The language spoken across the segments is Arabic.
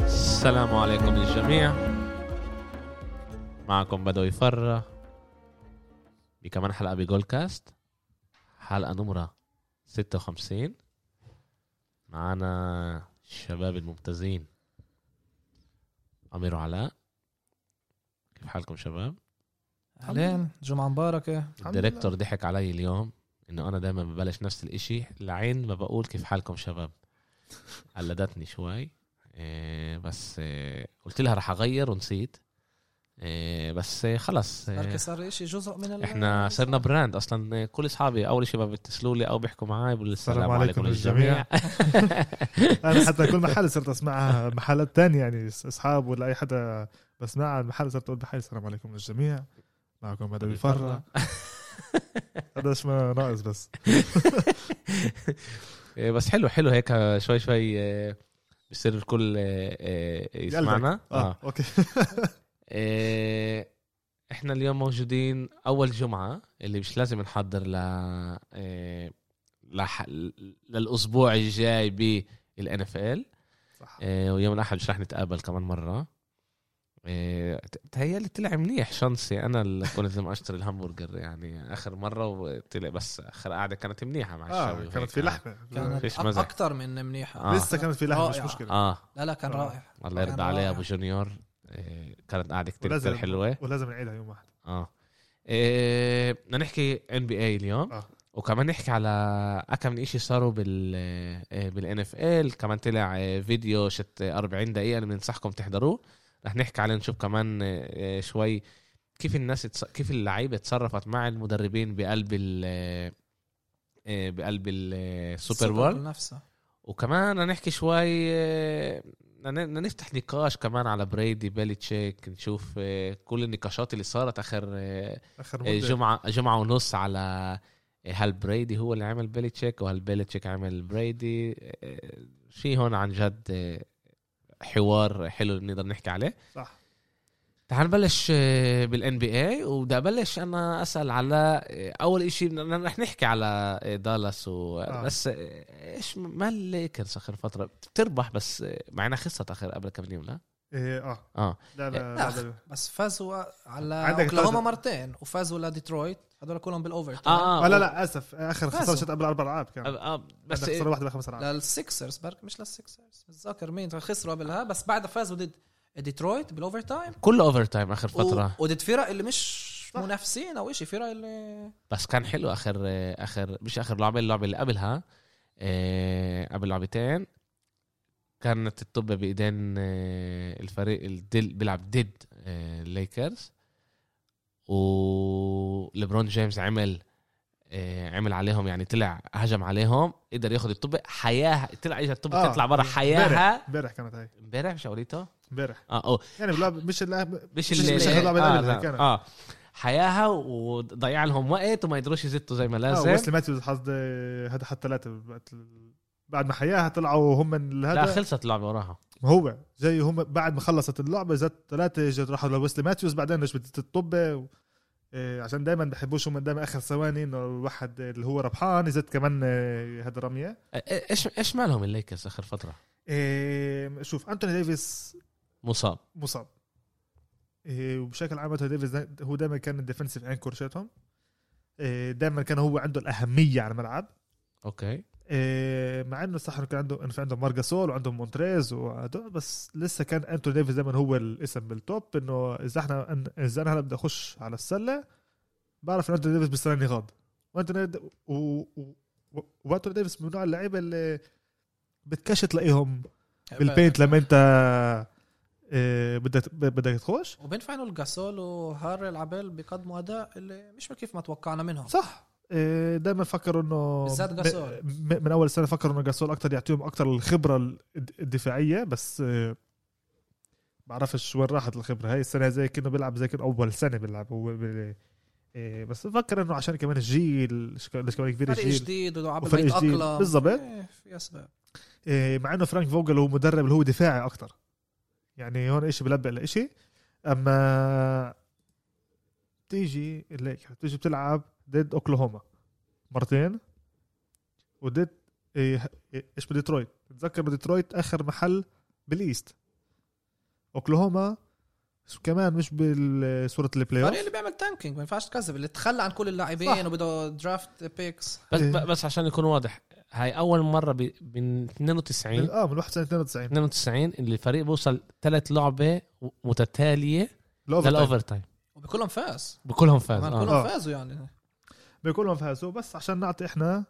السلام عليكم للجميع معكم بدو يفر بكمان حلقة بجول كاست حلقة نمرة 56 معانا الشباب الممتازين أمير وعلاء كيف حالكم شباب؟ اهلين جمعة مباركة الحمد لله. الديريكتور ضحك علي اليوم انه انا دائما ببلش نفس الاشي لعين ما بقول كيف حالكم شباب قلدتني شوي إيه بس إيه قلت لها رح اغير ونسيت إيه بس إيه خلص بركي إيه صار شيء جزء من ال- احنا صرنا براند اصلا كل اصحابي اول شيء ما بيتصلوا لي او بيحكوا معي بقول السلام عليكم عليكم للجميع انا حتى كل محل صرت اسمعها محلات تانية يعني اصحاب ولا اي حدا بسمعها المحل صرت اقول بحي السلام عليكم للجميع معكم بدوي يفرع هذا ايش ما ناقص بس إيه بس حلو حلو هيك شوي شوي إيه بصير الكل إيه، إيه، يسمعنا اه اوكي إيه، احنا اليوم موجودين اول جمعه اللي مش لازم نحضر ل إيه، لح... للاسبوع الجاي بالان اف ال صح آه، ويوم الاحد مش رح نتقابل كمان مره إيه، بتهيألي طلع منيح شانسي انا اللي كنت لما اشتري الهمبرجر يعني اخر مره وطلع بس اخر قعده كانت منيحه مع آه. الشاوي اه كانت في لحمه كانت فيش أك- مزح. اكتر من منيحة آه. لسه كانت في لحمه مش رائعة. مشكله اه لا لا كان آه. رائع الله يرضى كان عليه رائع. ابو جونيور إيه، كانت قعده كتير ولازم- كتير حلوه ولازم نعيدها يوم واحد اه إيه، بدنا نحكي ان بي اي اليوم اه وكمان نحكي على أكم من إشي صاروا بال بالان اف ال كمان طلع آه، فيديو شت 40 دقيقة اللي بننصحكم تحضروه رح نحكي عليه نشوف كمان آه، آه، شوي كيف الناس تص... كيف اللعيبة تصرفت مع المدربين بقلب ال آه، آه، بقلب السوبر وورد نفسه وكمان هنحكي شوي آه، بدنا نفتح نقاش كمان على بريدي بيليتشيك نشوف آه، كل النقاشات اللي صارت اخر آه، اخر إيه، مده جمعة جمعة ونص على إيه، هل بريدي هو اللي عمل بيليتشيك وهل بيليتشيك عمل بريدي إيه، شيء هون عن جد إيه، حوار حلو نقدر نحكي عليه صح تعال نبلش إيه، بالان بي اي وبدي ابلش انا اسال على إيه، اول شيء رح نحكي على إيه، دالاس و... آه. بس إيه، ايش ما الليكرز اخر فتره بتربح بس إيه، مع انها خسرت اخر قبل كم يوم لا ايه اه اه لا لا لا, لا. آه، بس فازوا على عندك اوكلاهوما فازوا. مرتين وفازوا لديترويت هذول كلهم بالاوفر اه, آه آه لا لا اسف اخر لازم. خساره شت قبل اربع العاب كان آه، آه بس بس إيه، خساره واحده بخمس العاب للسكسرز برك مش للسكسرز بتذكر مين خسروا قبلها بس بعدها فازوا ضد ديترويت بالاوفر تايم كله اوفر تايم اخر فتره و... وضد فرق اللي مش منافسين او شيء فرق اللي بس كان حلو اخر اخر مش اخر لعبه اللعبه اللي قبلها آه، قبل لعبتين كانت الطبة بايدين آه، الفريق اللي بيلعب ضد آه، الليكرز وليبرون جيمس عمل آه، عمل عليهم يعني طلع هجم عليهم قدر ياخد الطبة حياها طلع اجى الطبة آه، تطلع برا حياها امبارح كانت هاي امبارح مش قوليته امبارح اه اوه يعني باللعب مش اللعب مش مش- اللي مش آه, اللعبة اللي آه, قبلها نعم. كانت. اه حياها وضيع لهم وقت وما يقدروش يزتوا زي ما اه لازم ويسلي ماتيوز حظ هذا حتى ثلاثة وقت ال- بعد ما حياها طلعوا هم من لا هذا خلصت اللعبه وراها هو جاي هم بعد ما خلصت اللعبة جت ثلاثة جت راحوا لويسلي ماتيوز بعدين رجبت الطبة و... إيه، عشان دائما بحبوش هم دائما اخر ثواني انه الواحد اللي هو ربحان يزت كمان إيه، هذا رمية إيه- ايش ايش مالهم الليكرز اخر فتره إيه، شوف انتوني ديفيس مصاب مصاب إيه، وبشكل عام انتوني ديفيس دا- هو دائما كان الديفنسيف انكور شاتهم دائما كان هو عنده الاهمية على الملعب اوكي إيه، مع انه صح انه كان عنده في عندهم مارجاسول وعندهم مونتريز وهدول، بس لسه كان انتوني ديفيس دائما هو الاسم بالتوب انه اذا احنا إن- اذا انا هلا بدي اخش على السله بعرف انه انتوني ديفيس بيستناني غاد وانتوني د- و- و- و- وانتوني ديفيس من نوع اللعيبه اللي بتكش تلاقيهم بالبينت لما انت إيه، بدك بدك تخش وبينفع انه الجاسول وهاري العبال بيقدموا اداء اللي مش كيف ما توقعنا منهم صح دائما آه، فكروا انه بالذات م- جاسول. م- من اول سنه فكروا انه جاسول اكثر يعطيهم اكثر الخبره الد- الدفاعيه بس آه، بعرفش وين راحت الخبره هاي السنه زي كانه بيلعب زي كانه اول سنه بيلعب هو بال- آه، بس بفكر انه عشان كمان الجيل شك- ليش كمان كبير فريق الجيل جديد وعبال ما وفريق جديد يتاقلم بالضبط إيه، في اسباب آه، مع انه فرانك فوجل هو مدرب اللي هو دفاعي اكثر يعني هون إشي بلبق لإشي اما تيجي الليك تيجي بتلعب ضد اوكلاهوما مرتين وضد إيه- إيه- ايش بديترويت بتذكر بديترويت اخر محل بالايست اوكلاهوما كمان مش بصوره البلاي الفريق اوف اللي بيعمل تانكينج ما ينفعش تكذب اللي تخلى عن كل اللاعبين أيوه. صح. وبده درافت بيكس بس إيه. بس عشان يكون واضح هاي اول مره ب- من 92 من- اه من 91 92 92 اللي الفريق بوصل ثلاث لعبه متتاليه الأوفر تايم. للاوفر تايم وبكلهم فاز بكلهم فاز كمان آه. كلهم آه. فازوا يعني بكلهم فازوا بس عشان نعطي احنا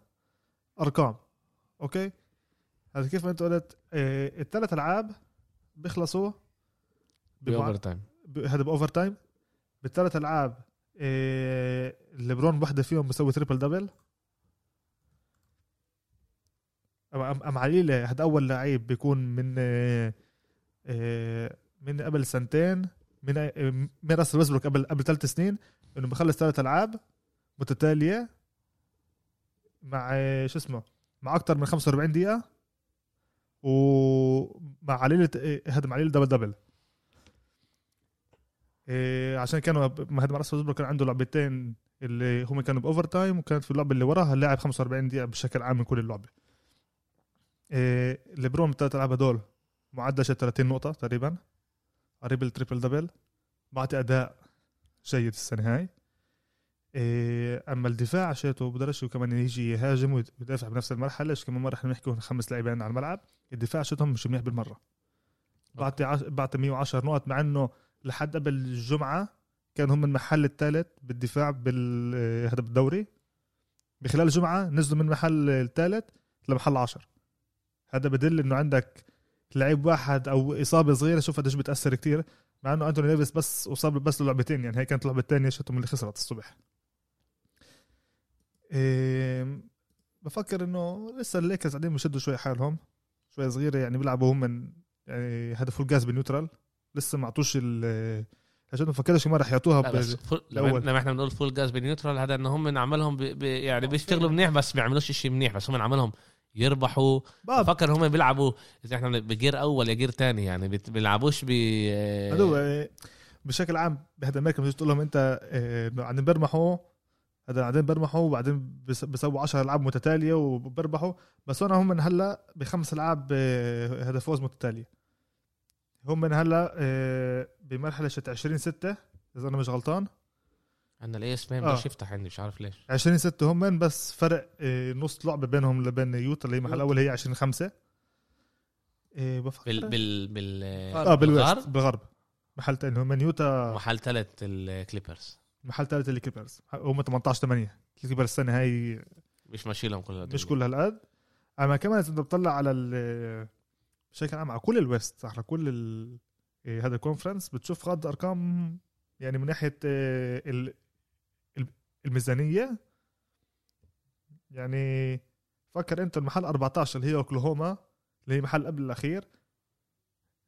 ارقام اوكي هذا كيف ما انت قلت إيه الثلاث العاب بيخلصوا باوفر تايم ب- هذا باوفر تايم بالثلاث العاب إيه ليبرون وحده فيهم بسوي تريبل دبل ام ام عليلة هذا اول لعيب بيكون من إيه إيه من قبل سنتين من إيه من راس ويزبروك قبل قبل ثلاث سنين انه بخلص ثلاث العاب متتاليه مع إيه شو اسمه مع اكثر من 45 دقيقه ومع عليلة إيه، هذا مع عليلة دبل دبل إيه عشان كانوا ما هذا مع راس وزبرو كان عنده لعبتين اللي هم كانوا باوفر تايم وكانت في اللعبه اللي وراها اللاعب 45 دقيقه بشكل عام من كل اللعبه إيه ليبرون الثلاث العاب هدول معدل شي 30 نقطه تقريبا قريب التريبل دبل بعطي اداء جيد السنه هاي إيه اما الدفاع شاته بقدرش كمان يجي يهاجم ويدافع بنفس المرحله ايش كمان مره احنا بنحكي هون خمس لاعبين على الملعب الدفاع شاتهم مش منيح بالمره بعطي عش... بعطي 110 نقط مع انه لحد قبل الجمعه كان هم المحل الثالث بالدفاع بال آه، هذا بالدوري بخلال الجمعه نزلوا من المحل الثالث لمحل 10 هذا بدل انه عندك لعيب واحد او اصابه صغيره شوف قديش بتاثر كتير مع انه انتوني ديفيس بس اصاب بس للعبتين يعني هي كانت اللعبه الثانيه شتهم اللي خسرت الصبح إيه بفكر انه لسه الليكرز قاعدين بشدوا شوي حالهم شوي صغيره يعني بيلعبوا هم من يعني هدفوا الجاز بالنيوترال لسه ما عطوش ال عشان ما فكرش ما راح يعطوها لا، بال- بس فول- لما الأول. لما احنا بنقول فول جاز بالنيوترال هذا ان هم من عملهم ب... ب... يعني آه، بيشتغلوا فعلا. منيح بس بيعملوش شيء منيح بس هم من عملهم يربحوا باب فكر هم بيلعبوا اذا احنا بجير اول يا جير تاني يعني بت- بيلعبوش ب هدول آه، بشكل عام بهذا المركب بتجي تقول لهم انت آه، قاعدين برمحوا هذا قاعدين برمحوا وبعدين بس- بسووا 10 العاب متتاليه وبربحوا بس هون هم من هلا بخمس العاب آه، هذا فوز متتاليه هم من هلا آه، بمرحله شت 20 6 اذا انا مش غلطان انا الاي اس مان آه. مش يفتح عندي مش عارف ليش 20 6 هم من بس فرق آه، نص لعبه بينهم لبين يوتا اللي هي محل يوتا. اول هي 20 5 بفكر بال بال بال اه بالويست بالغرب. بالغرب محل تاني هم من يوتا محل ثلاث الكليبرز محل ثالث الكليبرز هم 18 8 الكليبرز السنه هاي مش ماشي لهم كل هدول. مش كل هالقد اما كمان اذا بدك تطلع على ال- بشكل عام على كل الويست على كل ال- إيه، هذا الكونفرنس بتشوف غض ارقام يعني من ناحيه إيه، ال- ال- الميزانيه يعني فكر انت المحل 14 اللي هي اوكلاهوما اللي هي محل قبل الاخير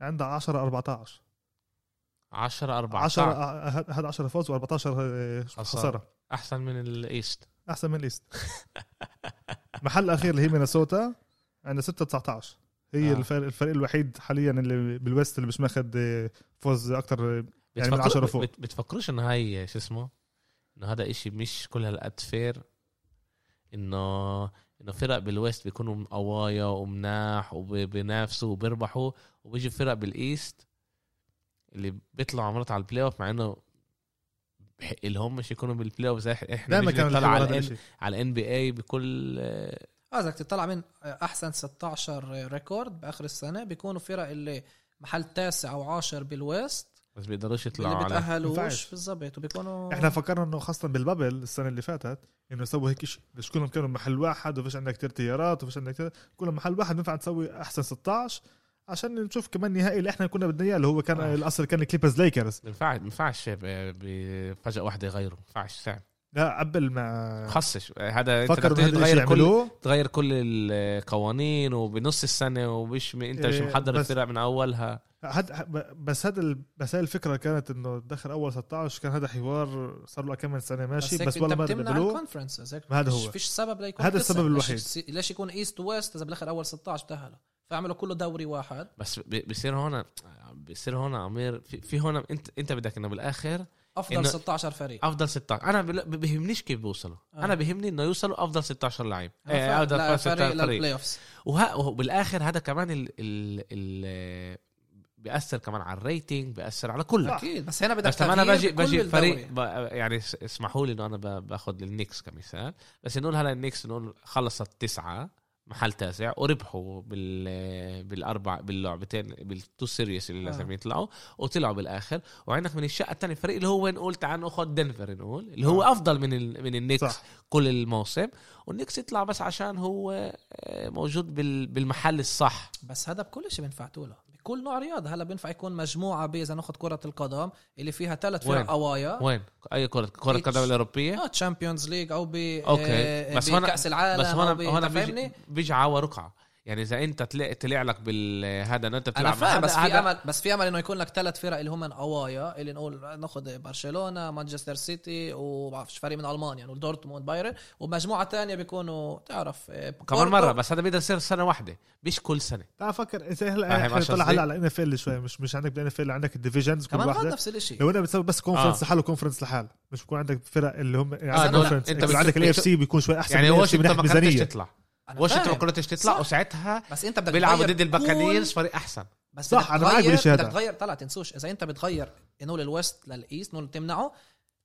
عندها 10 14 10 10 14 هذا 10 فوز إيه، و14 خسارة. خساره احسن من الايست احسن من ليست محل اخير اللي هي مينيسوتا عندنا 6 19 هي آه. آه. الفريق, الفريق الوحيد حاليا اللي بالويست اللي مش ماخد آه، فوز اكثر يعني من بتفكر- 10 فوق. بت- بتفكروش انه هاي شو اسمه انه هذا اشي مش كل هالقد فير انه انه فرق بالويست بيكونوا قوايا ومناح وبينافسوا وبيربحوا وبيجي فرق بالايست اللي بيطلعوا مرات على البلاي اوف مع انه بحق لهم مش يكونوا بالبلاي اوف زي إح- احنا دائما مش كان بنطلع الحوار هذا على ال الشيء على الان بي اي بكل آه، اه بدك تطلع من احسن 16 ريكورد باخر السنه بيكونوا فرق اللي محل تاسع او عاشر بالويست بس بيقدروش اللي يطلعوا على بتاهلوش ينفعش. بالضبط وبيكونوا احنا فكرنا انه خاصه بالبابل السنه اللي فاتت انه يسووا هيك شيء بس كلهم كانوا محل واحد وفيش عندك كثير تيارات وفيش عندك كتير كلهم محل واحد بينفع تسوي احسن 16 عشان نشوف كمان نهائي اللي احنا كنا بدنا اياه اللي هو كان آه. الاصل كان الكليبرز ليكرز ما ينفعش ما ينفعش ب- ب- فجأة واحدة يغيروا ما ينفعش صعب لا قبل ما خصش هذا انت آه. فكروا بدك بهذا الشيء تغير كل يعملوه تغير كل القوانين وبنص السنه ومش م... انت مش إيه، محضر بس- الفرق من اولها هاد ه- بس هذا ال- بس هاي الفكره كانت انه دخل اول 16 كان هذا حوار صار له كم من سنه ماشي بس, هيك ولا انت مره بتمنع بيعملوه الكونفرنس هيك ما هذا فيش- هو. فيش سبب ليكون هذا قصة. السبب ليش- الوحيد. ليش يكون ايست ويست اذا بالاخر اول 16 تاهلوا فعملوا كله دوري واحد بس ب- بصير هون بصير هون عمير في, في هون انت انت بدك انه بالاخر افضل إنه- 16 فريق افضل 16 انا بل- ب- بهمنيش كيف بيوصلوا آه. آه. انا بهمني انه يوصلوا افضل 16 لعيب لا آه، افضل فريق 16 فريق للبلاي اوفس وه- وبالاخر هذا كمان ال ال ال بياثر كمان على الريتنج بياثر على كل صح. اكيد بس هنا بدك بس لما انا تغيير باجي بكل باجي فريق الدوري. ب- يعني اس- اسمحوا لي انه انا ب- باخذ النكس كمثال بس نقول هلا النكس نقول خلصت تسعه محل تاسع وربحوا بال بالاربع باللعبتين بالتو سيريس اللي آه. لازم يطلعوا وطلعوا بالاخر وعندك من الشقه الثانيه فريق اللي هو نقول تعال ناخذ دنفر نقول اللي هو آه. افضل من ال من النكس صح. كل الموسم والنكس يطلع بس عشان هو آه، موجود بال بالمحل الصح بس هذا بكل شيء بينفع تقوله بكل نوع رياضه هلا بينفع يكون مجموعه بي- اذا ناخذ كره القدم اللي فيها ثلاث وين؟ فرق قوايا وين اي كره كره إيش. قدم الاوروبيه اه تشامبيونز ليج او ب أوكي. بس بس هون- بكاس آه، العالم بس هون أو ب- هون أنت بيجي, فاهمني بيجي عوا رقعه يعني اذا انت طلع طلع لك بالهذا انه انت بتلعب انا مع فاهم هذا- بس في هذا- امل بس في امل انه يكون لك ثلاث فرق اللي هم قوايا اللي نقول ناخذ برشلونه مانشستر سيتي وبعرفش فريق من المانيا نقول دورتموند بايرن ومجموعه تانية بيكونوا تعرف آه، كمان بورتو. مره بس هذا بيقدر يصير سنه واحده مش كل سنه تعال فكر انت فاهم هلا إحنا عشان طلع قصدي؟ هلا على ان اف ال شوي مش مش عندك بالان اف ال عندك الديفيجنز كل كمان هذا واحده نفس الشيء لو انا بتسوي بس كونفرنس لحاله كونفرنس لحال مش بكون عندك فرق اللي هم يعني آه، عندك دول- conference. أنت بس بت- عندك الاي اف سي بيكون شوي احسن يعني من ال AFC واشنطن من ما ناحيه كانتش ميزانيه تطلع أنا واشنطن فاهم. ما كانتش تطلع صح. وساعتها بس انت بدك بيلعبوا تغير ضد كل- الباكانيرز فريق احسن بس صح، بدك أنا معك تغير- بالشيء هذا. بدك تغير طلع تنسوش اذا انت بتغير نقول الويست للايست نقول تمنعه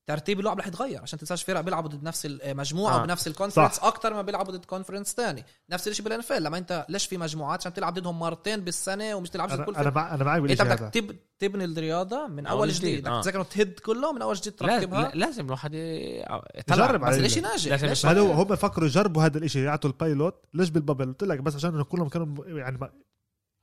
ترتيب اللعب رح يتغير عشان تنساش فرق بيلعبوا ضد نفس المجموعه آه. آه. بنفس الكونفرنس اكثر ما بيلعبوا ضد كونفرنس ثاني نفس الشيء بالانفل لما انت ليش في مجموعات عشان تلعب ضدهم مرتين بالسنه ومش تلعبش ضد كل انا انا فرق مع انا معك انت بالشيء بدك هذا تب... تبني الرياضه من أول اول جديد، جديد بدك آه. تذكر انه تهد كله من اول جديد لازم ترتبها لازم الواحد ي- يطلع. يجرب بس عليه. ليش ناجح لازم ليش ما هو هم فكروا يجربوا هذا الشيء يعطوا البايلوت ليش بالبابل قلت لك بس عشان إنه كلهم كانوا يعني ما-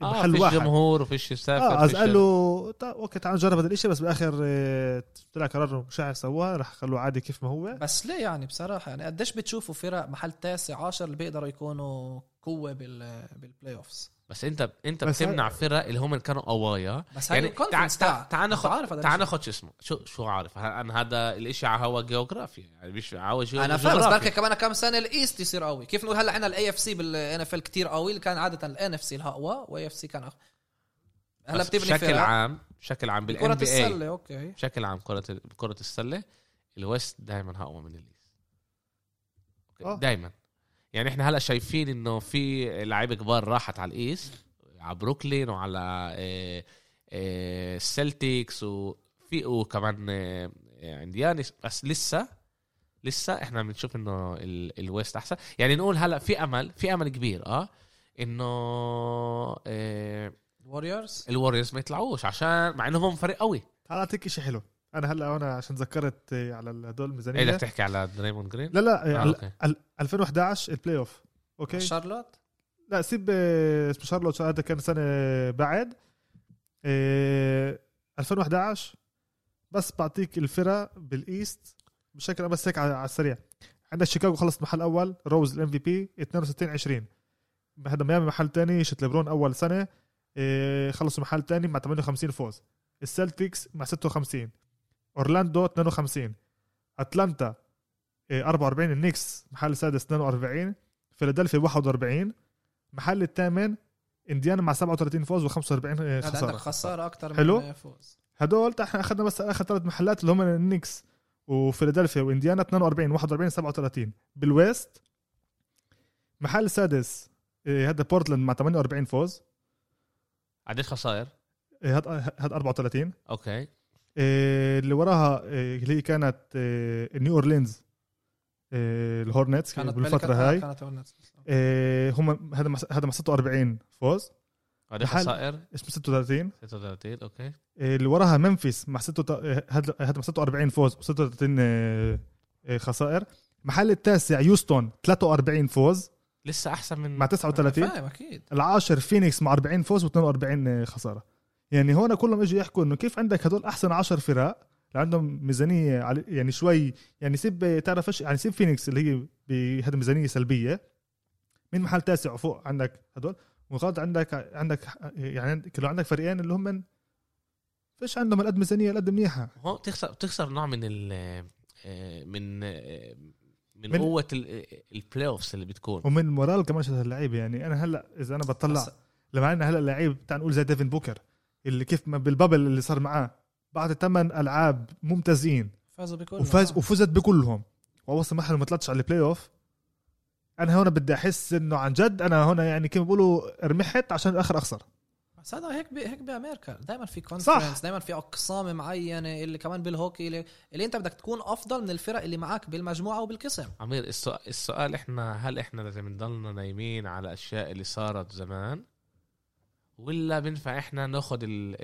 آه، اه محل فيش واحد جمهور وفيش يسافر اه فيش- قال له "طيب، اوكي تعال نجرب هذا الشيء بس بالاخر آه، طلع قرار مشاعر سووها رح خلوه عادي كيف ما هو بس ليه يعني بصراحه يعني قديش بتشوفوا فرق محل تاسع عشر اللي بيقدروا يكونوا قوه بال... بالبلاي اوفز بس انت انت بس بتمنع فرق اللي هم كانوا قوايا بس يعني هاي الconference تعال تاع- تعال أنت عارف ناخذ هذا تعال الشيء. ناخذ شو اسمه شو شو عارف ه- انا هذا الاشي على هوا جيوغرافيا يعني مش على هوا جيو- انا فاهم بس جغرافيا. بركي كمان كم سنه الايست يصير قوي كيف نقول هلا عندنا الاي اف سي بالان اف ال كثير قوي اللي كان عاده الان اف سي الاقوى واي اف سي كان أخ... هلا بس بتبني بشكل فرق عام بشكل عام بالان كرة بي اي السله اوكي بشكل عام كرة كرة السلة الويست دائما اقوى من الايست آه. دائما يعني احنا هلا شايفين انه في لعيبه كبار راحت على الايست على بروكلين وعلى آه، آه، السلتكس وفي وكمان آه، آه، انديانس بس لسه لسه احنا بنشوف انه ال- الويست احسن يعني نقول هلا في امل في امل كبير اه انه آه، ووريرز الوريوز ما يطلعوش عشان مع انهم هم فريق قوي تعال اعطيك شيء حلو انا هلا انا عشان تذكرت آه، على هدول ايه بدك الميزانيه تحكي على دريمون جرين؟ لا لا آه، آه، أوكي. ال- 2011 البلاي اوف اوكي شارلوت إيه، لا سيب آه، اسمه شارلوت هذا كان سنه بعد آه، 2011 بس بعطيك الفرق بالايست بشكل بس هيك على على السريع عندك شيكاغو خلص محل اول روز الام في بي 62 20 هذا ميامي محل ثاني شت ليبرون اول سنه آه، خلصوا محل ثاني مع 58 فوز السلتكس مع 56 اورلاندو 52 اتلانتا آه، 44 النكس محل سادس 42 فيلادلفيا 41 محل الثامن انديانا مع 37 فوز آه، و45 هذا عندك خساره خساره اكثر حلو. من فوز هدول تا- احنا اخذنا بس اخر ثلاث محلات اللي هم النكس وفيلادلفيا وانديانا 42 41 37 بالويست محل سادس إيه، هذا بورتلاند مع 48 فوز قديش خسائر؟ إيه، هاد هاد 34 اوكي إيه، اللي وراها إيه، اللي هي كانت إيه، نيو اورلينز إيه، الهورنتس كانت بالفتره بلكت- آه، هاي كانت هورنتس. إيه، هم هذا مع- هذا مع 46 فوز قديش محل- خسائر؟ اسمه 36 36 اوكي إيه، اللي وراها منفس مع 6 هذا هذا مع 46 فوز و36 آه، خسائر محل التاسع يوستون 43 فوز لسه احسن من مع 39 فاهم اكيد العاشر فينيكس مع 40 فوز و42 خساره يعني هون كلهم اجوا يحكوا انه كيف عندك هدول احسن 10 فرق اللي عندهم ميزانيه على- يعني شوي يعني سيب تعرف ايش يعني سيب فينيكس اللي هي بهذا ميزانيه سلبيه من محل تاسع وفوق عندك هدول وغاد عندك عندك يعني عندك- لو عندك فريقين اللي هم من فيش عندهم هالقد ميزانيه هالقد منيحه هو بتخسر بتخسر نوع من ال آه، من آه، من, من- قوه ال- آه، البلاي اوفس اللي بتكون ومن مورال كمان شت اللعيبه يعني انا هلا اذا انا بطلع بس- لما عندنا هلا لعيب تعال نقول زي ديفن بوكر اللي كيف ما بالبابل اللي صار معاه بعد ثمان العاب ممتازين فازوا بكل وفاز وفزت بكلهم ووصل محل ما طلعتش على البلاي اوف انا هون بدي احس انه عن جد انا هون يعني كيف بيقولوا رمحت عشان الاخر اخسر صدق هيك ب... هيك بامريكا دائما في صح. كونفرنس دائما في اقسام معينه اللي كمان بالهوكي اللي, اللي انت بدك تكون افضل من الفرق اللي معك بالمجموعه وبالقسم عمير السؤال, السؤال احنا هل احنا لازم نضلنا نايمين على اشياء اللي صارت زمان ولا بينفع احنا ناخد ال ال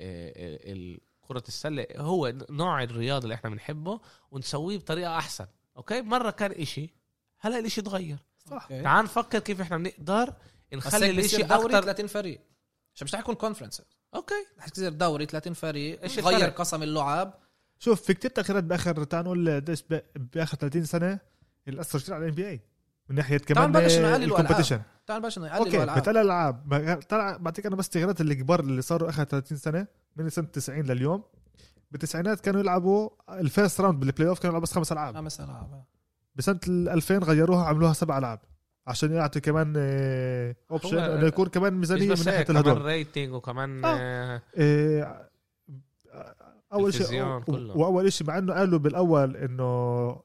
ال ال كرة السلة هو نوع الرياضة اللي احنا بنحبه ونسويه بطريقة احسن اوكي مرة كان اشي هلا الاشي اتغير صح أوكي. تعال نفكر كيف احنا بنقدر بس نخلي هيك بصير الاشي دوري اكتر 30 فريق مش مش رح يكون كونفرنس اوكي رح تصير دوري 30 فريق إيش غير الفرق؟ قسم اللعاب شوف في كتير تاخيرات باخر تعال نقول ديش ب- باخر 30 سنه اللي اثر كتير على الان بي اي من ناحيه كمان بلش نقللوا الكومبيتيشن تعال باشا انه يقللوا اوكي العاب بتقلل العاب ما- طلع بعطيك انا بس تغييرات الكبار اللي صاروا اخر 30 سنه من سنه 90 لليوم بالتسعينات كانوا يلعبوا الفيرست راوند بالبلاي اوف كانوا يلعبوا بس خمس العاب خمس العاب بسنه ال 2000 غيروها عملوها سبع العاب عشان يعطي كمان اوبشن هو- انه يكون كمان ميزانيه مش من بس ناحيه هيك، كمان الهدول ريتنج وكمان آه. آه. إيه، اول شيء تلفزيون كله. واول شيء مع انه قالوا بالاول انه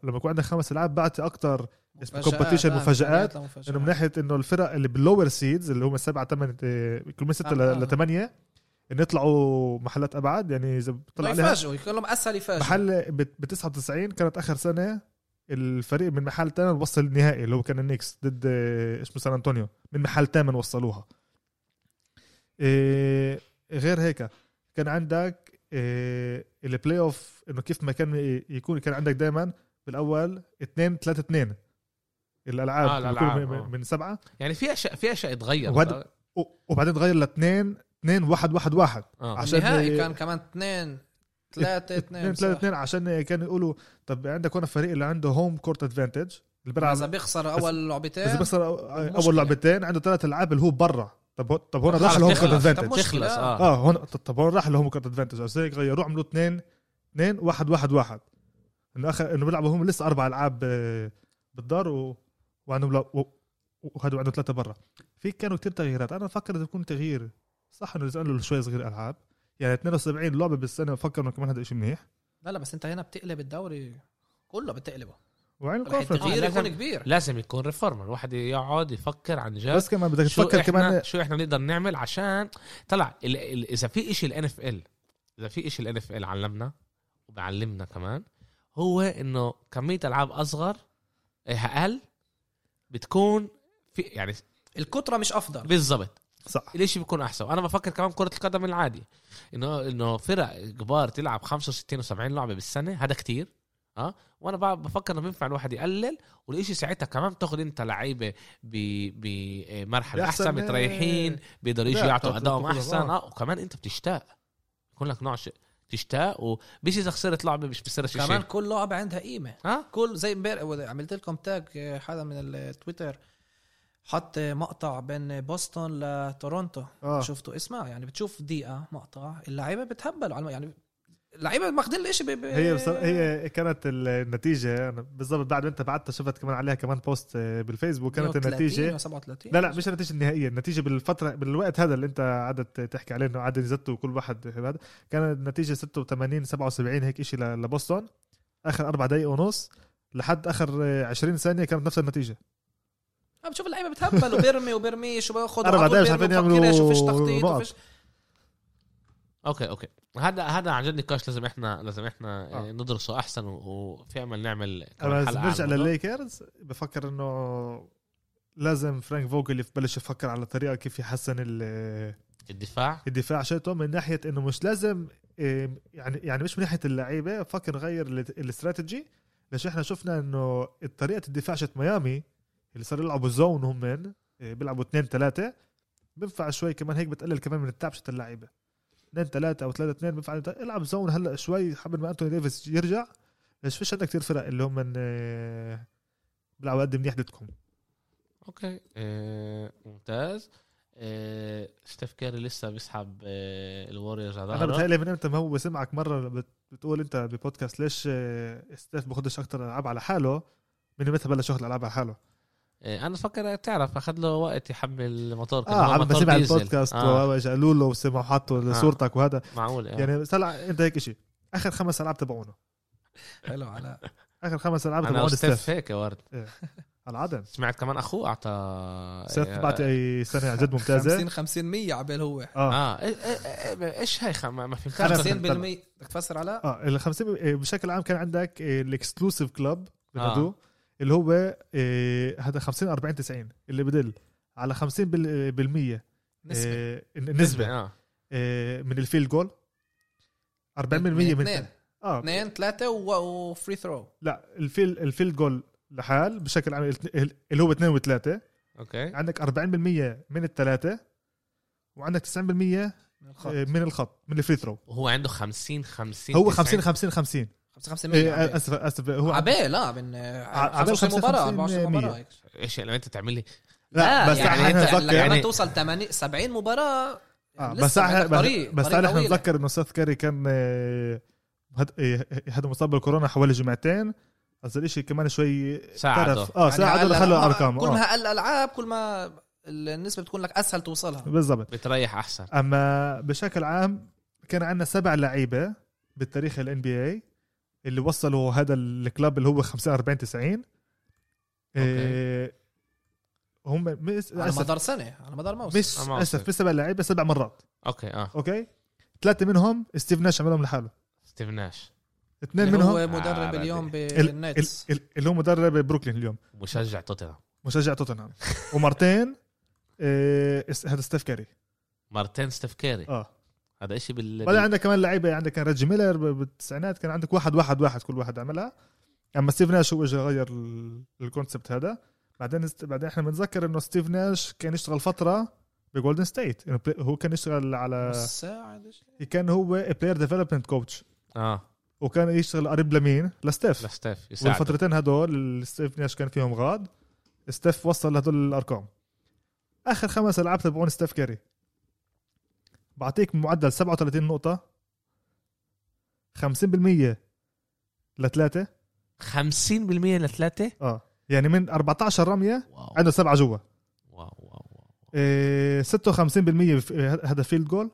لما يكون عندك خمس العاب بعطي اكثر اسمه competition، مفاجآت، انه من ناحيه انه الفرق اللي باللوور سيدز اللي هم سبعه ثمان كل من سته آه، آه. لثمانيه انه يطلعوا محلات ابعد يعني اذا طلع طلع عليها يفاجئوا يكون لهم اسهل يفاجئوا محل ب 99 كانت اخر سنه الفريق من محل ثامن وصل النهائي اللي هو كان النكس ضد آه، اسمه سان انطونيو من محل ثامن وصلوها إيه، غير هيك كان عندك إيه، البلاي اوف انه كيف ما كان يكون كان عندك دائما بالاول 2 3 2 الالعاب آه، اللي الألعاب، بيكونوا من- آه. من سبعه يعني في اشياء في اشياء اتغيرت وهذا- و- وبعدين تغير ل 2 2 1 1 1 اه عشان- النهائي كان كمان اثنين ثلاثة اثنين 2 3 2 عشان كانوا يقولوا طب عندك هنا فريق اللي عنده هوم كورت ادفانتج اللي بيلعب اذا بيخسر اول لعبتين بس بيخسر مشكلة. اول لعبتين عنده ثلاث العاب اللي هو برا طب هو- طب هون خلص راح لهم تخلص. كارت طب ادفانتج تخلص اه اه هون طب هون راح لهم كارت ادفانتج عشان هيك غيروه عملوا اثنين اثنين واحد واحد واحد انه اخر انه بيلعبوا هم لسه اربع العاب آه، بالدار و... وعندهم لا... و... وهدول عندهم ثلاثه برا في كانوا كتير تغييرات انا بفكر اذا يكون تغيير صح انه نزلوا شوي صغير العاب يعني 72 لعبه بالسنه بفكر انه كمان هذا شيء منيح لا لا بس انت هنا بتقلب الدوري كله بتقلبه وعين الكونفرنس التغيير آه، يكون لازم- كبير لازم يكون ريفورمر الواحد يقعد يفكر عن جد بس كمان بدك شو تفكر احنا كمان شو احنا بنقدر نعمل عشان طلع ال... ال... اذا في إشي الان اف ال اذا في إشي الان اف ال علمنا وبعلمنا كمان هو انه كميه العاب اصغر إيه، اقل بتكون في يعني الكترة مش افضل بالضبط صح الاشي بيكون احسن وانا بفكر كمان كره القدم العادي انه انه فرق كبار تلعب 65 و70 لعبه بالسنه هذا كتير اه وانا بع- بفكر انه بينفع الواحد يقلل والاشي ساعتها كمان تاخد انت لعيبه بمرحله بأحسن- احسن متريحين بيقدروا يجوا لا، يعطوا بتاعت ادائهم البطولة، احسن اه وكمان انت بتشتاق يكون لك نوع شيء تشتاق ومش اذا خسرت لعبه مش بصيرش كمان شيء آه؟ كل لعبة عندها قيمة ها كل زي امبارح عملت لكم تاج حدا من التويتر حط مقطع بين بوسطن لتورونتو اه شفته اسمع يعني بتشوف دقيقة مقطع اللعيبة بتهبلوا على الم- يعني اللعيبة ماخدين الاشي ب... ب- هي بصر... هي كانت النتيجه انا بالضبط بعد ما انت بعتها شفت كمان عليها كمان بوست آه، بالفيسبوك كانت 130 النتيجه و 37 لا لا مش النتيجه النهائيه النتيجه بالفتره بالوقت هذا اللي انت قعدت تحكي عليه انه عاد نزلت وكل واحد هذا كانت النتيجه 86 77 هيك شيء لبوسطن اخر اربع دقائق ونص لحد اخر آه، 20 ثانيه كانت نفس النتيجه عم بشوف اللعيبه بتهبل وبرمي وبرميش وباخذ أربع على طول دقايق مش بيرمي عارفين وبفكر يعملوا إيش وفيش تخطيط نقط. وفيش اوكي اوكي هذا هذا عن جد نقاش لازم احنا لازم احنا آه. آه. ندرسه احسن و- وفي امل نعمل كمان بس حلقة عن نرجع الموضوع. للليكرز بفكر انه لازم فرانك فوجل يبلش يفكر على طريقه كيف يحسن ال الدفاع الدفاع شئته من ناحيه انه مش لازم إيه، يعني يعني مش من ناحيه اللعيبه فكر نغير ال- الاستراتيجي ليش احنا شفنا انه طريقه الدفاع شت ميامي اللي صاروا يلعبوا زون هم من إيه، بيلعبوا اثنين ثلاثه بينفع شوي كمان هيك بتقلل كمان من التعب شت اللعيبه اثنين ثلاثه او ثلاثه اثنين بينفع أنت- العب زون هلا شوي حبل ما انتوني ديفيس يرجع ليش فيش عندك كثير فرق اللي هم من إيه، بيلعبوا قد منيح ضدكم اوكي آه، ممتاز آه، ستيف كاري لسه بيسحب آه، الوريورز على انا ظهره بتهيألي من امتى ما هو بسمعك مره بت- بتقول انت ببودكاست ليش آه، ستيف باخدش اكتر العاب على حاله من متى بلش ياخد العاب على حاله آه، انا بفكر تعرف اخذ له وقت يحمل الموتور كان هو اه عم موتور بسمع ديزل. البودكاست آه، آه. قالوا له وسمعوا حطوا آه. صورتك وهذا معقول آه. يعني طلع انت هيك شيء اخر خمس العاب تبعونه حلو على اخر خمس العاب انا تبعون وستيف ستيف هيك يا ورد على العدم سمعت كمان آه، اخوه اعطى سنة بعد اي سنه عن جد ممتازه 50 50 100 عبال هو اه اه إيه- إيه- إيه- ايش هاي خ- ما ما فهمتهاش أنا 50% بس- فهمت. بدك تفسر علاء؟ اه ال 50 إيه، بشكل عام كان عندك الاكسكلوسيف كلاب آه. بنادوه اللي هو إيه، هذا 50 40 90 اللي بدل على 50% بال- آه، بالمية، نسبة آه. إيه، نسبة النسبه اه إيه، من الفيلد جول 40% من من اثنين اه اثنين ثلاثة وفري ثرو لا الفيل الفيلد جول لحال بشكل عام الت- ال- اللي هو 2 و3 اوكي عندك 40% من الثلاثه وعندك 90% من الخط من الخط من الفري ثرو هو عنده 50 50 هو 50 50 50 55 إيه، مية اسف اسف هو عبال لا من آه، عبال 25 مباراة 55 24 مباراة مية. هيك. ايش لما انت يعني، تعمل لي لا بس يعني احنا انت نتذكر يعني- لما توصل 80 70 مباراة آه، يعني لسه بس احنا عندك طريق- بس طريق تعال احنا طويلة. نتذكر انه سيث كاري كان آه، هاد- آه، هذا مصاب بالكورونا حوالي جمعتين هذا الاشي كمان شوي ساعده. ترف. اه يعني ساعده هلا- لخلوا ما- ارقام كل آه. ما هقل العاب كل ما النسبة بتكون لك اسهل توصلها بالضبط بتريح احسن اما بشكل عام كان عندنا سبع لعيبه بالتاريخ الان بي اي اللي وصلوا هذا الكلاب اللي هو 45 90 إيه هم مس... على اسف مدار نعم. سنة على مدار موسم مش آه، ما اسف وصل. مش سبع لعيبه سبع مرات اوكي اه اوكي ثلاثه منهم ستيف ناش عملهم لحاله ستيف ناش اثنين اللي منهم يعني هو مدرب آه، اليوم ال- ال- بالنتس ال- اللي هو مدرب بروكلين اليوم مشجع توتنهام مشجع توتنهام ومرتين إيه، اس- هذا ستيف كاري مرتين ستيف كيري اه هذا اشي بال بعدين بال- عندك كمان لعيبه عندك كان ريجي ميلر ب- بالتسعينات كان عندك واحد واحد واحد كل واحد عملها اما ستيف ناش هو اجى غير ال- الكونسبت هذا بعدين است... بعدين احنا بنتذكر انه ستيف ناش كان يشتغل فتره بجولدن ستيت إنه بلاي- هو كان يشتغل على مساعد كان هو بلاير ديفلوبمنت كوتش اه وكان يشتغل قريب لمين لستيف لستيف يساعد والفترتين هدول اللي ستيف ناش كان فيهم غاد ستيف وصل لهدول الارقام اخر خمس العاب تبعون ستيف كاري بعطيك معدل 37 نقطة 50% لثلاثة 50% لثلاثة اه يعني من 14 رمية واو عنده سبعة جوا واو واو واو إيه 56% بف- آه، هذا فيلد جول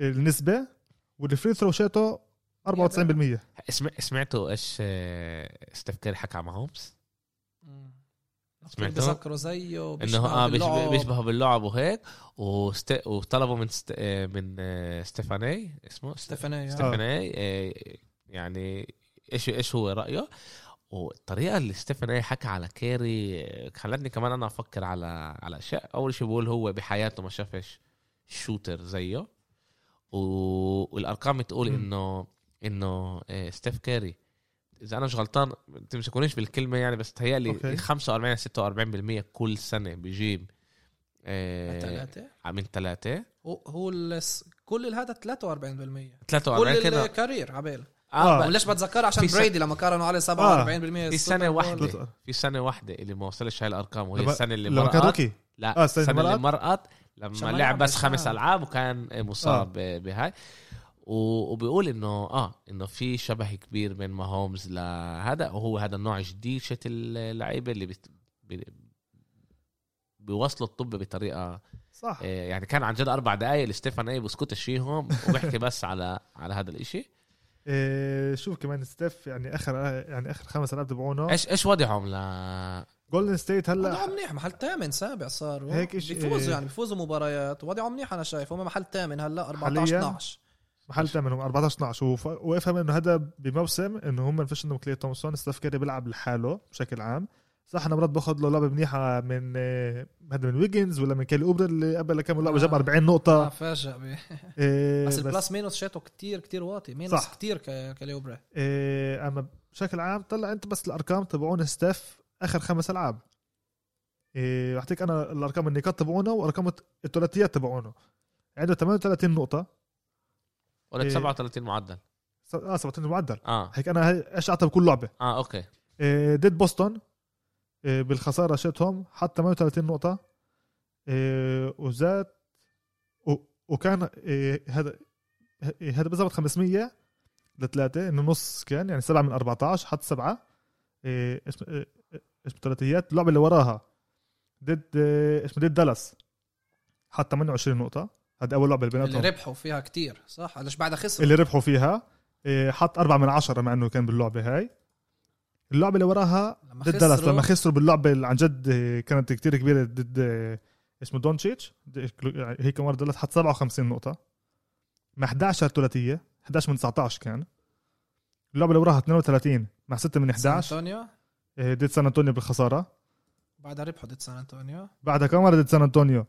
النسبة والفري ثرو شاته 94% اسمع سمعتوا ايش آه، ستيف كيري حكى مع هومس؟ سمعتوا؟ بسكروا زيه انه اه بيشب- باللعب. بيشبهوا باللعب وهيك وست... وطلبوا من ست... آه، من آه، ستيفاني اسمه ستيفاني آه. ستيفاني آه، يعني ايش ايش هو رايه والطريقه اللي ستيفاني حكى على كيري آه، خلتني كمان انا افكر على على اشياء اول شيء بقول هو بحياته ما شافش شوتر زيه و... والارقام بتقول مم. انه انه آه، ستيف كيري اذا انا مش غلطان تمسكونيش بالكلمه يعني بس تهيألي أوكي. 45 46% كل سنه بجيب آه، ثلاثة من ثلاثه هو- هو الس- كل هذا 43% كل 43 كده الكارير عبال آه. اه ليش بتذكرها عشان في سنة- بريدي لما قارنوا عليه 47% في سنه واحدة واحده في سنه واحده اللي ما وصلش هاي الارقام وهي لما- السنه اللي لما كان مرقت روكي لا آه، السنه السنة اللي اللي مرقت لما عشان لعب ما لعب بس بس خمس آه. العاب وكان مصاب آه. بهاي و- وبيقول انه اه انه في شبه كبير بين ماهومز لهذا وهو هذا النوع جديد شت اللعيبه اللي بت... بي... بيوصلوا الطب بطريقه صح آه، يعني كان عن جد اربع دقائق لستيفان اي بسكتش فيهم وبحكي بس على على هذا الاشي إيه شوف كمان ستيف يعني اخر يعني اخر خمس العاب تبعونه ايش ايش وضعهم ل جولدن ستيت وضعهم هلا منيح محل ثامن سابع صار هيك إشي- بيفوزوا يعني بيفوزوا مباريات وضعهم منيح انا شايف هم محل ثامن هلا 14 حالياً؟ 12 محل ثامن هم 14 12 وف- وافهم انه هذا بموسم انه هم ما فيش عندهم كلي تومسون ستيف كاري بيلعب لحاله بشكل عام صح انا مرات باخذ له لعبه منيحه من إيه، هذا من ويجنز ولا من كالي اوبر اللي قبل كم لعبه جاب آه. 40 آه، نقطه فاجأ بي. إيه، بس بس البلس مينوس شاته كتير كتير واطي مينوس صح. كتير ك- كاليوبرا إيه، اما بشكل عام طلع انت بس الارقام تبعون ستيف اخر خمس العاب إيه، بعطيك انا الارقام النقاط تبعونه وارقام الت- الثلاثيات تبعونه عنده 38 نقطه قلت إيه. 37 معدل س- اه 17 معدل اه هيك انا هي- ايش اعطى بكل لعبه اه اوكي إيه، ضد بوسطن إيه، بالخساره شتهم حط 38 نقطه إيه، وزاد و- وكان إيه، هذا إيه، هذا بالضبط 500 لثلاثه انه نص كان يعني 7 من 14 حط 7 ايش إيه، إيش بالثلاثيات اللعبه اللي وراها ضد إيه، اسمه ضد دالاس حط 28 نقطه هذا اول لعبه اللي اللي بيناتهم ربحوا فيها كتير صح ليش بعدها خسروا اللي ربحوا فيها إيه، حط أربعة من عشرة مع انه كان باللعبه هاي اللعبه اللي وراها لما ضد دالاس خسروا- لما خسروا باللعبه اللي عن جد كانت كتير كبيره ضد إيه، اسمه دونتشيتش هي كمان ورا دالاس حط 57 نقطه مع 11 ثلاثيه 11 من 19 كان اللعبه اللي وراها 32 مع 6 من سان 11 انطونيو إيه، ضد سان انطونيو بالخساره بعدها ربحوا ضد سان انطونيو بعدها كمان ضد سان انطونيو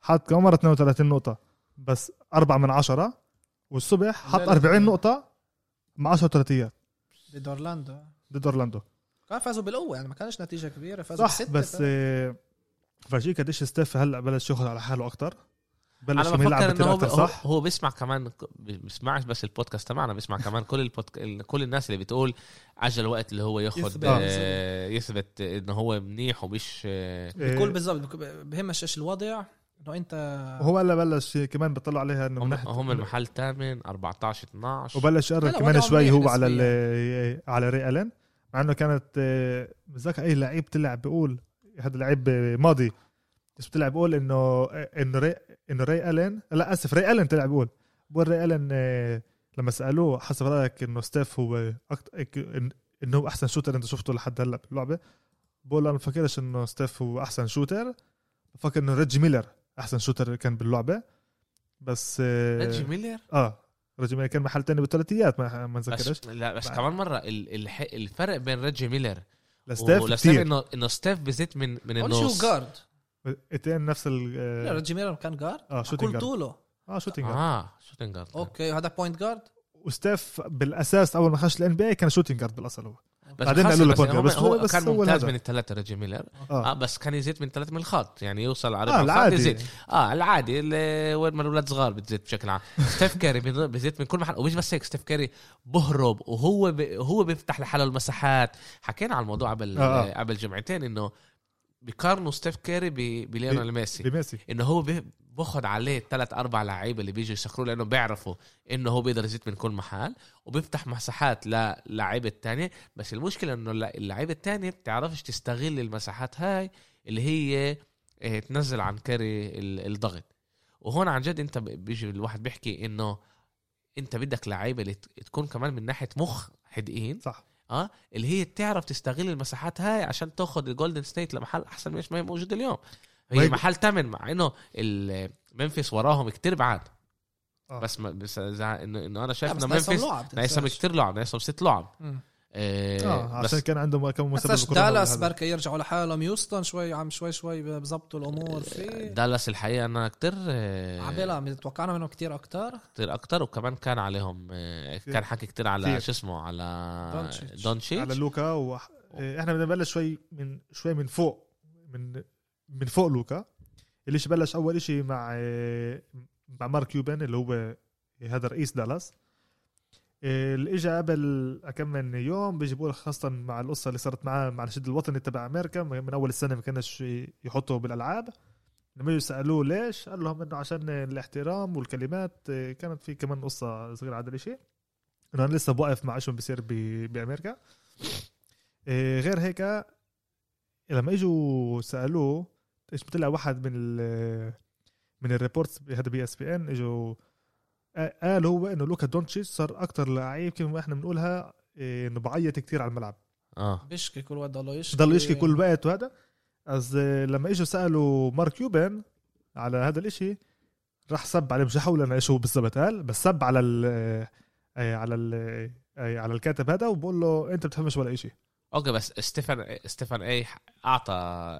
حط كمان مرة 32 نقطة بس 4 من 10 والصبح حط لا، لا. 40 نقطة مع 10 ثلاثيات ضد اورلاندو ضد اورلاندو كان فازوا بالقوه يعني ما كانش نتيجه كبيره فازوا صح بستة بس آه، فرجيك قديش ستيف هلا بلش ياخذ على حاله اكثر بلش انا إنه يلعب بفكر انه بطريقة هو, اكثر هو, صح هو بيسمع كمان بيسمعش بس البودكاست تبعنا بيسمع كمان كل البودك... ال- كل الناس اللي بتقول عجل وقت اللي هو ياخذ يثبت. آه يثبت انه هو منيح ومش آه آه، بكل بالضبط بهمش ايش الوضع انه انت هو هلا بلش كمان بطلع عليها انه من هم, ناحية- هم المحل الثامن 14 12 وبلش لا، يقرب لا، كمان وضعه شوي منيح هو على ال- آه، على ري الن مع انه كانت آه، بتذكر اي لعيب طلع بيقول هذا لعيب آه، ماضي بس طلع بيقول انه آه، انه ري انه ري الن لا اسف ري الن طلع بيقول بقول ري الن آه، لما سالوه حسب رايك انه ستيف هو أكتر انه هو احسن شوتر انت شفته لحد هلا باللعبه بقول انا ما بفكرش انه ستيف هو احسن شوتر بفكر انه ريجي ميلر احسن شوتر كان باللعبه بس آه، ريجي ميلر اه رجل ميلر كان محل تاني بالثلاثيات ما ما نذكرش بس لا بس كمان مره ال... الح... الفرق بين ريجي ميلر لستيف ولستيف كثير انه انه ستيف بزيت من من اول شيء هو النص جارد التنين نفس ال لا، اه, ريجي ميلر كان جارد آه كل شوتنج جارد. طوله اه شوتنج جارد. اه شوتنج جارد اوكي هذا بوينت جارد وستيف بالاساس اول ما خش الان بي اي كان شوتنج جارد بالاصل هو بس بعدين خلص، قالوا له بس بونجا، هم- بس هو- هو بس كان هو ممتاز هذا. من الثلاثه ريجي ميلر اه اه, بس كان يزيد من ثلاث من الخط يعني يوصل على آه, ربع الخط العادي يزيد اه العادي ال- وين ما الاولاد صغار بتزيد بشكل عام ستيف كاري بن- بزيد من كل محل ومش بس هيك ستيف كاري بهرب وهو ب... هو بيفتح لحاله المساحات حكينا على الموضوع قبل آه، آه. قبل جمعتين انه بيقارنوا ستيف كاري ب... بليونel ميسي بميسي انه هو بي- باخد عليه ثلاث اربع لعيبه اللي بيجوا يسخروا لانه بيعرفوا انه هو بيقدر يزيد من كل محل وبيفتح مساحات للعيبه الثانيه بس المشكله انه الل- اللعيبه الثانيه بتعرفش تستغل المساحات هاي اللي هي آه، تنزل عن كاري ال- الضغط وهون عن جد انت ب- بيجي الواحد بيحكي انه انت بدك لعيبه اللي ت- تكون كمان من ناحيه مخ حدقين صح اه اللي هي بتعرف تستغل المساحات هاي عشان تاخد الجولدن ستيت لمحل احسن مش ما هي موجوده اليوم هي وهي- محل ثامن مع انه ال- منفس وراهم كتير بعاد آه. بس ما بس زع- انه انه انا شايف لا، بس انه نايسون منفس لعب ناقصهم تنساش. كتير لعب ناقصهم ست لعب مم. آه، اه بس عشان كان عندهم كم مسبب بس بالكورونا دالاس وهذا. بركة يرجعوا لحالهم يوستن شوي عم شوي شوي بظبطوا آه، الامور فيه دالاس الحقيقه انا كتير آه، عبالة عم توقعنا منهم كتير اكتر كتير اكتر وكمان كان عليهم آه، كان حكي كتير على كتير. شو اسمه على دونتشيتش. دونتشيتش على لوكا و... آه، احنا بدنا نبلش شوي من شوي من فوق من من فوق لوكا اللي شي بلش اول شيء مع آه، مع مارك كيوبن اللي هو آه، هذا رئيس دالاس آه، اللي اجى قبل كم من يوم بيجي بقول خاصه مع القصه اللي صارت معاه مع النشيد الوطني تبع امريكا من اول السنه ما كانش يحطه بالالعاب لما يجوا سالوه ليش قال لهم انه عشان الاحترام والكلمات آه، كانت في كمان قصه صغيره على هذا الشيء انه انا لسه بوقف مع شو بيصير ب- بامريكا إيه، غير هيك لما اجوا سالوه ايش طلع واحد من ال من الريبورتس هذا بي اس بي ان اجوا آه، قال هو انه لوكا دونتشيتش صار اكثر لعيب كما احنا بنقولها إيه، انه بعيط كثير على الملعب اه بيشكي كل وقت ضلوا يشكي ضل يشكي كل الوقت وهذا از آه، لما اجوا سالوا مارك كيوبن على هذا الاشي راح سب عليه مش هحاول انا ايش هو بالضبط قال بس سب على ال آه، على ال آه، على الكاتب هذا وبقول له انت بتفهمش ولا اشي اوكي بس ستيفن ستيفن اي اعطى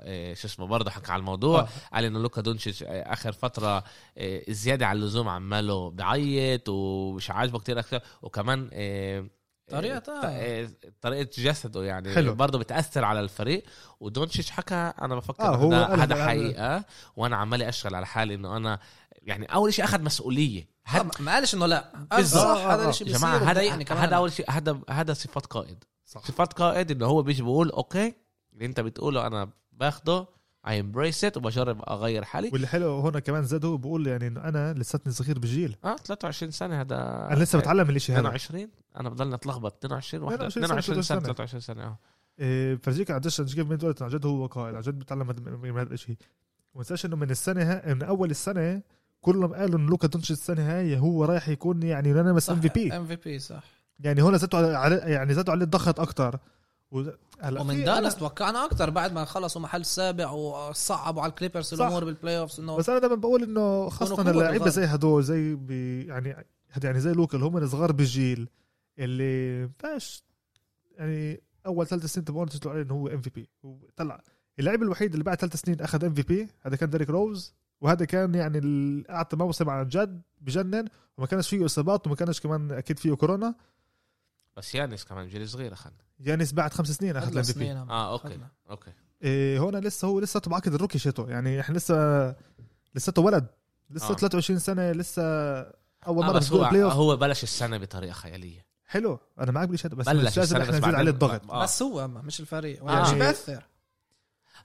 آه، شو اسمه برضه حكى على الموضوع آه. قال انه لوكا دونتشيتش اخر فتره آه، زياده عن اللزوم عماله بيعيط ومش عاجبه كتير اكثر وكمان آه، طريقة، آه، آه، طريقه جسده يعني حلو. برضه بتاثر على الفريق ودونتشيتش حكى انا بفكر آه، هو هذا قال- هذا قال- حقيقه وانا عمالي اشتغل على حالي انه انا يعني اول شيء اخذ مسؤوليه آه، هاد- ما- ما قالش انه لا قال بالظبط. صح آه، آه، هذا آه. الشيء يا بيصير جماعه هذا وبضايقني كمان هذا اول شيء هذا هذا صفات قائد صح صفات قائد انه هو بيجي بيقول اوكي اللي انت بتقوله انا باخده اي امبريس ات وبجرب اغير حالي واللي حلو هنا كمان زاد هو بيقول يعني انه انا لساتني صغير بالجيل اه 23 سنه هذا انا لسه بتعلم الاشي هذا 22 انا بضلني اتلخبط 22 واحد 22 22 سنه سنة. 23 سنه اه إيه، فرجيك عن جد كيف بنت قلت عن جد هو قائد عن جد بتعلم هاد- من هذا الشيء وانساش انه من السنه ها من اول السنه كلهم قالوا انه لوكا دونتش السنه هاي هو رايح يكون يعني يونانيمس ام في بي ام في بي صح يعني هون زادوا على- على يعني زادوا عليه الضغط اكثر وز- هلا ومن في- دالاس توقعنا اكثر بعد ما خلصوا محل السابع وصعبوا على الكليبرز صح. الامور بالبلاي اوفز انه بس انا دائما بقول انه قوة خاصه اللعيبه بالغالب. زي هدول زي ب- يعني هاد يعني زي لوكا اللي هم صغار بالجيل اللي باش يعني اول ثلاث سنين تبعون تطلع عليه انه هو ام في بي وطلع اللاعب الوحيد اللي بعد ثلاث سنين اخذ ام في بي هذا كان ديريك روز وهذا كان يعني ال- اعطى موسم عن جد بجنن وما كانش فيه اصابات وما كانش كمان اكيد فيه كورونا آه. بس يانس كمان جيل صغير اخذ يانس بعد خمس سنين اخذ الام في بي اه اوكي اوكي إيه هون لسه هو لسه بعقد الروكي شيتو يعني احنا لسه لسه ولد لسه آه. آه. 23 سنه لسه اول آه مره بس هو بسوق بلاي اوف هو بلش السنه بطريقه خياليه حلو انا معك بالشهاده بس بلش مش لازم السنه احنا بس نزيد بعدين- عليه الضغط آه. بس هو أما مش الفريق آه. يعني مش بيأثر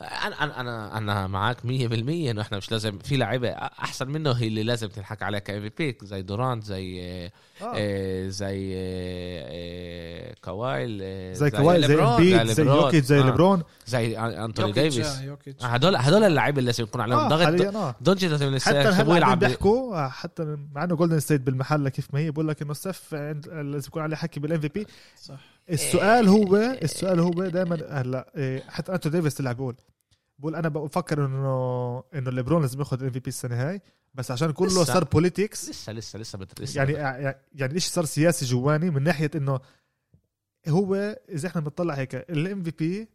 انا انا انا انا معاك 100% انه احنا مش لازم في لعيبه احسن منه هي اللي لازم تنحكى عليها كام في بي زي دورانت زي آه آه. آه، زي آه، آه، كواي آه، زي كواي زي ليبرون، امبيد زي ليبرون. يوكيت زي آه، ليبرون زي آن- انتوني يوكيتش، آه، ديفيس يوكيتش. آه، هدول هدول اللعيبه اللي لازم يكون عليهم آه ضغط حاليا آه. دونجي لازم حتى يسيبوه هلا يلعب قاعدين ب- بيحكوا آه، حتى مع انه جولدن ستيت بالمحل كيف ما هي بقول لك انه السف عند- لازم يكون عليه حكي بالام في بي صح السؤال هو آه، السؤال هو دائما هلا إيه، حتى انتو ديفيس طلع بيقول بقول انا بفكر انه انه ليبرون لازم ياخذ ام في بي السنه هاي بس عشان كله لسه. صار بوليتكس لسه لسه لسه بت- لسه يعني يعني الشيء صار سياسي جواني من ناحيه انه هو اذا احنا بنطلع هيك الام في بي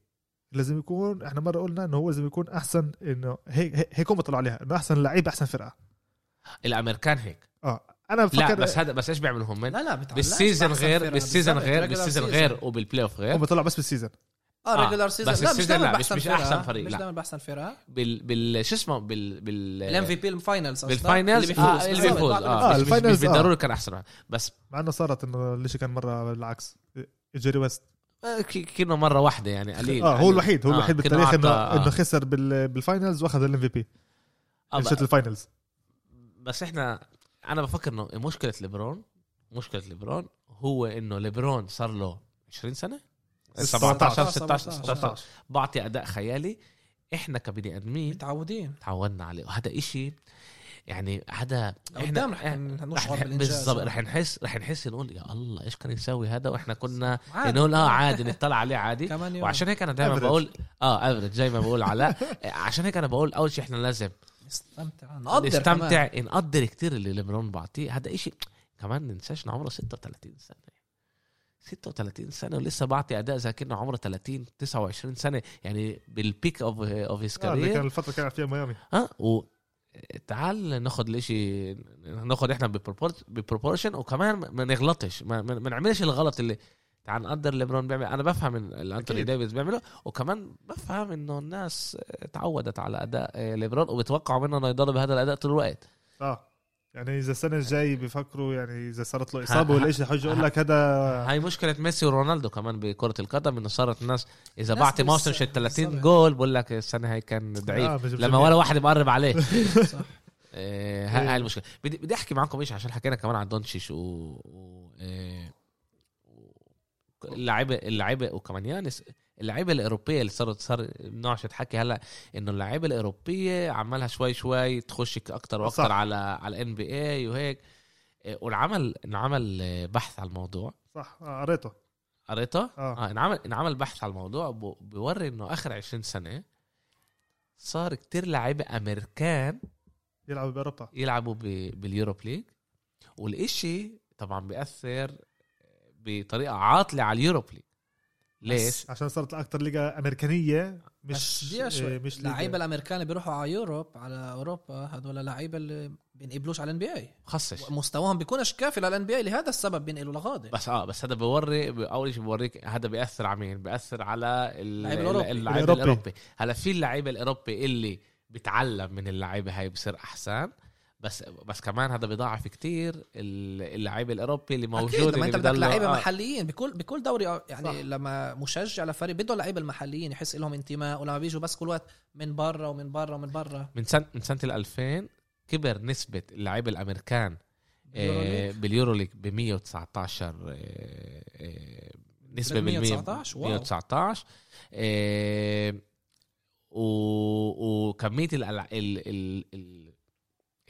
لازم يكون احنا مره قلنا انه هو لازم يكون احسن انه هيك هيك- هيك هم طلعوا عليها انه احسن لعيب احسن فرقه الامريكان هيك اه انا لا بفكر بس هذا بس ايش بيعملوا هم لا لا بتعلقش بالسيزون بأحسن فرقة، غير بالسيزون بالضبط، غير regular بالسيزون season. غير وبالبلاي اوف غير هم طلعوا بس بالسيزون اه آه، ريجولار سيزون بس لا مش السيزون دايما لا، مش- باحسن مش فرقة، آه. أحسن فريق، مش لا. آه. دايما باحسن فرقة بال بال شو اسمه بال بال الام في بي الفاينلز بالفاينلز اللي آه، اللي بالضبط، بيفوز بعد اه آه، مش- مش- مش الفاينلز، آه. بالضروري كان احسن واحد. بس مع انه صارت انه الشيء كان مره بالعكس جيري ويست آه، ك- كنا مره واحده يعني قليل اه هو قليل. الوحيد هو آه، الوحيد كنا بالتاريخ انه أعطى- آه. انه خسر بال- بالفاينلز واخذ الام في بي آه، ب- الشوط الفاينلز بس احنا انا بفكر انه مشكله ليبرون مشكله ليبرون هو انه ليبرون صار له 20 سنه 17 16 16 بعطي اداء خيالي احنا كبني ادمين متعودين تعودنا عليه وهذا إشي يعني هذا قدام رح يعني نشعر رح بالانجاز بالضبط رح نحس رح نحس نقول يا الله ايش كان يسوي هذا واحنا كنا عادي. نقول اه عادي نطلع عليه عادي كمان يوم وعشان هيك انا دائما Average. بقول اه افرج زي ما بقول علاء عشان هيك انا بقول اول شيء احنا لازم نستمتع نقدر نستمتع نقدر كتير اللي ليبرون بعطيه هذا إشي كمان ننساش إنه عمره 36 سنه 36 سنه ولسه بعطي اداء زي كانه عمره 30 29 سنه يعني بالبيك اوف اوف هيز آه، اللي كارير كان الفتره كان فيها ميامي ها آه، و تعال ناخد الاشي ناخد احنا ببروبورت- ببروبورشن وكمان ما نغلطش ما, ما ما نعملش الغلط اللي تعال نقدر ليبرون بيعمل انا بفهم إن اللي انتوني أكيد. ديفيز بيعمله وكمان بفهم انه الناس تعودت على اداء ليبرون وبتوقعوا منه انه يضل بهذا الاداء طول الوقت اه يعني اذا السنه الجاي بيفكروا يعني اذا صارت له ها- اصابه ولا شيء حيجي يقول لك هذا هاي مشكله ميسي ورونالدو كمان بكره القدم انه صارت الناس اذا الناس بعطي موسم مش- شي 30 بالظبط. جول بقول لك السنه هاي كان ضعيف آه، مش- مش- لما ولا واحد بقرب عليه صح. آه، ها- هاي إيه. المشكله بدي بدي احكي معكم ايش عشان حكينا كمان عن دونتشيش و, و... آه، و- اللعيبه اللعيبه وكمان يانس اللعيبه الاوروبيه اللي صارت صار بنعش حكي هلا انه اللعيبه الاوروبيه عمالها شوي شوي تخش اكتر واكتر صح. على على الان بي اي وهيك آه، والعمل انعمل آه، بحث على الموضوع صح آه، قريته قريتها؟ اه اه انعمل انعمل بحث على الموضوع ب- بيوري انه اخر 20 سنه صار كتير لعيبه امريكان يلعب باوروبا يلعبوا ب- باليوروب ليج والإشي طبعا بيأثر بطريقة عاطلة على اليوروب ليج ليش؟ بس- عشان صارت اكثر ليغا امريكانيه مش مش شوي آه، مش ليغا. اللعيبه الامريكان اللي بيروحوا على يوروب على اوروبا هذول اللعيبه اللي بينقبلوش على الان بي اي خصش مستواهم بيكونش كافي للان بي اي لهذا السبب بينقلوا لغادي بس اه بس هذا بيوري ب- اول شيء بيوريك هذا بياثر على مين؟ بياثر على ال- اللعيب الأوروبي. اللاعب الأوروبي. الاوروبي هلا في اللعيبه الاوروبي اللي بتعلم من اللعيبه هاي بصير احسن بس بس كمان هذا بيضاعف كتير اللعيب الاوروبي اللي موجود أكيد لما اللي انت بدك بضله- لعيبه آه. محليين بكل بكل دوري يعني صح. صح. لما مشجع لفريق بده اللعيبه المحليين يحس لهم انتماء ولما بيجوا بس كل وقت من برا ومن برا ومن برا من سنه من سنه ال 2000 كبر نسبه اللعيبه الامريكان آه، باليورو ليج ب 119 آه، آه، نسبه لك بالمية 119 واو. 119 آه، و- وكميه ال- ال- ال- ال- ال-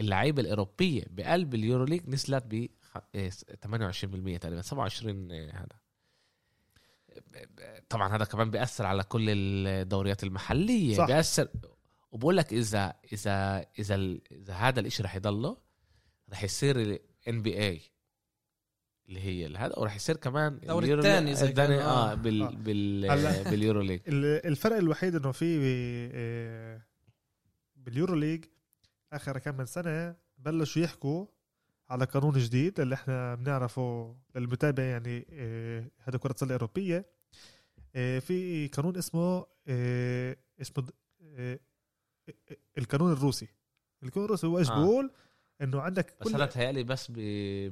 اللعيبه الاوروبيه بقلب اليورو ليج نزلت ب خ- آه، 28% تقريبا 27 آه، هذا طبعا هذا كمان بياثر على كل الدوريات المحليه صح. صح. بياثر وبقول لك اذا اذا اذا ال- اذا هذا الشيء رح يضله رح يصير الان بي اي اللي هي اللي هذا ورح يصير كمان الدوري اليورو- التاني زي الداني- كان، آه. اه بال آه. بال هلا. باليورو ليج ال- الفرق الوحيد انه في آه، باليورو ليج اخر كم من سنه بلشوا يحكوا على قانون جديد اللي احنا بنعرفه للمتابع يعني آه، هذا كره السله الاوروبيه آه، في قانون اسمه آه، اسمه د- آه، القانون الروسي القانون الروسي هو ايش آه. بيقول انه عندك بس كل- هذا تهيألي بس ب...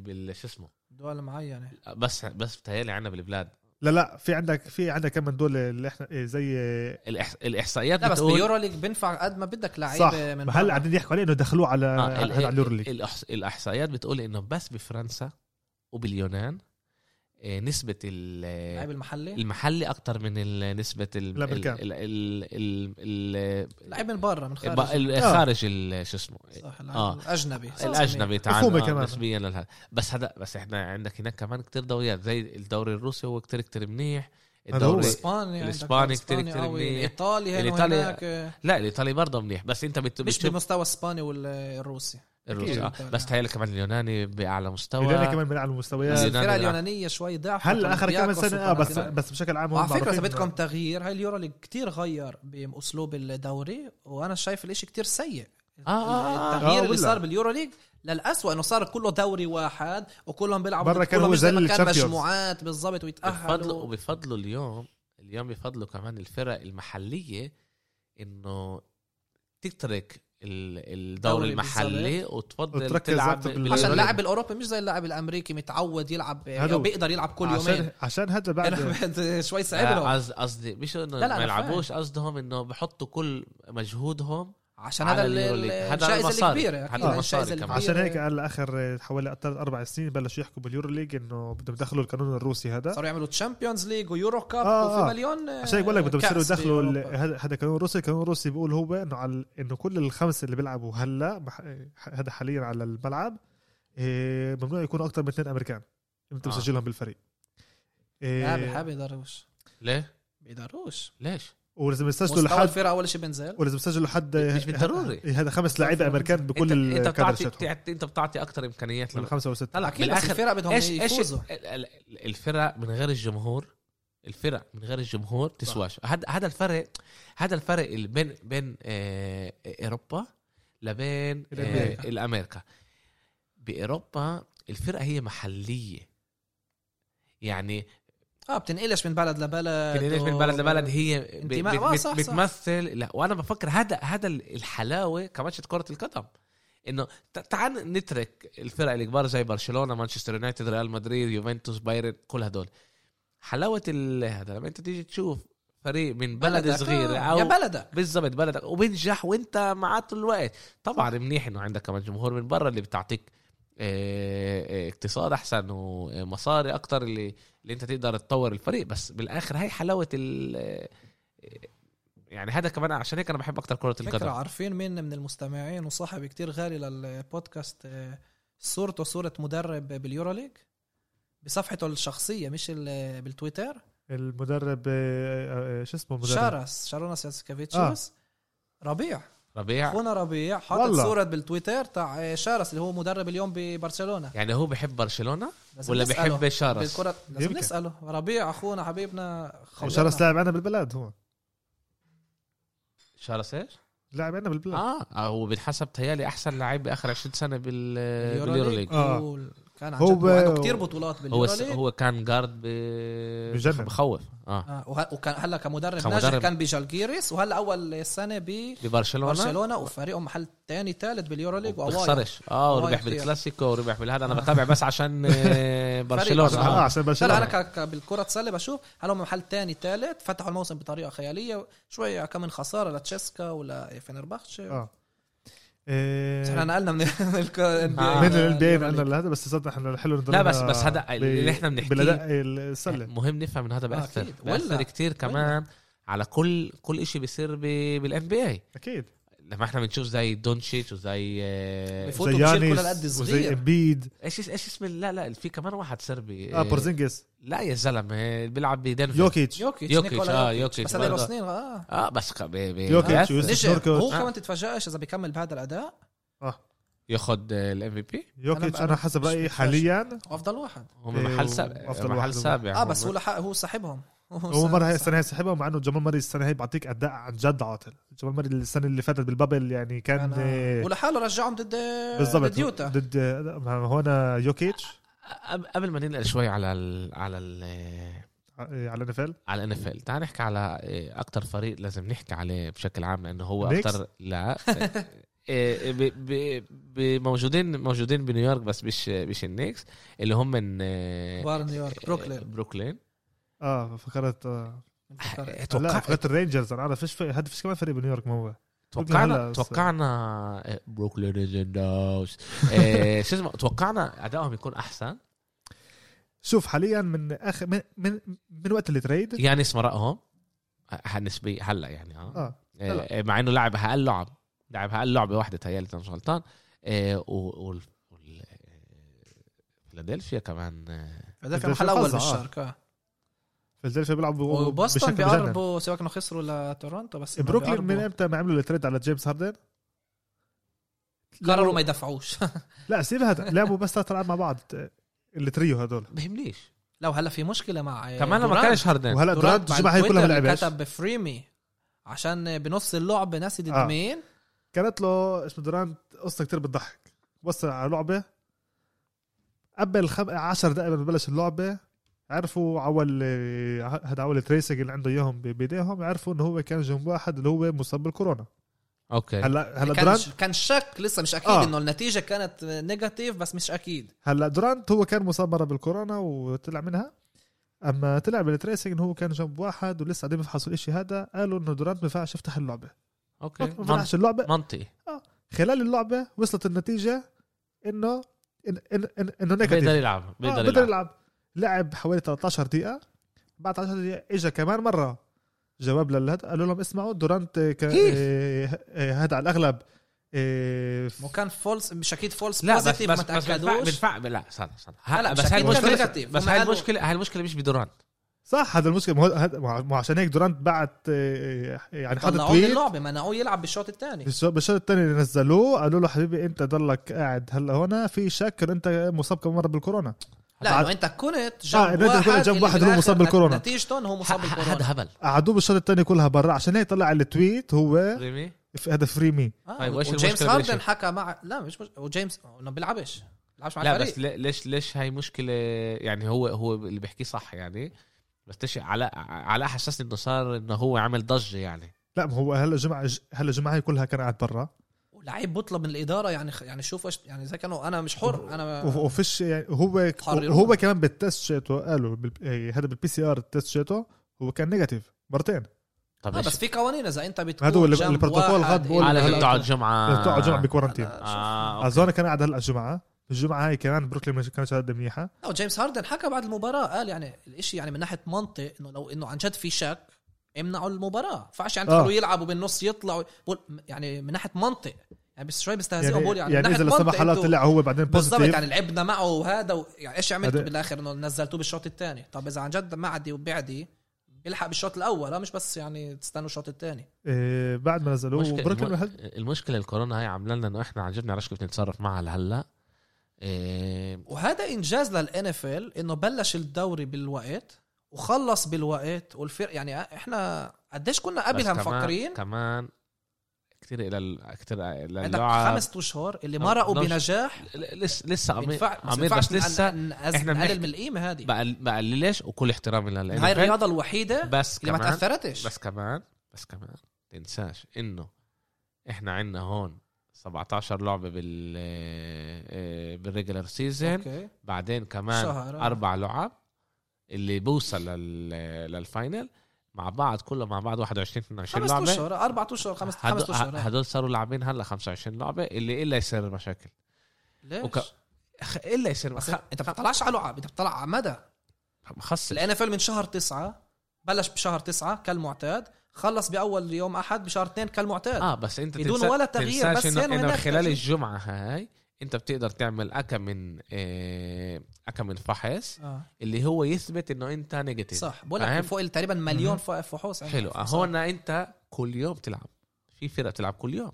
بال شو اسمه آه، دول يعني. معينه بس بس تهيألي عنا بالبلاد لا لا في عندك في عندك كم من دول اللي احنا إيه، زي إيه، الإحص... الاحصائيات لا بس بتقول باليورو ليج بينفع قد ما بدك صح لعيبه من هلا برا. قاعدين يحكوا عليه انه دخلوه على آه، على ال- على اليورو ليج الأحص... الاحصائيات بتقول انه بس بفرنسا وباليونان آه، نسبة ال- اللعيب المحلي المحلي أكتر من ال- نسبة ال- لا، بالكام؟ ال- ال- ال- ال- لعيب من برا من ب- خارج ال- آه. خارج ال- شو اسمه صح آه. لعيب الاجنبي صح. الأجنبي تعال مفهومة آه، كمان. نسبيا لهذا بس هذا بس احنا عندك هناك كمان كتير دوريات زي الدوري الروسي هو كتير كتير منيح هذا الدوري هو. الاسباني عندك الإسباني كتير الإسباني كتير قوي. منيح. الايطالي هنا الإيطالي وهناك آه، لا الإيطالي برضه منيح بس أنت بت- مش بتشوف بمستوى الاسباني والروسي الروسي آه. أكيد. بس تهيألي كمان اليوناني بأعلى مستوى اليوناني كمان من اعلى المستويات اليوناني الفرق بيلعب. اليونانيه شوي ضعف هلا اخر كم أولمبياكوس سنه اه بس وبناثينايكوس. بس بشكل عام هم وعلى فكره اذا معروفين بدكم تغيير هاي اليورو ليج كثير غير باسلوب الدوري وانا شايف الاشي كتير سيء آه، آه، آه. آه، التغيير اللي ولا. صار باليورو ليج للأسوأ انه صار كله دوري واحد وكلهم بيلعبوا برا كان كلهم هو مش زي ما كان الشامبيونز. مجموعات بالضبط بفضل ويتاهلوا وبفضلوا اليوم اليوم بفضلوا كمان الفرق المحليه انه تترك ال- الدوري دوري المحلي وتفضل وتركز تلعب أكتر بال- بالأوروبي. عشان بالأوروبي. اللاعب الاوروبي مش زي اللاعب الامريكي متعود يلعب هذا أو هو. بيقدر يلعب كل عشان يومين عشان هذا أنا بعد بعد شوي صعب آه، لهم قصد- قصدي مش انه لا، لا، ما أنا يلعبوش قصدهم انه بحطوا كل مجهودهم عشان على هذا ال- اليورو ليج. هذا الجائزه المصاري. الكبيره هذا اكيد هاي المصاري الجائزة كمان. الكبيرة. عشان هيك آه. هلا اخر حوالي ثلاث اربع سنين بلشوا يحكوا باليورو ليج انه بدهم يدخلوا القانون الروسي هذا صاروا يعملوا تشامبيونز ليج ويورو كاب آه، وفي آه. مليون آه، عشان هيك بقول لك بدهم كأس يصيروا يدخلوا ال- بأوروبا. هذا هذا قانون روسي القانون الروسي بيقول هو انه على انه كل الخمسه اللي بيلعبوا هلا بح- هذا حاليا على الملعب إيه، ممنوع يكونوا اكثر من اثنين امريكان انت آه. مسجلهم بالفريق إيه، لا بالحق بيقدروش ليه؟ بيقدروش ليش؟ ولازم يسجلوا مستوى لحد الفرقه اول شيء بنزل ولازم يسجلوا حد مش بالضروري. هذا خمس لعيبه امريكان انت, بكل انت الكادر بتعطي شتهم بتعطي- انت بتعطي اكثر امكانيات من لل- خمسه وسته طلع اكيد بس بالآخر الفرق بدهم ايش ايش يفوزوا ال- ال- الفرق من غير الجمهور الفرق من غير الجمهور تسواش هذا هذا الفرق هذا الفرق اللي بين بين آه، اوروبا لبين آه، الأمريكا. الامريكا باوروبا الفرقه هي محليه يعني اه بتنقلش من بلد لبلد بتنقلش من و- بلد لبلد هي ب- انتماء. بت- آه، بت- صح، صح. بتمثل لا وانا بفكر هذا هذا الحلاوه كماتشات كره القدم انه ت- تعال نترك الفرق الكبار زي برشلونه مانشستر يونايتد ريال مدريد يوفنتوس بايرن كل هدول حلاوه ال- هذا لما انت تيجي تشوف فريق من بلد بلدك، صغير آه، يا او بلدك بالظبط بلدك وبنجح وانت معاه طول الوقت طبعا منيح انه عندك كمان جمهور من برا اللي بتعطيك آه، آه، اقتصاد احسن ومصاري اكتر اللي اللي انت تقدر تطور الفريق بس بالاخر هاي حلاوه ال آه، يعني هذا كمان عشان هيك انا بحب اكتر كره فكرة القدم عارفين مين من المستمعين وصاحبي كتير غالي للبودكاست آه، صورته صورة مدرب باليورو ليج بصفحته الشخصية مش ال- بالتويتر المدرب آه، آه، شو اسمه المدرب شارس شاروناس ياسكافيتشيوس ربيع ربيع اخونا ربيع حاطط آه. والله. صورة بالتويتر تاع آه، شارس اللي هو مدرب اليوم ببرشلونة يعني هو بحب برشلونه لازم ولا نسأله بحب شارس بالكرة لازم يمكن. نسأله ربيع اخونا حبيبنا وشرس لاعب عندنا بالبلد هو شارس ايش؟ لاعب عندنا بالبلد اه آه، هو بنحسب تهيالي احسن لعيب باخر 20 سنه بال باليورو اليوروليج ليج آه. كان عن هو جد عنده ب- كثير بطولات هو باليورو ليج هو كان جارد ب بجنن. بخوف اه آه، وه- وكان هلا كمدرب كمدرب. ناجح كان بجالجيريس وهلا اول سنه ببرشلونه ببرشلونه وفريقهم محل ثاني ثالث باليورو ليج يعني. وأوايا. بتخسرش اه وايد وربح كتير. بالكلاسيكو وربح بالهذا انا بتابع بس عشان آه، برشلونه برشلونة. اه آه. عشان لا لا انا برشلونه ك- ك- بالكره السله بشوف هلا هم محل ثاني ثالث فتحوا الموسم بطريقه خياليه شوي كم من خساره لتشيسكا ولا فنربخش اه إيه، احنا نقلنا من ال يعني آه. من الان بي انا هذا بس صدق احنا الحلو إنه لا، بس- ضلنا بس هذا اللي ب- إحنا بنحكيه. بالاداء السله مهم نفهم من هذا بأثر أكيد. ولا- بأثر كتير كمان على كل كل شيء بيصير بالان بي اي اكيد لما احنا بنشوف زي دونتشيتش وزي آه، بفوتوا بشيل كل هالقد وزي صغير امبيد ايش ايش اسم لا لا في كمان واحد صربي اه آه، بورزينجس لا يا زلمه بيلعب بدنفر يوكيتش يوكيتش يوكيتش، نيكولا آه، يوكيتش بس هذا له برضه. سنين اه اه بس ك- ب- ب- يوكيتش بس. وزي- نجح هو نوركوت. آه. كمان تتفاجئش اذا بيكمل بهذا الاداء اه ياخد الام في بي يوكيتش أنا- انا حسب مش رايي متفاجئ. حاليا افضل واحد هم إيه، محل سابع وأفضل محل واحد هو. سابع اه بس هم. هو لحق هو صاحبهم هو مره هي السنه هي سحبها مع انه جمال ماري السنه هي بعطيك اداء عن جد عاطل جمال ماري السنه اللي فاتت بالبابل يعني كان آه، ولحاله رجعهم ضد بالضبط ضد يوتا ضد آه، هون يوكيتش قبل- آه، قبل ما ننقل شوي على ال على ال آه، على NFL على الان اف ال تعال نحكي على اكثر فريق لازم نحكي عليه بشكل عام لانه هو Knicks؟ اكثر لا إيه، ب- ب- ب- موجودين موجودين بنيويورك بس مش مش النيكس اللي هم من آه، بار نيويورك بروكلين بروكلين اه فكرت آه، لا توقع- فكرت الرينجرز انا عارف فيش في هاد فيش كمان فريق بنيويورك ما هو توقعنا هلا- توقعنا آه، بروكلين از ان هاوس آه، شو اسمه توقعنا ادائهم يكون احسن شوف حاليا من اخر من من, من وقت التريد يعني مرقهم ه- نسبي هلا يعني اه اه آه، آه، مع انه لعب اقل لعب لعب اقل لعبه واحده تهيألي اذا مش غلطان آه، و- وال وال- آه، فيلادلفيا كمان آه، هذا بدي كان محل اول أفوز، آه. بالشرق آه. فيلادلفيا بيلعبوا وبوسطن بشكل مجنن. بيقربوا سواء كانوا خسروا لتورونتو بس إنهم بروكلين من بيقربوا. امتى ما عملوا التريد على جيمس هاردن؟ قرروا ما يدفعوش لا سيب هذا لعبوا بس ثلاث العاب مع بعض التريو هذول بهمنيش لو هلا في مشكله مع آه، كمان لما دورانت. كانش هاردن وهلا دورانت دورانت مع الجمعه هي كلها ما التويتر لعبش كتب فريمي عشان بنص اللعبه ناسي ضد آه. مين كانت له اسمه دورانت قصه كتير بتضحك وصل على لعبه قبل خم... 10 دقائق ما بلش اللعبه عرفوا عول هذا عول تريسنج اللي عنده اياهم ب- بايديهم عرفوا انه هو كان جنب واحد اللي هو مصاب بالكورونا اوكي هلا هلا كان, دورانت كان شك لسه مش اكيد آه. انه النتيجه كانت نيجاتيف بس مش اكيد هلا دورانت هو كان مصاب مره بالكورونا وطلع منها اما طلع بالتريسنج انه هو كان جنب واحد ولسه قاعدين بيفحصوا الشيء هذا قالوا انه دورانت ما ينفعش يفتح اللعبه اوكي ما من- فتحش اللعبه منطقي خلال اللعبه وصلت النتيجه انه إن- إن- إن- انه نيجاتيف بيقدر يلعب بيقدر, آه بيقدر يلعب لعب حوالي 13 دقيقة بعد 10 دقيقة اجى كمان مرة جواب للهد قالوا لهم اسمعوا دورانت آه، ك- كيف؟ آه، آه، هذا على الأغلب آه، ف- وكان فولس مش اكيد فولس لا بس بس بوزيتيف ما بس بالفعل- تاكدوش بالفعل لا صار صار لا، هلا مش بس هاي أكيد كان المشكله نيجاتيف. بس هم هاي قالوا- المشكله هاي المشكله مش بدوران صح هذا المشكلة ما هو- هذا- ما ما عشان هيك دورانت بعت آه، آه، يعني حط طلعوه من تويت اللعبه منعوه يلعب بالشوط الثاني بالش- بالشوط الثاني اللي نزلوه قالوا له حبيبي انت ضلك قاعد هلا هنا في شك إن انت مصاب كم مرة بالكورونا لا بعد- انه انت كنت جنب آه، آه إنه أنت كنت واحد جنب اللي واحد هو بالآخر مصاب بالكورونا. نتيجته انه هو مصاب هذا بالكورونا هبل قعدوه بالشوط الثاني كلها برا عشان هيك طلع التويت هو ريمي في- هذا فريمي آه طيب، وإيش وجيمس المشكلة هاردن بالشيء؟ حكى مع لا مش مش وجيمس انه بيلعبش بيلعبش مع لا الفريق بس لي- ليش ليش هاي مشكله يعني هو هو اللي بيحكيه صح يعني بس ليش على على حسسني انه صار انه هو عمل ضجه يعني لا ما هو هلا جمعة هلا جمعة هي كلها كان قاعد برا ولعيب بطلب من الاداره يعني يعني شوف ايش يعني اذا كانوا انا مش حر وف- انا وفيش يعني هو حرروا. هو كمان بالتست شيتو قالوا بال- إيه، هذا بالبي سي ار التست شيتو هو كان نيجاتيف مرتين طب آه ليش بس في قوانين اذا انت بتكون هذا هو اللي- جنب البروتوكول واحد غاد بقول إلى- هلا- على بتقعد جمعه بتوع جمعة آه، بكورنتين اه آه، أوكي. اظن كان قاعد هلا الجمعة الجمعة هاي كمان بروكلين مش كانتش قد منيحة لا وجيمس هاردن حكى بعد المباراة قال يعني الاشي يعني من ناحية منطق انه لو انه عن جد في شك امنعوا المباراة فعش يعني آه. تخلوا يلعبوا بالنص يطلعوا بقول يعني من ناحية منطق يعني بس شوي بيستهزئوا يعني بقول يعني, يعني, من اذا ناحية لا سمح منطق الله إنتوا- طلع هو بعدين بالضبط بوزيتيف يعني لعبنا معه وهذا و... يعني ايش عملتوا هذا- بالاخر انه نزلتوه بالشوط الثاني طب اذا عن جد معدي وبعدي بيلحق بالشوط الاول آه، مش بس يعني تستنوا الشوط الثاني إيه، بعد ما نزلوه المشكلة- بروكلين الم- هل- المشكله الكورونا هاي عامله لنا انه احنا عن جد بنعرفش كيف نتصرف معها لهلا إيه، وهذا انجاز للان اف ال انه بلش الدوري بالوقت وخلص بالوقت والفرق يعني احنا قديش كنا بس قبلها كمان- مفكرين كمان كثير الى ال- كثير الى عندك اللعب خمس اشهر اللي نو- مرقوا نو- بنجاح لسه لسه عمير بينفع- بس عمير بينفعش بس لسه إن- إن- أز- إحنا نقلل بنحكي- من القيمه هذه بقل- بقللش وكل احترامي لل هاي الرياضه الوحيده بس اللي ما كمان تاثرتش بس كمان بس كمان تنساش انه احنا عندنا هون 17 لعبه بال آه، بالريجلر سيزون اوكي بعدين كمان شهر، آه. اربع لعب اللي بوصل لل... للفاينل مع بعض كله مع بعض 21 22 خمس لعبه اشهر اربع اشهر خمس هدول- خمس اشهر آه. هدول صاروا لاعبين هلا 25 لعبه اللي الا يصير مشاكل ليش؟ وك- خ- الا يصير بس مشاكل انت بتطلعش على لعب انت بتطلع على مدى مخصص الان اف من شهر تسعة بلش بشهر تسعة كالمعتاد خلص باول يوم احد بشهر اثنين كالمعتاد اه بس انت بدون تنسى- ولا تغيير، تنساش بس يعني انه, هنا إنه وهناك خلال تغيير. الجمعه هاي انت بتقدر تعمل اكم من آه، اكم من فحص آه. اللي هو يثبت انه انت نيجاتيف صح بقول لك فاهم؟ فوق ال- تقريبا مليون فوق فحوص عندنا. حلو هون انت كل يوم تلعب في فرق بتلعب كل يوم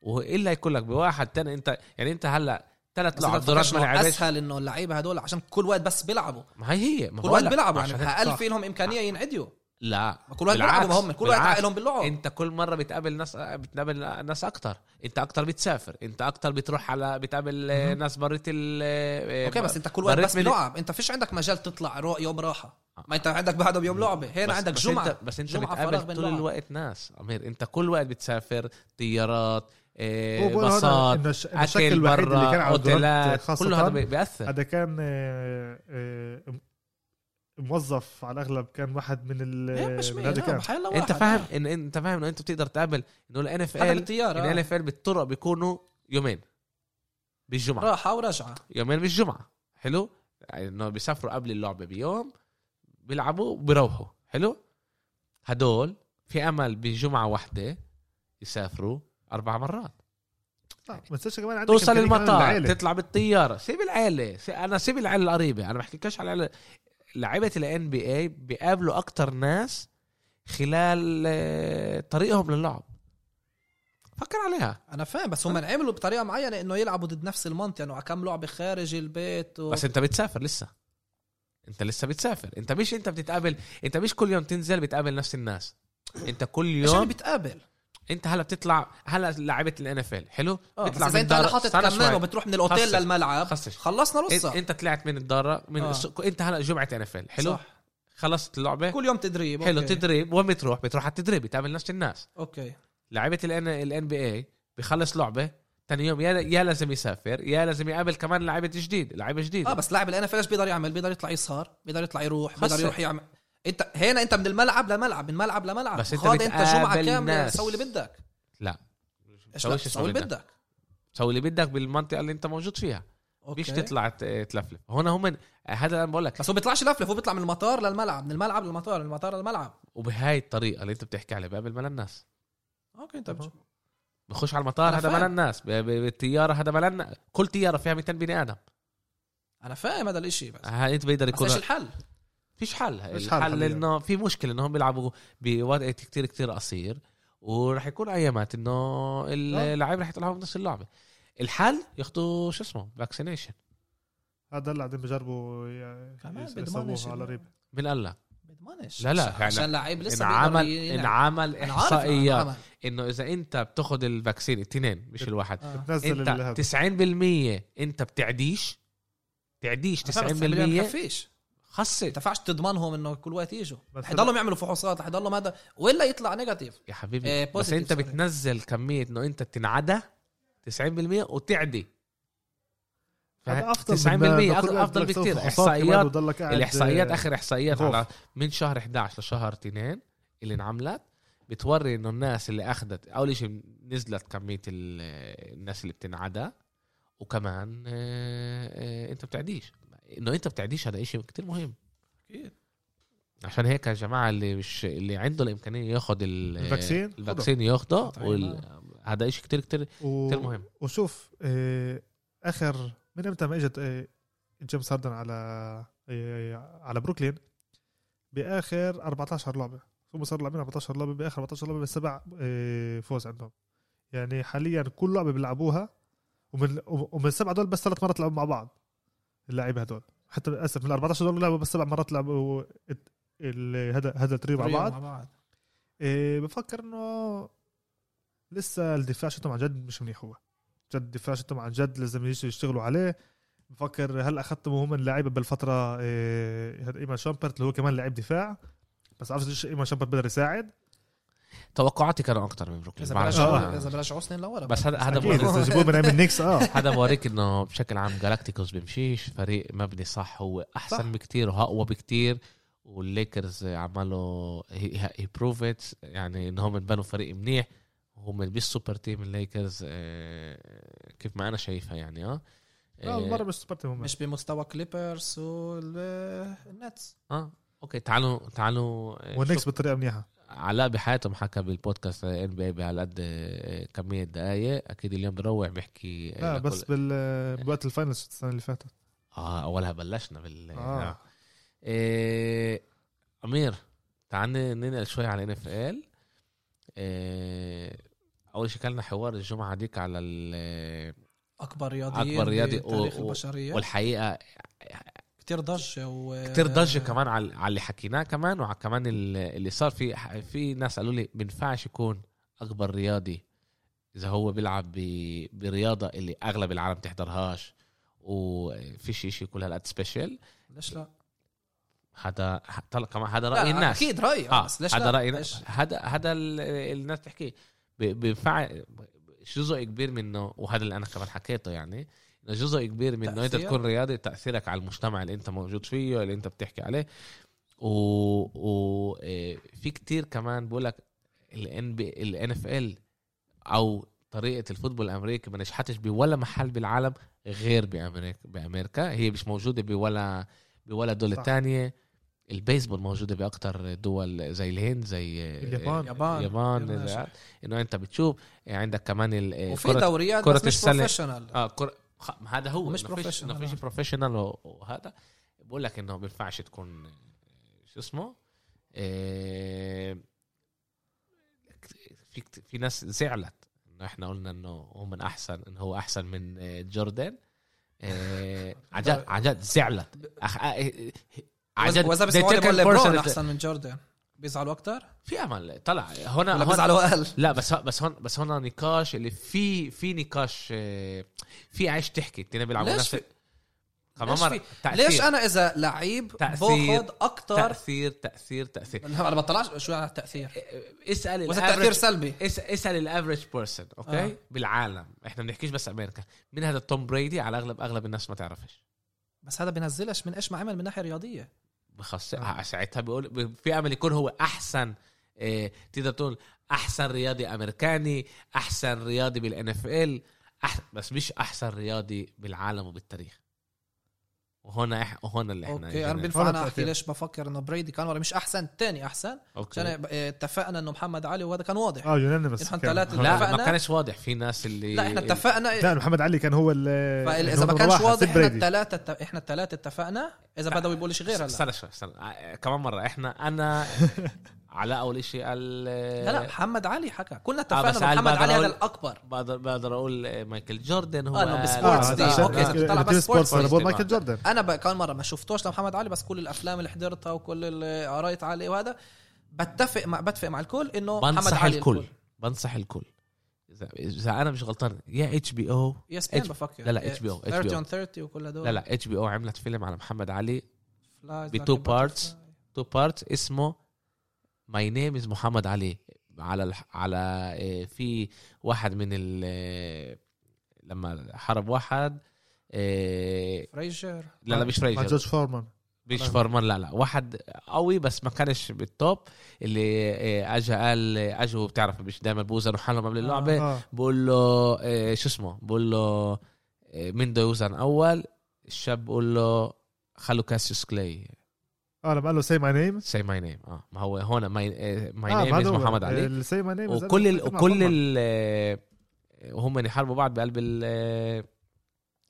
والا يكون لك بواحد تاني انت يعني انت هلا ثلاث بس إذا لعب دورات ما تفكرش إنه لعبتش اسهل انه اللعيبه هدول عشان كل وقت بس بيلعبوا ما هي هي ما كل بقول وقت لك، بيلعبوا عشان يعني هيك- اقل صح. في لهم امكانيه ينعديوا لا ما كل وقت بالعكس، بيلعبوا هم كل وقت بالعكس. عقلهم باللعب انت كل مره بتقابل ناس بتقابل ناس اكتر انت اكتر بتسافر انت اكتر بتروح على بتقابل آه، ناس بريت ال آه، اوكي بس انت كل وقت بريت بس من- بلعب انت فيش عندك مجال تطلع رو- يوم راحه ما انت عندك بعدهم يوم لعبه هنا آه. بس- عندك بس جمعه انت بس انت جمعة فراغ بتقابل بين طول لعب. الوقت ناس امير انت كل وقت بتسافر طيارات آه، هو بقول هون باصات إنه الش- إنه الشكل اكل الوحيد اللي كان برا على الدورات اوتيلات كل هذا خاصه بي- بياثر هذا كان آه، آه، موظف على الاغلب كان واحد من إيه، ال مش آه، من مية، هذا لا، كان بحال واحد. انت فاهم ان انت فاهم انه انت بتقدر تقابل انه الان اف حتى ال الان بالطياره اف ال بالطرق بيكونوا يومين بالجمعه راحه ورجعه يومين بالجمعة حلو يعني انه بيسافروا قبل اللعبة بيوم بيلعبوا وبيروحوا حلو هدول في امل بجمعة واحدة يسافروا اربع مرات آه، ما تنساش كمان عندك توصل إمكانية كمان المطار للعائلة. تطلع بالطيارة سيب العيلة سي- انا سيب العيلة القريبة انا بحكيكش على العيلة لعيبة الان بي اي بيقابلوا اكتر ناس خلال آه، طريقهم للعب فكر عليها انا فاهم بس هم عملوا بطريقه معينه انه يلعبوا ضد نفس المنطقه انه على كم لعبه خارج البيت و... بس انت بتسافر لسه انت لسه بتسافر انت مش انت بتتقابل انت مش كل يوم تنزل بتقابل نفس الناس انت كل عشان يوم بتقابل انت هلا بتطلع هلا لعبه الان اف ال حلو اه بس بتطلع اذا من انت هلا دار- حاطط استنى كمامه شوي. وبتروح من الاوتيل خصش. للملعب خصش. خلصنا انت, نصها انت طلعت من الدارة من اه. السوق انت هلا جمعه ان اف ال إيه، حلو صح. خلصت اللعبه كل يوم تدريب حلو أوكي. تدريب وين بتروح بتروح على التدريب بتقابل نفس الناس اوكي لعيبه الان الان بي اي بخلص لعبه ثاني يوم يا يا لازم يسافر يا لازم يقابل كمان لعيبه جديد لعيبه جديده اه بس لاعب الان اف بيقدر يعمل بيقدر يطلع يسار بيقدر يطلع يروح بيقدر خصص. يروح يعمل انت هنا انت من الملعب لملعب من ملعب لملعب بس انت خاض انت جمعه بتقابل كامله ناس. سوي اللي بدك لا ايش لا سويش اسمه سوي اللي بدك. بدك سوي اللي بدك بالمنطقه اللي انت موجود فيها اوكي مش تطلع ت- تلفلف هون هم هذا اللي انا بقول لك بس هو بيطلعش لفلف هو بيطلع من المطار للملعب من الملعب للمطار من المطار للملعب وبهاي الطريقه اللي انت بتحكي عليها بقابل ملان الناس اوكي انت بت- بخش على المطار أنا هذا فاهم. ملان الناس ب- ب- بالطياره هذا ملان كل طياره فيها 200 بني ادم انا فاهم هذا الاشي بس هاي انت بيقدر بس يكون ايش الحل؟ فيش حل فيش حل الحل حبيبي. انه في مشكله انهم بيلعبوا بوقت كتير كتير قصير ورح يكون ايامات انه آه. اللاعب رح يطلعوا من نفس اللعبه الحل ياخذوا شو اسمه فاكسينيشن هذا اللي قاعدين بيجربوا ي- كمان يس- بيضمنش يسووه على إنه- ريب من قال لك بضمنش لا، لا، عشان, عشان يعني لعيب لسه بيقدر انعمل يلعب. انعمل أنا عارف احصائيات انعمل. انه اذا انت بتاخذ الفاكسين الاثنين مش الواحد آه. نزل انت 90% انت بتعديش تعديش 90% أنا فاهم، بس العملية ما تخفيش ما خصت ينفعش تضمنهم انه كل وقت يجوا بس حيضلهم يعملوا فحوصات حيضلهم هذا والا يطلع نيجاتيف يا حبيبي إيه، بس positive انت sorry. بتنزل كميه انه انت تنعدى 90% وتعدي ف- هذا افضل 90% من- أفضل- كل واحد افضل بدك تاخذ بكثير فحوصات احصائيات كمان وضلك قاعد- الاحصائيات اخر احصائيات خوف. على من شهر 11 لشهر 2 اللي انعملت بتوري انه الناس اللي اخذت اول شيء نزلت كميه ال- الناس اللي بتنعدى وكمان آه، آه، انت بتعديش انه انت بتعديش هذا شيء كتير مهم أكيد. عشان هيك يا جماعه اللي مش اللي عنده الامكانيه ياخذ الفاكسين؟ الفاكسين ياخده طبعاً. وال... هذا شيء كتير كتير و- كتير مهم وشوف آه، اخر من امتى ما اجت آه، جيمس هاردن على آه، على بروكلين باخر 14 لعبه هم صاروا لاعبين 14 لعبه باخر 14 لعبه بسبع آه، فوز عندهم يعني حاليا كل لعبه بيلعبوها ومن ومن السبعه دول بس ثلاث مرات لعبوا مع بعض اللعيبه هدول حتى للاسف من ال 14 دول لعبوا بس سبع مرات لعبوا ات- ال- هذا هذا التريو مع بعض إيه بفكر انه لسه الدفاع شتهم عن جد مش منيح هو جد الدفاع شتهم عن جد لازم يجوا يشتغلوا عليه بفكر هلا ختموا هم اللعيبه بالفتره إيه هذا ايمان شامبرت اللي هو كمان لعيب دفاع بس عرفت ايش ايمان شامبرت بقدر يساعد توقعاتي كانوا اكتر من بروكلين اذا بعرف. برجعوا آه. اذا برجعوا سنين لورا بس هذا هذا اكيد بوريك- اذا جابوه من ايام النكس اه هذا بوريك انه بشكل عام جالاكتيكوس بيمشيش فريق مبني صح هو احسن صح. صح. بكتير واقوى بكتير والليكرز عملوا هي بروفيت يعني ان هم بنوا فريق منيح هم بالسوبر تيم الليكرز آه، كيف ما انا شايفها يعني اه لا آه، المره إيه، مش سبرت هم مش بمستوى كليبرز والنتس اه اوكي تعالوا تعالوا آه، والنكس بطريقه منيحه علاء بحياتهم حكى بالبودكاست ان بي اي بهالقد آه، كميه دقائق اكيد اليوم بروع بيحكي آه، لا لكل- بس بال... بوقت الفاينلز السنه اللي فاتت اه اولها بلشنا بال آه. آه. إيه... امير تعال ن- ننقل شوي على ان اف ال اول آه، شيء كان لنا حوار الجمعه ديك على ال... اكبر رياضي أكبر رياضي تاريخ و- و- البشريه والحقيقه كتير ضجه و كتير ضجه كمان على على اللي حكيناه كمان وعلى كمان ال- اللي صار في في ناس قالوا لي بينفعش يكون اكبر رياضي اذا هو بيلعب ب... برياضه اللي اغلب العالم تحضرهاش وفي شيء شيء كل هالقد سبيشال ليش لا؟ هذا طلع كمان هذا لا، راي الناس اكيد رايي آه. اه بس ليش هذا لا؟ راي ليش؟ الناس هذا هذا ال- الناس تحكيه ب- بينفع جزء كبير منه وهذا اللي انا كمان حكيته يعني إنه جزء كبير من انه انت تأثير. تكون رياضي تاثيرك على المجتمع اللي انت موجود فيه اللي انت بتحكي عليه و, و... إيه، في كتير كمان بقول لك الان بي الان اف ال او طريقه الفوتبول الامريكي ما نجحتش بولا محل بالعالم غير بامريكا بامريكا هي مش موجوده بولا بولا دوله صح. تانية البيسبول موجوده باكتر دول زي الهند زي اليابان. يابان اليابان يابان. زي- انه انت بتشوف يعني عندك كمان ال- وفي كرة- دوريات كرة بس مش السلة. بروفيشنال اه كر... خ- ما هذا هو مش إنه فيش- professional. إنه فيش بروفيشنال وهذا بقول لك انه ما بينفعش تكون آه، شو اسمه آه، في كت- في ناس زعلت انه احنا قلنا انه هو من احسن انه هو احسن من آه، جوردن آه، عن جد عن جد زعلت أخ... آه، آه، عن جد واذا they بيسمعوا take it ليبرون personally. احسن من جوردن بيزعلوا اكثر في امل طلع هنا ولا هنا بيزعلوا اقل لا بس بس هون بس هون نقاش اللي في في نقاش آه، في عايش تحكي التنين بيلعبوا ليش نفس في- كمان ليش مرة في- تأثير ليش انا اذا لعيب تأثير. باخذ اكثر تأثير تأثير تأثير لا، انا بطلعش شو يعني التاثير آه، اسأل واذا التاثير الافرج سلبي اسأل الافرج بيرسون اوكي آه. آه. بالعالم احنا بنحكيش بس امريكا من هذا توم بريدي على اغلب اغلب الناس ما تعرفش بس هذا بينزلش من ايش ما عمل من ناحيه رياضيه بخص آه. ساعتها بيقول في امل يكون هو احسن آه، تقدر تقول احسن رياضي امريكاني احسن رياضي بالان اف ال بس مش احسن رياضي بالعالم وبالتاريخ وهنا إح... وهنا اللي احنا اوكي انا إجينا. بينفع هذا انا احكي التأثير. ليش بفكر انه بريدي كان ولا مش احسن تاني احسن عشان اوكي إيه، اتفقنا انه محمد علي وهذا كان واضح آه، اه يونانيمس نحن ثلاثة لا اتفقنا؟ ما كانش واضح في ناس اللي لا احنا اتفقنا إيه، لا محمد علي كان هو ال فاذا ما هو كانش واحد، واضح سيب احنا بريدي. الثلاثه احنا الثلاثه اتفقنا اذا بدوي يقول لي شي غير هلا استنى شوي استنى آه، كمان مره احنا انا على اول شيء قال آه، لا لا محمد علي حكى كلنا آه، بس اتفقنا قال إنه محمد بقدر علي هذا أقول- الاكبر بقدر بقدر اقول آه، مايكل جوردن هو آه، إنه قال- اه بالسبورتس آه، دي. آه، هذا أوكي، إذا التيم بتطلع بس سبورتس سبورتس انا بقول تبع. مايكل جوردن انا بقى كان مره ما شفتوش لمحمد علي بس كل الافلام اللي حضرتها وكل اللي قريت عليه وهذا بتفق مع بتفق مع الكل انه محمد بنصح علي الكل بنصح الكل اذا اذا انا مش غلطان يا اتش بي او يس بي H- بفكر لا، لا، HBO. 30 on 30 وكل هدول لا لا اتش بي او عملت فيلم على محمد علي Flies, ب Lucky two Butterfly. parts. تو بارت اسمه ماي نيم از محمد علي على الح... على آه، في واحد من ال آه، لما حرب واحد آه، فريجر لا لا مش مع ريجر جورج فورمان مش فرمان لا لا واحد قوي بس ما كانش بالتوب اللي آه، اجى قال آه، اجوا بتعرف مش دايما بوزنوا حالهم قبل اللعبه اه بقول له إيه، شو اسمه بقول له إيه، مين بده يوزن اول الشاب بقول له خلوا كاسيوس كلاي اه لما قال له سي ماي نيم سي ماي نيم اه ما هو هون إيه، ماي آه، ماي نيم از محمد علي سي ماي نيم وكل ال وكل ال آه، وهم يحاربوا بعض بقلب ال آه،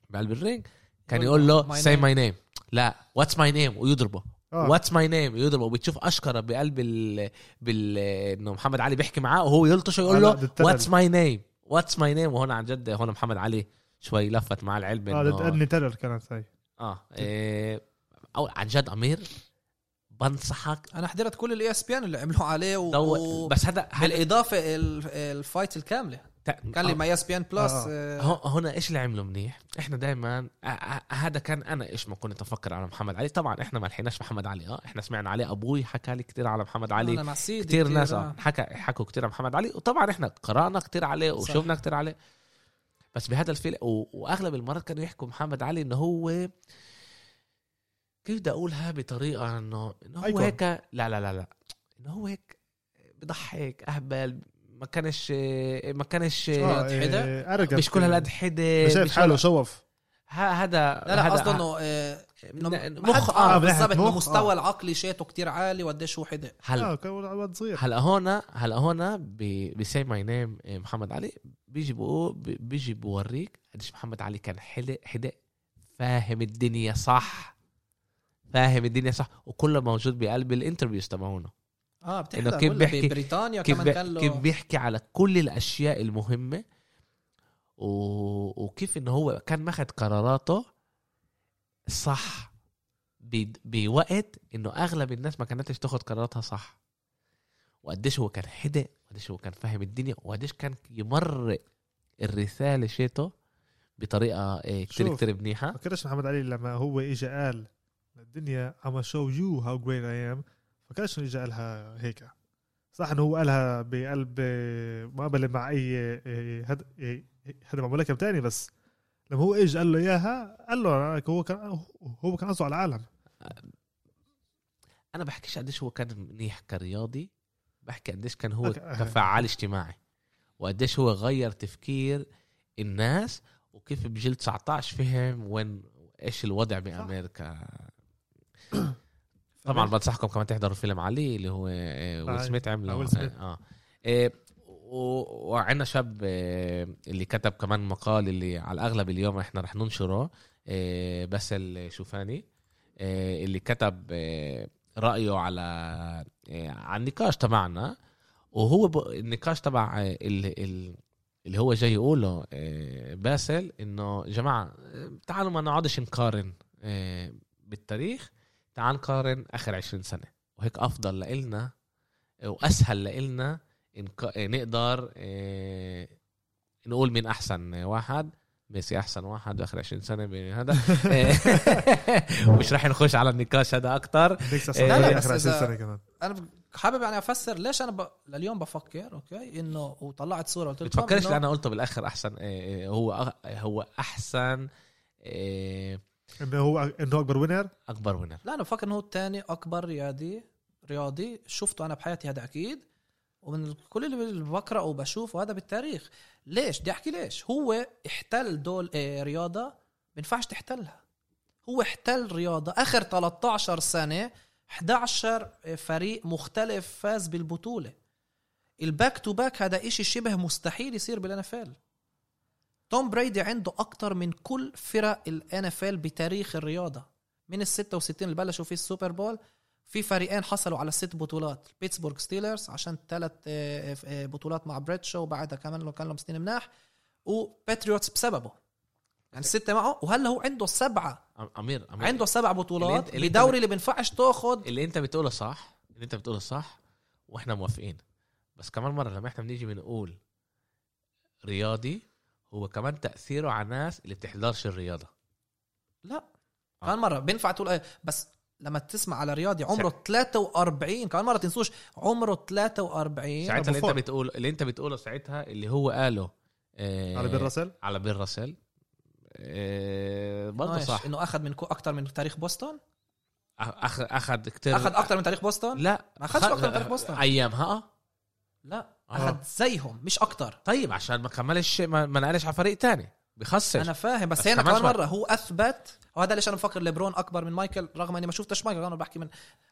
بقلب الرينج كان بقول يقول له له my سي name. ماي نيم لا واتس ماي نيم ويضربه اه واتس ماي نيم يضربه وبتشوف اشكره بقلب ال بال انه محمد علي بيحكي معاه وهو يلطشه آه، يقول لا، له ده التلل. واتس ماي نيم واتس ماي نيم وهنا عن جد هون محمد علي شوي لفت مع العلم اه ضد انه ابني تيلر كانت هاي اه إيه، او عن جد امير بنصحك انا حضرت كل E الاي اس بي ان اللي عملوا عليه و... دو... و... بس هذا هل بالاضافه ال... الفايت الكامله كان لي E ماي اس بي ان بلس آه. هو- هنا ايش اللي عملوا منيح؟ احنا دائما آه، هذا كان انا ايش ما كنت افكر على محمد علي، طبعا احنا ما لحقناش محمد علي اه احنا سمعنا عليه ابوي حكى لي كثير على محمد علي مع سيدي كتير ناس آه، آه. حكى حكوا كتير عن محمد علي وطبعا احنا قرانا كتير عليه وشفنا كتير عليه بس بهذا الفيلم و... واغلب المرات كانوا يحكوا محمد علي انه هو كيف بدي اقولها بطريقه انه انه هو أيكون. هيك لا لا لا لا انه هو هيك بضحك اهبل ما كانش ما كانش هالقد حدا؟ آه، arrogant. مش كل هالقد حدا شايف مش كل- حاله شوف ه- هذا لا لا هذا- قصده انه آه، ن- مخ مخ- اه آه، من ناحية بالضبط مخ، المستوى آه. العقلي شاته كتير عالي وقديش هو حدق هلا اه كان ولد صغير هلا هون هلا هون ب- بسي ماي نيم إيه، محمد علي بيجي بقول بيجي بوريك قديش محمد علي كان حلق حدق فاهم الدنيا صح فاهم الدنيا صح وكله موجود بقلب الانترفيوز تبعونه اه إنه بتحضر كيف ولا بيحكي- ببريطانيا كيف كمان كان بي- كيف له بيحكي على كل الاشياء المهمه و... وكيف انه هو كان ماخد قراراته صح ب... بوقت انه اغلب الناس ما كانتش تاخد قراراتها صح وقديش هو كان حدق وقديش هو كان فاهم الدنيا وقديش كان يمرق الرساله شيته بطريقه إيه، كتير شوف. كتير منيحه فكرش محمد علي لما هو اجى قال الدنيا اما شو يو هاو جريت اي ام فكرش انه اجى قالها هيك صح انه هو قالها بقلب آه، مقابله مع اي آه، هد آه، هذا مع ملاكم تاني بس لما هو اجى قال له اياها قال له أنا- هو كان هو كان قصده على العالم انا بحكيش قديش هو كان منيح كرياضي بحكي قديش كان هو أوكي. كفعال اجتماعي وقديش هو غير تفكير الناس وكيف بجيل 19 فهم وين ايش الوضع بامريكا طبعا بنصحكم كمان تحضروا فيلم علي اللي هو آه، ويل آه، سميث عمله آه، ويل سميث. اه آه، و- وعندنا شاب آه، اللي كتب كمان مقال اللي على الاغلب اليوم احنا رح ننشره آه، باسل شوفاني آه، اللي كتب آه، رايه على آه، على النقاش تبعنا وهو ب... النقاش تبع آه، ال... ال... اللي هو جاي يقوله آه، باسل انه جماعه آه، تعالوا ما نقعدش نقارن آه، بالتاريخ تعال نقارن اخر 20 سنه وهيك افضل لإلنا آه، واسهل لإلنا نك- آه، نقدر آه، نقول مين احسن واحد ميسي احسن واحد اخر 20 سنه بهذا آه، مش رح نخش على النقاش هذا اكثر نيكس إيه، لا، بس اخر 20 إذا- سنه كمان انا ب- حابب يعني افسر ليش انا ب... لليوم بفكر اوكي انه وطلعت صوره قلت لكم بتفكرش إنه- اللي انا قلته بالاخر احسن إيه، هو أغ- هو احسن إيه، انه هو انه هو اكبر وينر اكبر وينر لا انا بفكر انه هو الثاني اكبر رياضي رياضي شفته انا بحياتي هذا اكيد ومن كل اللي بقراه وبشوفه هذا بالتاريخ ليش بدي احكي ليش هو احتل دول آه، رياضه ما ينفعش تحتلها هو احتل رياضه اخر 13 سنه 11 آه، فريق مختلف فاز بالبطوله الباك تو باك هذا إشي شبه مستحيل يصير بالان توم بريدي عنده اكتر من كل فرق الان اف ال بتاريخ الرياضه من ال 66 اللي بلشوا فيه السوبر بول في فريقين حصلوا على ست بطولات بيتسبورغ ستيلرز عشان ثلاث آه، بطولات مع بريتشو وبعدها كمان لو كان لهم سنين مناح وباتريوتس بسببه يعني ستة معه وهلا هو عنده سبعة أم- امير امير عنده سبع بطولات اللي أنت- بدوري اللي بينفعش تاخد اللي انت بتقوله صح اللي انت بتقوله صح واحنا موافقين بس كمان مره لما احنا بنيجي بنقول رياضي هو كمان تاثيره على الناس اللي بتحضرش الرياضه لا كمان مره بينفع تقول آه، بس لما تسمع على رياضي عمره 43 كمان مره تنسوش عمره 43 ساعتها اللي انت بفور. بتقول اللي انت بتقوله ساعتها اللي هو قاله إيه، على بيل راسل على بيل راسل إيه، برضه نايش، صح انه اخذ من اكثر من تاريخ بوسطن اخذ اخذ كتير اخذ اكثر من تاريخ بوسطن لا ما أخدش خد- أكتر من تاريخ بوسطن. ايامها آه. لا آه. اخذ زيهم مش اكتر طيب عشان ما كملش ما, ما نقلش على فريق تاني بخسر انا فاهم بس, بس هنا كمان شوي. كمان مره هو اثبت وهذا ليش انا بفكر ليبرون اكبر من مايكل رغم اني ما شفتش مايكل انا بحكي من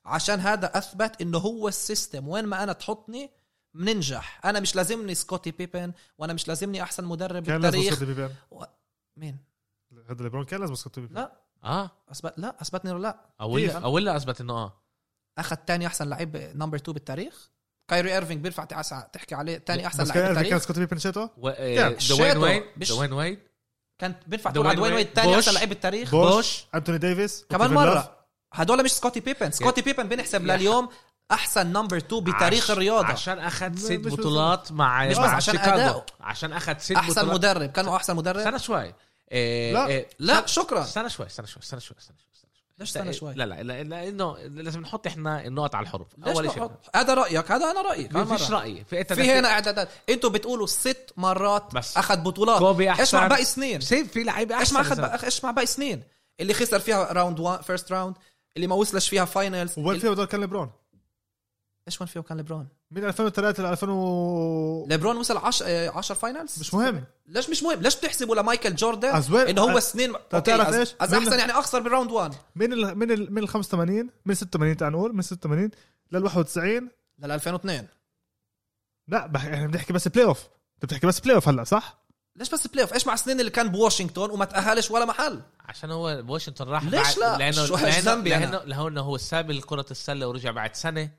عشان هذا اثبت انه هو السيستم وين ما انا تحطني بننجح انا مش لازمني سكوتي بيبن وانا مش لازمني احسن مدرب كان لازم بالتاريخ يسقط بيبان و... مين هذا ليبرون كان لازم يسقط بيبان لا. اه اثبت لا اثبتني إنه لا اولا كيف؟ اولا اثبت انه اه اخذ تاني احسن لعيب نمبر 2 بالتاريخ كايري ايرفينج بينفع تعس- تحكي عليه تاني احسن بس لعيب كان كان بالتاريخ سكوت بيبان شاتو و- آه، يعني دوين شاتو. وايد مش- دوين وايد كان بينفع دوين تقول على دوين ويد، وايد تاني احسن بوش. لعيب بالتاريخ بوش انتوني ديفيس كمان وكيفن لاف. مره هدول مش سكوتي بيبن سكوتي بيبن بنحسب لليوم احسن نمبر 2 بتاريخ عش- الرياضه عشان اخذ مش ست بس- بطولات مع مش مع بس عشان شيكاغو. أداؤه. عشان اخذ ست احسن بطولات مدرب كان هو احسن مدرب استنى شوي إيه، لا. إيه، لا شكرا استنى شوي استنى شوي استنى شوي استنى شوي استنى شوي ليش استنى شوي؟ لا لا لا- لانه لازم نحط احنا النقط على الحروف ليش اول شيء بحط- هذا رايك هذا انا رايي كمان ما فيش مره راي في أنت في هنا اعدادات انتوا بتقولوا ست مرات بس. اخذ بطولات كوبي ايش مع احسن باقي سنين سيب في لعيبه ايش احسن مع اخذ إذا- بق- ايش مع باقي سنين اللي خسر فيها راوند 1 فيرست راوند اللي ما وصلش فيها فاينلز وين فيها بدور كان ليبرون ايش وين فيهم كان لبرون؟ من 2003 ل 2000 و... لبرون وصل 10 10 فاينلز مش مهم ليش مش مهم ليش بتحسبوا لمايكل جوردن أزوين انه هو سنين أه، تعرف أز- إيش؟ أز من- احسن يعني اخسر براوند 1 من ال... من ال... من ال 85 من 86 تعال نقول من 86 لل 91 لل 2002 لا بح... احنا بنحكي بس بلاي اوف انت بتحكي بس بلاي اوف هلا صح؟ ليش بس بلاي اوف ايش مع السنين اللي كان بواشنطن وما تاهلش ولا محل عشان هو بواشنطن راح بعد ليش لا؟ لانه شو لانه هالذنب يعني؟ لانه, لأنه هو ساب كره السله ورجع بعد سنه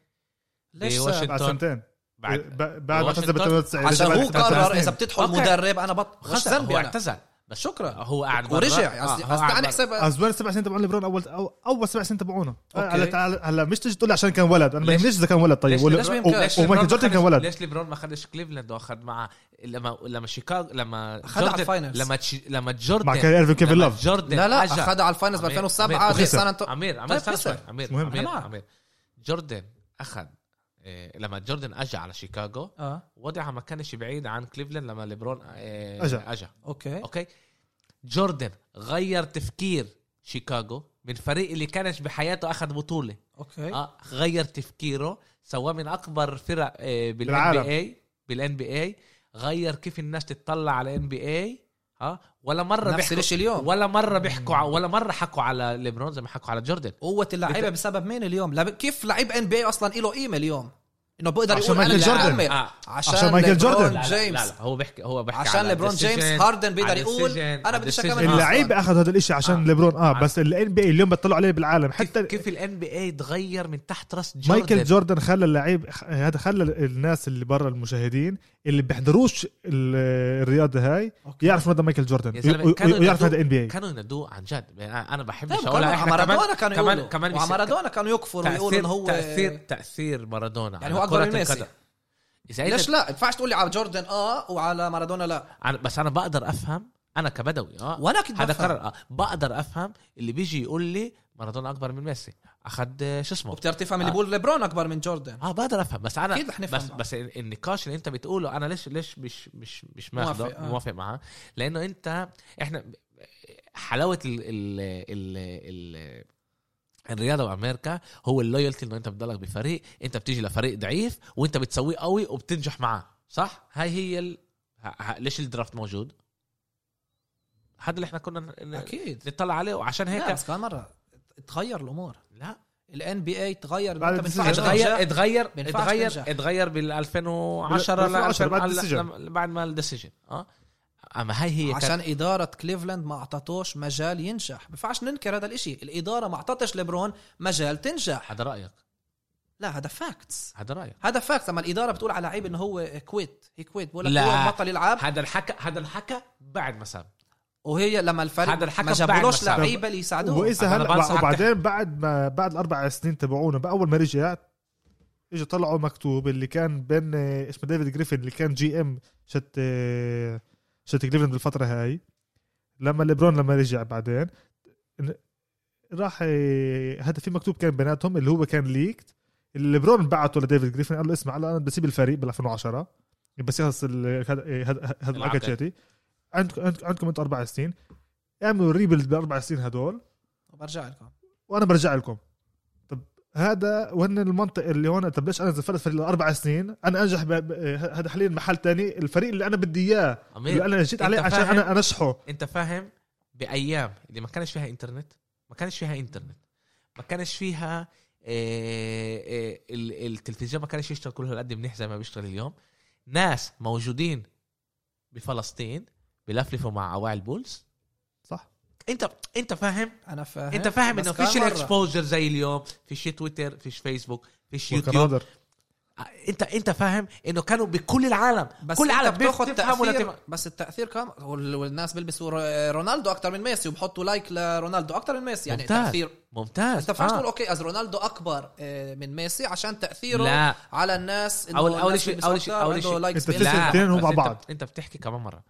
ليش بواشنطن. ساب؟ بعد تون. سنتين بعد إيه. ب- بعد ما واشنطن. اعتزل ب 98 عشان بعد هو ثلاث قرر سنين. اذا بتدخل أوكي. مدرب انا بطل خش خسر ذنبي هو انا اعتزل بس شكرا هو قاعد برا. ورجع آه، قصدي هو قصدي قاعد تعال برا. نحسب ازوال السبع سنين تبعون ليبرون اول أو- اول سبع سنين تبعونه أوكي. هلا تعال- هلا مش تيجي تقول لي عشان كان ولد انا ما ليش؟ يهمنيش اذا كان ولد طيب ليش- ولا- ليش ما و- يمكن؟ ليش ليش ومايكل ليبرون جوردن ما كان خدش- ولد ليش ليبرون ما خدش كليفلاند واخذ مع لما لما شيكاغو لما أخدها على جوردن- الفاينلز. لما تش- لما مع جوردن كاري ايرفين وكيفن لما لاف جوردن لا لا أجا- اخذها على الفاينلز ب عمير، 2007 عمير، دي وخسر. سان أنطو- عمير عمير طيب استنى خسر. شوي. عمير مهم. أنا عمير معك. عمير جوردن اخذ إيه، لما جوردن اجى على شيكاغو اه وضعها ما كانش بعيد عن كليفلاند لما ليبرون إيه، أجا. اجى اوكي اوكي جوردن غير تفكير شيكاغو من فريق اللي كانش بحياته اخذ بطوله إيه؟ اوكي اه غير تفكيره سواه من اكبر فرق آه، بالان بالعالم. بي اي بالان بي اي غير كيف الناس تتطلع على الان بي اي ها آه، ولا مره نفس بيحكوا الشيء اليوم ولا مره بيحكوا ع- ولا مره حكوا على ليبرون زي ما حكوا على جوردن قوة اللعيبة بسبب مين اليوم؟ لب- كيف لعيب ان بي اصلا له قيمة اليوم؟ انه بقدر عشان يقول مايكل أنا بدي جوردن. أكمل. آه. عشان, عشان مايكل ليبرون جوردن. لا، جيمس لا, لا هو بيحكي هو بيحكي عشان على ليبرون decision، جيمس هاردن بيقدر على يقول decision، انا بديش على أكمل. decision. اللعيبه اخذوا هذا الشيء عشان ليبرون اه بس الان بي اي اليوم بيطلعوا عليه بالعالم كيف, حتى كيف الان بي اي تغير من تحت راس جوردن طيب. مايكل جوردن خلى اللعيب هذا خلى الناس اللي برا المشاهدين اللي بيحضروش ال- الرياضه هاي أوكي. يعرفوا هذا مايكل جوردن يا زلمة، وي- كانوا ويعرف هذا ينادوه- ان بي اي كانوا ينادوه عن جد يعني انا بحبش طيب، اقولها كمان احنا على مارادونا كمان كانوا كمان يقولوا كمان وعلى بيس- مارادونا كانوا يكفروا ويقولوا تاثير انه هو تاثير تاثير مارادونا يعني على هو أكبر كرة من ميسي. القدم. اذا ليش ليش إيه، لا؟ ما ينفعش تقول لي على جوردن اه وعلى مارادونا لا أنا بس انا بقدر افهم انا كبدوي اه وانا كنت هذا بفهم. قرار اه بقدر افهم اللي بيجي يقول لي مارادونا اكبر من ميسي اخد آه، شو اسمه وبتعرف تفهم اللي آه. بيقول ليبرون اكبر من جوردن اه بقدر افهم بس انا أكيد رح نفهم بس بعض. بس ال- النقاش اللي انت بتقوله انا ليش ليش مش مش مش ماخده موافق، موافق, آه. موافق معاه لانه انت احنا حلاوه ال ال ال ال الرياضه بامريكا هو اللويالتي انه انت بتضلك بفريق انت بتيجي لفريق ضعيف وانت بتسويه قوي وبتنجح معاه صح هاي هي ال... ه- ه- ليش الدرافت موجود هذا اللي احنا كنا ن- اكيد نطلع عليه وعشان لا هيك بس كمان مره تغير الامور لا الان بي اي تغير بعد انت ما الديسيجن. ينفعش اتغير تنجح. اتغير بينفعش اتغير تنجح. اتغير بال 2010 بال- 2010 بعد لما- الديسيجن. لما- بعد ما الديسيجن اه اما هاي هي كانت- عشان إدارة كليفلاند ما أعطتوش مجال ينجح بفعش ننكر هذا الإشي الإدارة ما أعطتش ليبرون مجال تنجح هذا رايك لا هذا فاكتس هذا رايك هذا فاكتس أما الإدارة بتقول على لعيب إنه هو كويت هي كويت بقول لك لا. هو بطل يلعب هذا الحكى هذا الحكى بعد ما ساب وهي لما الفريق هذا الحكم ما بعد جابولوش ما صار. لعيبة اللي يساعدوه واذا أنا بنصحك هلا تحكي. وبعدين بعد ما بعد الاربع سنين تبعونا باول ما رجع اجى طلعوا مكتوب اللي كان بين آه، اسمه ديفيد جريفن اللي كان جي ام شت آه، شت كليفلاند بالفتره هاي لما ليبرون لما رجع بعدين إن- راح آه، هذا في مكتوب كان بيناتهم اللي هو كان ليكت اللي ليبرون بعته لديفيد جريفن قال له اسمع هلا انا بسيب الفريق بال 2010 بس يخلص ال- هذا آه، هذا هذا العقد. العقد شاتي عندكم عندكم- عندكم انتم اربع سنين اعملوا ريبلد باربع سنين هدول وبرجع لكم وانا برجع لكم طب هذا وهن المنطق اللي هون طب ليش انا زفرت فريق لاربع سنين انا انجح ب- ب- هذا حاليا محل تاني الفريق اللي انا بدي اياه اللي امير انا جيت أنت عليه عشان فاهم؟ انا انشحه انت فاهم بايام اللي ما كانش فيها انترنت ما كانش فيها انترنت ما كانش فيها إيه إيه ال- التلفزيون ما كانش يشتغل كل هالقد منيح زي ما بيشتغل اليوم ناس موجودين بفلسطين بلفلفوا مع اواعي البولز صح انت انت فاهم أنا فاهم انت فاهم بس انه كمان فيش مرة. الاكسبوجر زي اليوم فيش تويتر فيش فيسبوك فيش يوتيوب والكنادر انت انت آه، فاهم انه كانوا بكل العالم بس كل كل على العالم بتاخذ بتفهم ولا تأثير تفهم. بس التأثير كم وال- والناس بيلبسوا ر- رونالدو أكتر من ميسي وبحطوا لايك لرونالدو أكتر من ميسي يعني ممتاز. تأثير ممتاز انت فاهم آه. تقول اوكي از رونالدو اكبر آه، من ميسي عشان تاثيره لا. على الناس إنه أول- أول الناس شيء- بيلبسوا أول شيء- أكتر، أول عنده شيء. لايكس انت بال- بتسأل لا، الاثنين هو بس مع انت- بعض. انت بتحكي كمان مره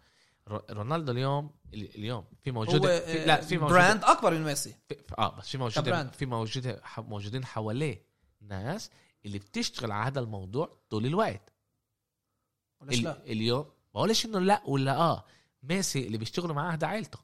رو- رونالدو اليوم ال- اليوم في هو موجوده في آه، لا في موجوده براند اكبر من ميسي في اه بس في موجوده كبراند. في موجوده ح- موجودين حواليه ناس اللي بتشتغل على هذا الموضوع طول الوقت ليش ال- لا آه. اليوم بقولش انه لا ولا اه ميسي اللي بيشتغلوا معاه ده عيلته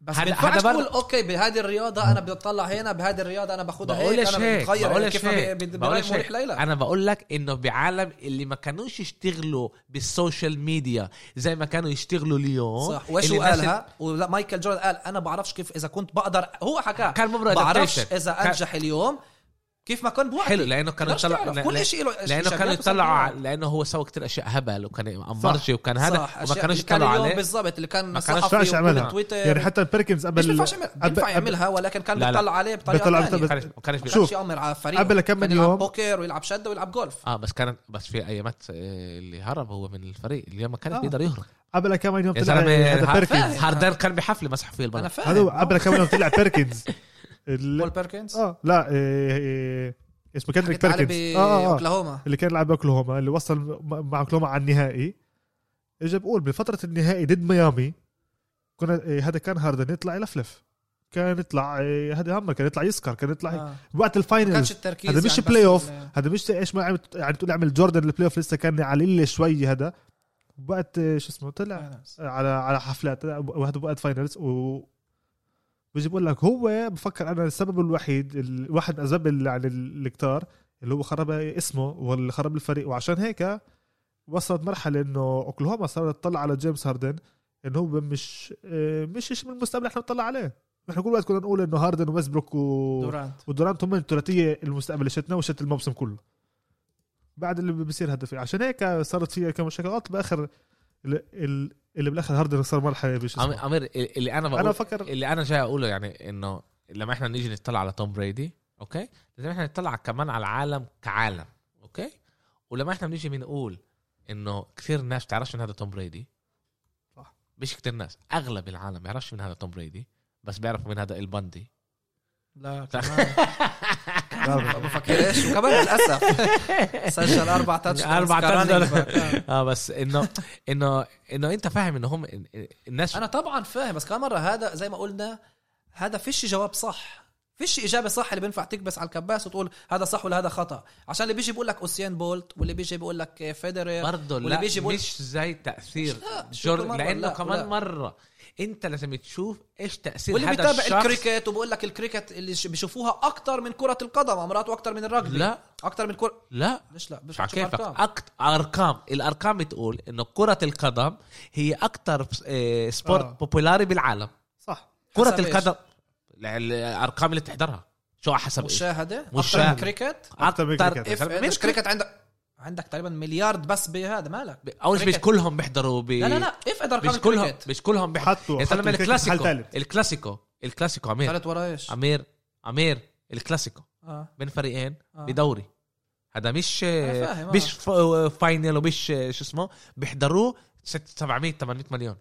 بس هذا- بينفعش هذا بر- تقول اوكي بهذه الرياضه انا بدي اطلع هنا بهذه الرياضه انا باخذها هيك بقولش انا هيك بتغير بقولش كيف ما هيك بي- بي- بقولش برايي مريح هيك ليلى انا بقول لك انه بعالم اللي ما كانوش يشتغلوا بالسوشيال ميديا زي ما كانوا يشتغلوا اليوم صح وشو اللي الناس قالها ولا مايكل جوردن قال انا بعرفش كيف اذا كنت بقدر هو حكى كان مبرر بعرفش adaptation. اذا كان- انجح اليوم كيف ما كان بوقتي حلو لانه كانوا بقدرش يطلعوا تعرف. لا- لا- كل شيء له لانه كانوا يطلعوا ع- لانه هو سوى كتير اشياء هبل وكان امرجي وكان هذا وما كانوا يطلعوا عليه بالضبط اللي كان ما كانش صحفي ينفعش وكل يعملها. تويتر يعني حتى مش بيركنز قبل بينفعش يعمل- قبل- بينفع قبل- يعملها ولكن كان لا، لا. بيطلع عليه بيطلع بطريقه ما ثانيه بطريقة- كانش- ما كانش بي- شو شوف. يامر على فريقه قبل كم كان من يلعب يوم. بوكر ويلعب شده ويلعب جولف اه بس كانت بس في ايامات آه، اللي هرب هو من الفريق اليوم ما كان آه. بيقدر يهرب قبل كم يوم يا طلع زلمه هذا بيركنز فاهم. هاردان كان بحفله مسح فيه انا البلد هذا هو فاهم قبل كم يوم طلع بيركنز ال- بول بيركنز اه لا إيه إيه اسمه كندريك حكيت عليه بيركنز ب- آه, آه, اه اوكلاهوما اللي كان يلعب باوكلاهوما اللي وصل م- مع اوكلاهوما على النهائي اجى بقول بفتره النهائي ضد ميامي كنا إيه هذا كان هاردن يطلع يلفلف كان يطلع إيه هذا هم كان يطلع يسكر كان يطلع هيك. آه. وقت ما كانش الفاينلز التركيز هذا مش يعني بس بلاي اوف ال- هذا مش ايش ما عم- يعني تقول اعمل جوردن البلاي اوف لسه كان على اللي شوي هذا وقت إيه، شو اسمه طلع على على حفلات وهذا وقت فاينلز و بيجي بقول لك هو بفكر انا السبب الوحيد ال- واحد من اسباب ال- يعني الكتار اللي هو خرب اسمه واللي خرب الفريق وعشان هيك وصلت مرحله انه اوكلاهوما صارت تطلع على جيمس هاردن انه هو مش آه، مش شيء من المستقبل احنا بنطلع عليه نحن كل وقت كنا نقول انه هاردن وويسبروك و... دورانت ودورانت هم الثلاثيه المستقبل اللي شتنا وشت الموسم كله بعد اللي بيصير هدف عشان هيك صارت فيها كم مشاكلات باخر ال- ال- اللي بالاخر هاردن صار مرحله بش عم- اسمه. عمير اللي انا بقول انا إيه. بفكر اللي انا جاي اقوله يعني انه لما احنا نيجي نطلع على توم بريدي اوكي لازم احنا نطلع كمان على العالم كعالم اوكي ولما احنا بنيجي بنقول انه كثير ناس بتعرفش من هذا توم بريدي صح. مش كثير ناس اغلب العالم بيعرفش من هذا توم بريدي بس بيعرفوا من هذا البندي لا كمان ما بفكرش وكمان للاسف سجل اربع تاتش أربع touchdowns. اه بس انه انه انه انت فاهم انه هم الناس انا طبعا فاهم بس كمان مره هذا زي ما قلنا هذا فيش جواب صح فيش اجابه صح اللي بينفع تكبس على الكباس وتقول هذا صح ولا هذا خطا عشان اللي بيجي بيقول لك اوسيان بولت واللي بيجي بيقول لك فيدرر برضه واللي لا بيجي بيقول- مش زي تاثير لا، شو جوردن كمان مرة، لانه لا، كمان لا. مره انت لازم تشوف ايش تاثير واللي هذا بيتابع الشخص الكريكت وبقول لك الكريكت اللي ش- بيشوفوها اكتر من كره القدم امرات واكتر من الرجبي لا اكتر من كره لا ليش لا مش مش على هتشوف كيفك أرقام. أكت... ارقام الارقام بتقول انه كره القدم هي اكثر سبورت آه. بوبولاري بالعالم صح كره حسب إيش؟ القدم لا، الارقام اللي بتحضرها شو حسب إيش؟ مشاهده مشاهدة. اكتر من كريكت أكتر من أكتر- اف كريكت. من مش كريكت عندك عندك تقريبا مليارد بس بهذا مالك ب- اول شيء مش كريكت. كلهم بيحضروا ب... لا لا لا افقد ارقام مش كلهم الكريكت مش كلهم بيحضروا إيه، حطوا يا زلمه حطوا الكريكت الكلاسيكو محل ثالث الكلاسيكو الكلاسيكو عمير ثالث ورا ايش؟ عمير عمير الكلاسيكو اه بين فريقين آه. بدوري هذا مش أنا فاهم، آه. مش ف- فاينل ومش آه، شو اسمه بيحضروه ست- 700 800 مليون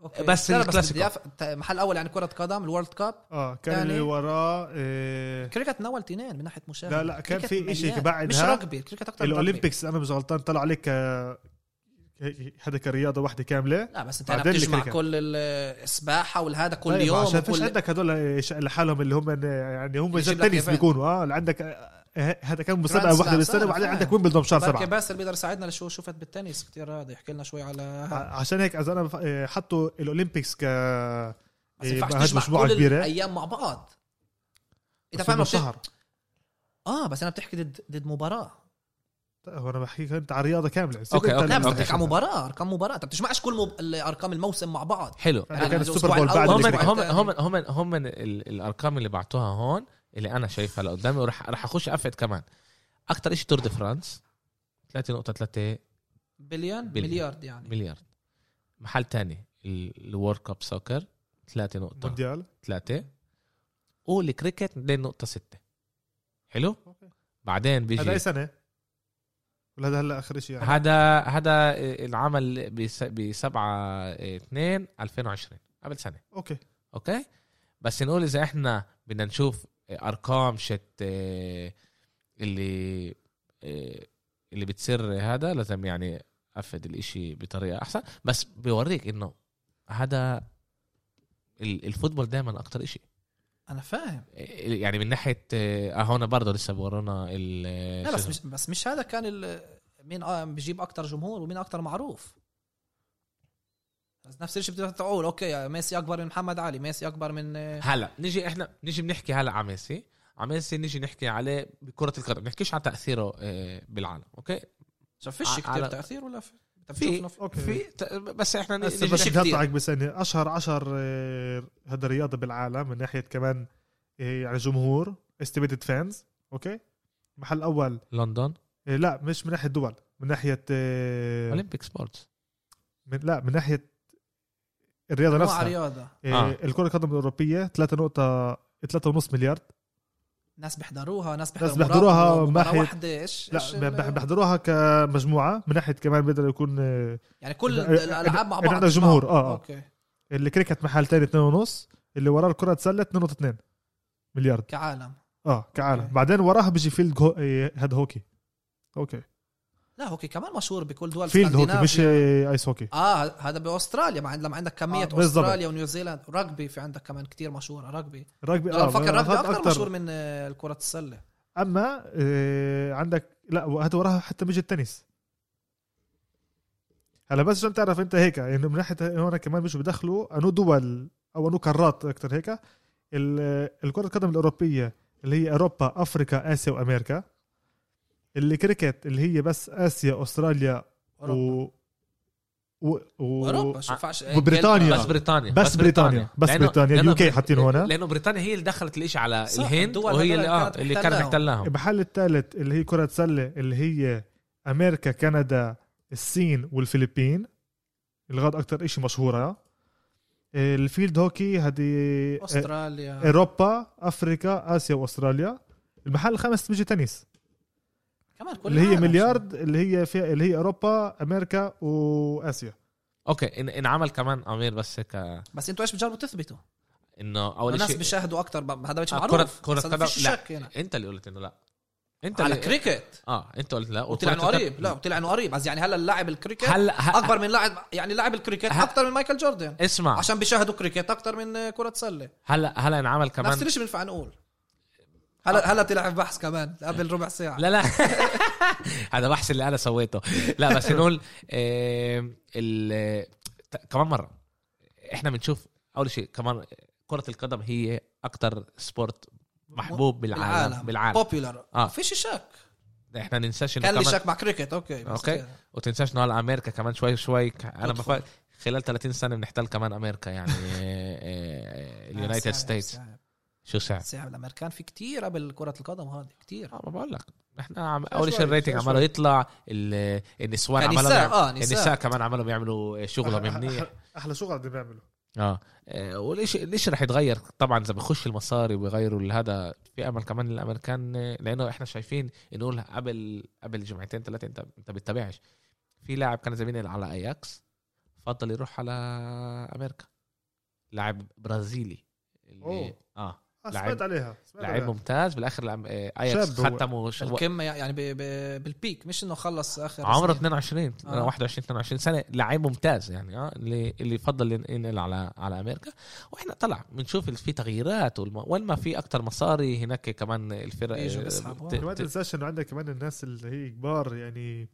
أوكي. بس لا، لا، الكلاسيكو. بدي أف- ت- محل اول يعني كره قدم الورلد كاب اه كان تاني. اللي وراه إيه كريكت من اول تنين من ناحيه مشاهده لا، لا، كان كريكت في إشي مليان. بعدها مش رجبي الكريكت اكثر من رجبي. الاولمبيكس انا مش غلطان طلع عليك هذا كرياضه واحده كامله لا بس انت هنا بعدين بتجمع الكريكت. كل ال- السباحه والهذا كل طيب، يوم عشان فيش وكل عندك هذول إيه، ش- لحالهم اللي هم يعني هم يجيب زي لك التنس event. بيكونوا اه اللي عندك آه، هذا كان Grand مسابقه Slam، واحده بالسنه صح، وبعدين فاهم. عندك ويمبلدون بشهر بركي سبعه باسل بيقدر يساعدنا لشو شفت بالتنس كثير هذا يحكي لنا شوي على ع- عشان هيك اذا انا بف- إيه، حطوا الاولمبيكس ك بس ما ينفعش بهاد تجمع مجموعة كل إيه، كبيرة. الايام مع بعض انت بس فاهم بدهم بتحكي- شهر اه بس انا بتحكي ضد ضد مباراه طيب، هو انا بحكيك انت على رياضه كامله سيب أوكي، انت أوكي. لا ال- بس أوكي. بتحكي على مباراه ارقام مباراه انت بتجمعش كل مب... ارقام الموسم مع بعض حلو هذا يعني كان الأسبوع السوبر بول بعد الأول هم الكريكت. هم هم هم هم ال- الارقام اللي بعتوها هون اللي انا شايفها لقدامي وراح راح اخش افقد كمان اكثر شيء تور دي فرانس 3.3 بليون بليون. مليارد يعني مليار محل تاني الورد كاب سوكر 3.3 طيب. مونديال والكريكت 2.6 حلو أوكي. بعدين هذا اي بيجي سنه ولا هذا هلا اخر شيء يعني هذا هذا العمل ب 7 2 2020 قبل سنه اوكي اوكي بس نقول اذا احنا بدنا نشوف ارقام شت آه، اللي آه، اللي بتصير هذا لازم يعني افد الاشي بطريقه احسن بس بيوريك انه هذا ال- الفوتبول دائما اكتر اشي انا فاهم يعني من ناحيه آه هون برضه لسه بورونا ال لا بس مش بس مش هذا كان ال... مين آه بجيب اكثر جمهور ومين اكثر معروف بس نفس الشيء بتقدر تقول اوكي ميسي اكبر من محمد علي ميسي اكبر من آه، هلا نيجي احنا نيجي بنحكي هلا على ميسي على ميسي نيجي نحكي عليه بكره القدم نحكيش على تاثيره آه، بالعالم اوكي شو فيش ع- كثير على- تاثير ولا في في- بتشوف اوكي في ت- بس احنا ن- بس نيجي بس نحكي بقطعك بثانية أشهر عشر آه، هذا رياضة بالعالم من ناحية كمان آه، يعني جمهور استيميتد فانز أوكي محل أول لندن آه، لا مش من ناحية دول من ناحية إيه. آه، اولمبيك سبورتس من لا من ناحية الرياضة نوع نفسها رياضه آه. آه. الكرة القدم الأوروبية 3 نقطة 3.5 مليار ناس بيحضروها ناس بيحضروا بيحضروها مباراة- مباراة ناحية- واحدة ايش إيش لا ال- بح- بيحضروها كمجموعة من ناحية كمان بيقدر يكون آه، يعني كل إذا- الالعاب مع إذا بعض عندك جمهور، آه، آه. اوكي الكريكت محل تاني 2.5 اللي وراه الكرة تسلة 2.2 مليار كعالم اه كعالم أوكي. بعدين وراها بيجي فيلد هو... إيه، هاد هوكي اوكي لا هوكي كمان مشهور بكل دول فيلد هوكي مش اسكندنافيا. إيه، ايس هوكي اه هذا باستراليا مع لما عندك كميه آه، آه بالضبط. استراليا ونيوزيلاند رugby في عندك كمان كتير مشهوره رجبي رجبي انا اه بفكر أعتقد رجبي اكثر أكتر. مشهور من آه، كره السله اما إيه عندك لا هات وراها حتى بيجي التنس هلا بس عشان تعرف انت هيك يعني من ناحيه هون كمان مش بدخلوا انو دول او انو قارات اكثر هيك ال- الكره القدم الاوروبيه اللي هي اوروبا افريقيا اسيا وامريكا الكريكت اللي هي بس اسيا استراليا اوروبا و و, و... اوروبا شو فعش وبريطانيا. بس بريطانيا بس بريطانيا بس لأنه- بريطانيا لأنه اليو كي حاطين هون لانه بريطانيا هي اللي دخلت الاشي على صح، الهند الدول وهي هذول اللي اللي اه كانت اللي كانت محتلاهم. محتلاهم المحل الثالث اللي هي كرة سلة اللي هي أمريكا كندا الصين والفلبين الغاد أكتر إشي مشهورة الفيلد هوكي هذه استراليا أوروبا أفريقيا آسيا وأستراليا المحل الخامس بيجي تنس كمان كل اللي هي العالم. مليارد اللي هي فيها اللي هي أوروبا أمريكا وآسيا اوكي إن- انعمل كمان امير بس هيك آه، بس انتوا ايش بتجربوا تثبتوا انه اول الناس شيء بيشاهدوا اكثر ب- هذا مش آه، معروف كرة- كرة بس هذا قدم- فيش لا. شك هنا انت اللي قلت انه لا انت على اللي كريكت اه انت قلت لا قلت انه قريب لا قلت انه قريب بس يعني هلا اللاعب الكريكت هلا ه- اكبر من لاعب يعني لاعب الكريكت ه- آه. اكثر من مايكل جوردن اسمع عشان بيشاهدوا كريكت اكثر من آه، كره سله هلا هلا انعمل كمان آه. نفس الشيء بينفع نقول هلا هلا تلعب بحث كمان قبل ربع ساعه لا لا هذا بحث اللي انا سويته لا بس نقول آم، ال- ت- كمان مره احنا بنشوف اول شيء كمان كره القدم هي اكتر سبورت محبوب بالعالم بالعالم بوبيولار آه. آه. فيش شك احنا ننساش انه كان لي كمان شك مع كريكت اوكي بس أوكي. كده. وتنساش انه هلا امريكا كمان شوي شوي ك- انا تدخل. بفكر خلال 30 سنه بنحتل كمان امريكا يعني اليونايتد آه، صعب، ستيتس صعب. شو ساعة صعب الامريكان في كتير قبل كره القدم هذه كتير اه ما بقول لك احنا عم اول شيء شوي، الريتنج شوي. عماله يطلع ال- النسوان عمالهم كنساء، يعملوا- آه، نساء. النساء يعني كمان عمالهم يعملوا آه، شغلهم أح- منيح أح- أحلى شغل بدهم يعملوا اه آه، وليش ليش رح يتغير طبعا اذا بخش المصاري ويغيروا هذا في امل كمان الامريكان آه، لانه احنا شايفين نقول قبل قبل جمعتين ثلاثه انت انت بتتابعش في لاعب كان زميلي على اياكس فضل يروح على امريكا لاعب برازيلي اللي- أوه. اه آه، لعب- سمعت عليها سمعت لاعب عليها ممتاز بالاخر الأم- آه، شاب اياكس هو. ختمه ش- الكم يعني ب... ب... بالبيك مش انه خلص اخر عمره سنين. 22 آه. 21 22 سنه لعيب ممتاز يعني اه اللي اللي فضل ين- ينقل على على امريكا واحنا طلع بنشوف ال- في تغييرات والم- وين ما في اكتر مصاري هناك كمان الفرق بيجوا آه، بيسحبوا. ت- كمان ت- تنساش انه عندك كمان الناس اللي هي كبار يعني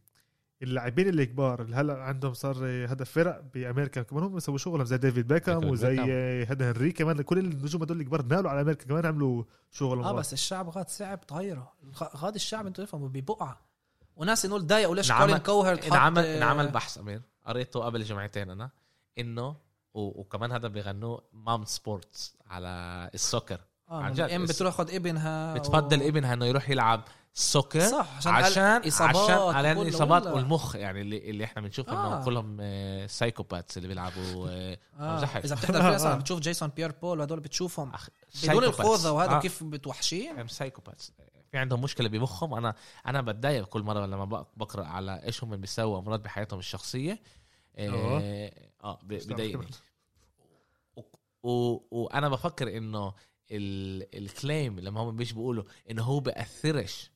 اللاعبين اللي كبار اللي هلا عندهم صار هذا فرق بامريكا كمان هم بيسووا شغلهم زي ديفيد بيكهام ديفيد وزي بيكهام. هذا هنري كمان كل النجوم هدول الكبار نالوا على امريكا كمان عملوا شغل آه، اه بس الشعب غاد صعب تغيره الغ- غاد الشعب انتوا تفهموا ببقعه وناس انه ضايقوا ليش انعمل- كولين كوهر انعمل آه، انعمل بحث امير قريته قبل جمعتين انا انه و- وكمان هذا بيغنوه مام سبورتس على السوكر عن عن جد. جد ام بتاخذ ابنها بتفضل ابنها انه يروح يلعب سوكر آه، صح عشان عشان إصابات عشان على وكله الاصابات ولا. والمخ يعني اللي, اللي احنا بنشوف انه آه. كلهم سايكوباتس اللي بيلعبوا آه، آه. بمزحش. اذا بتحضر فيصل بتشوف جيسون بيير بول وهدول بتشوفهم أخ- بدون psychopaths. الخوذه وهذا آه، كيف بتوحشين هم سايكوباتس في عندهم مشكله بمخهم انا انا بتضايق كل مره لما بق- بقرا على ايش هم بيسووا امراض بحياتهم الشخصيه اه, آه ب- بضايقني و- وانا بفكر انه ال- الكليم لما هم مش بيقولوا انه هو بأثرش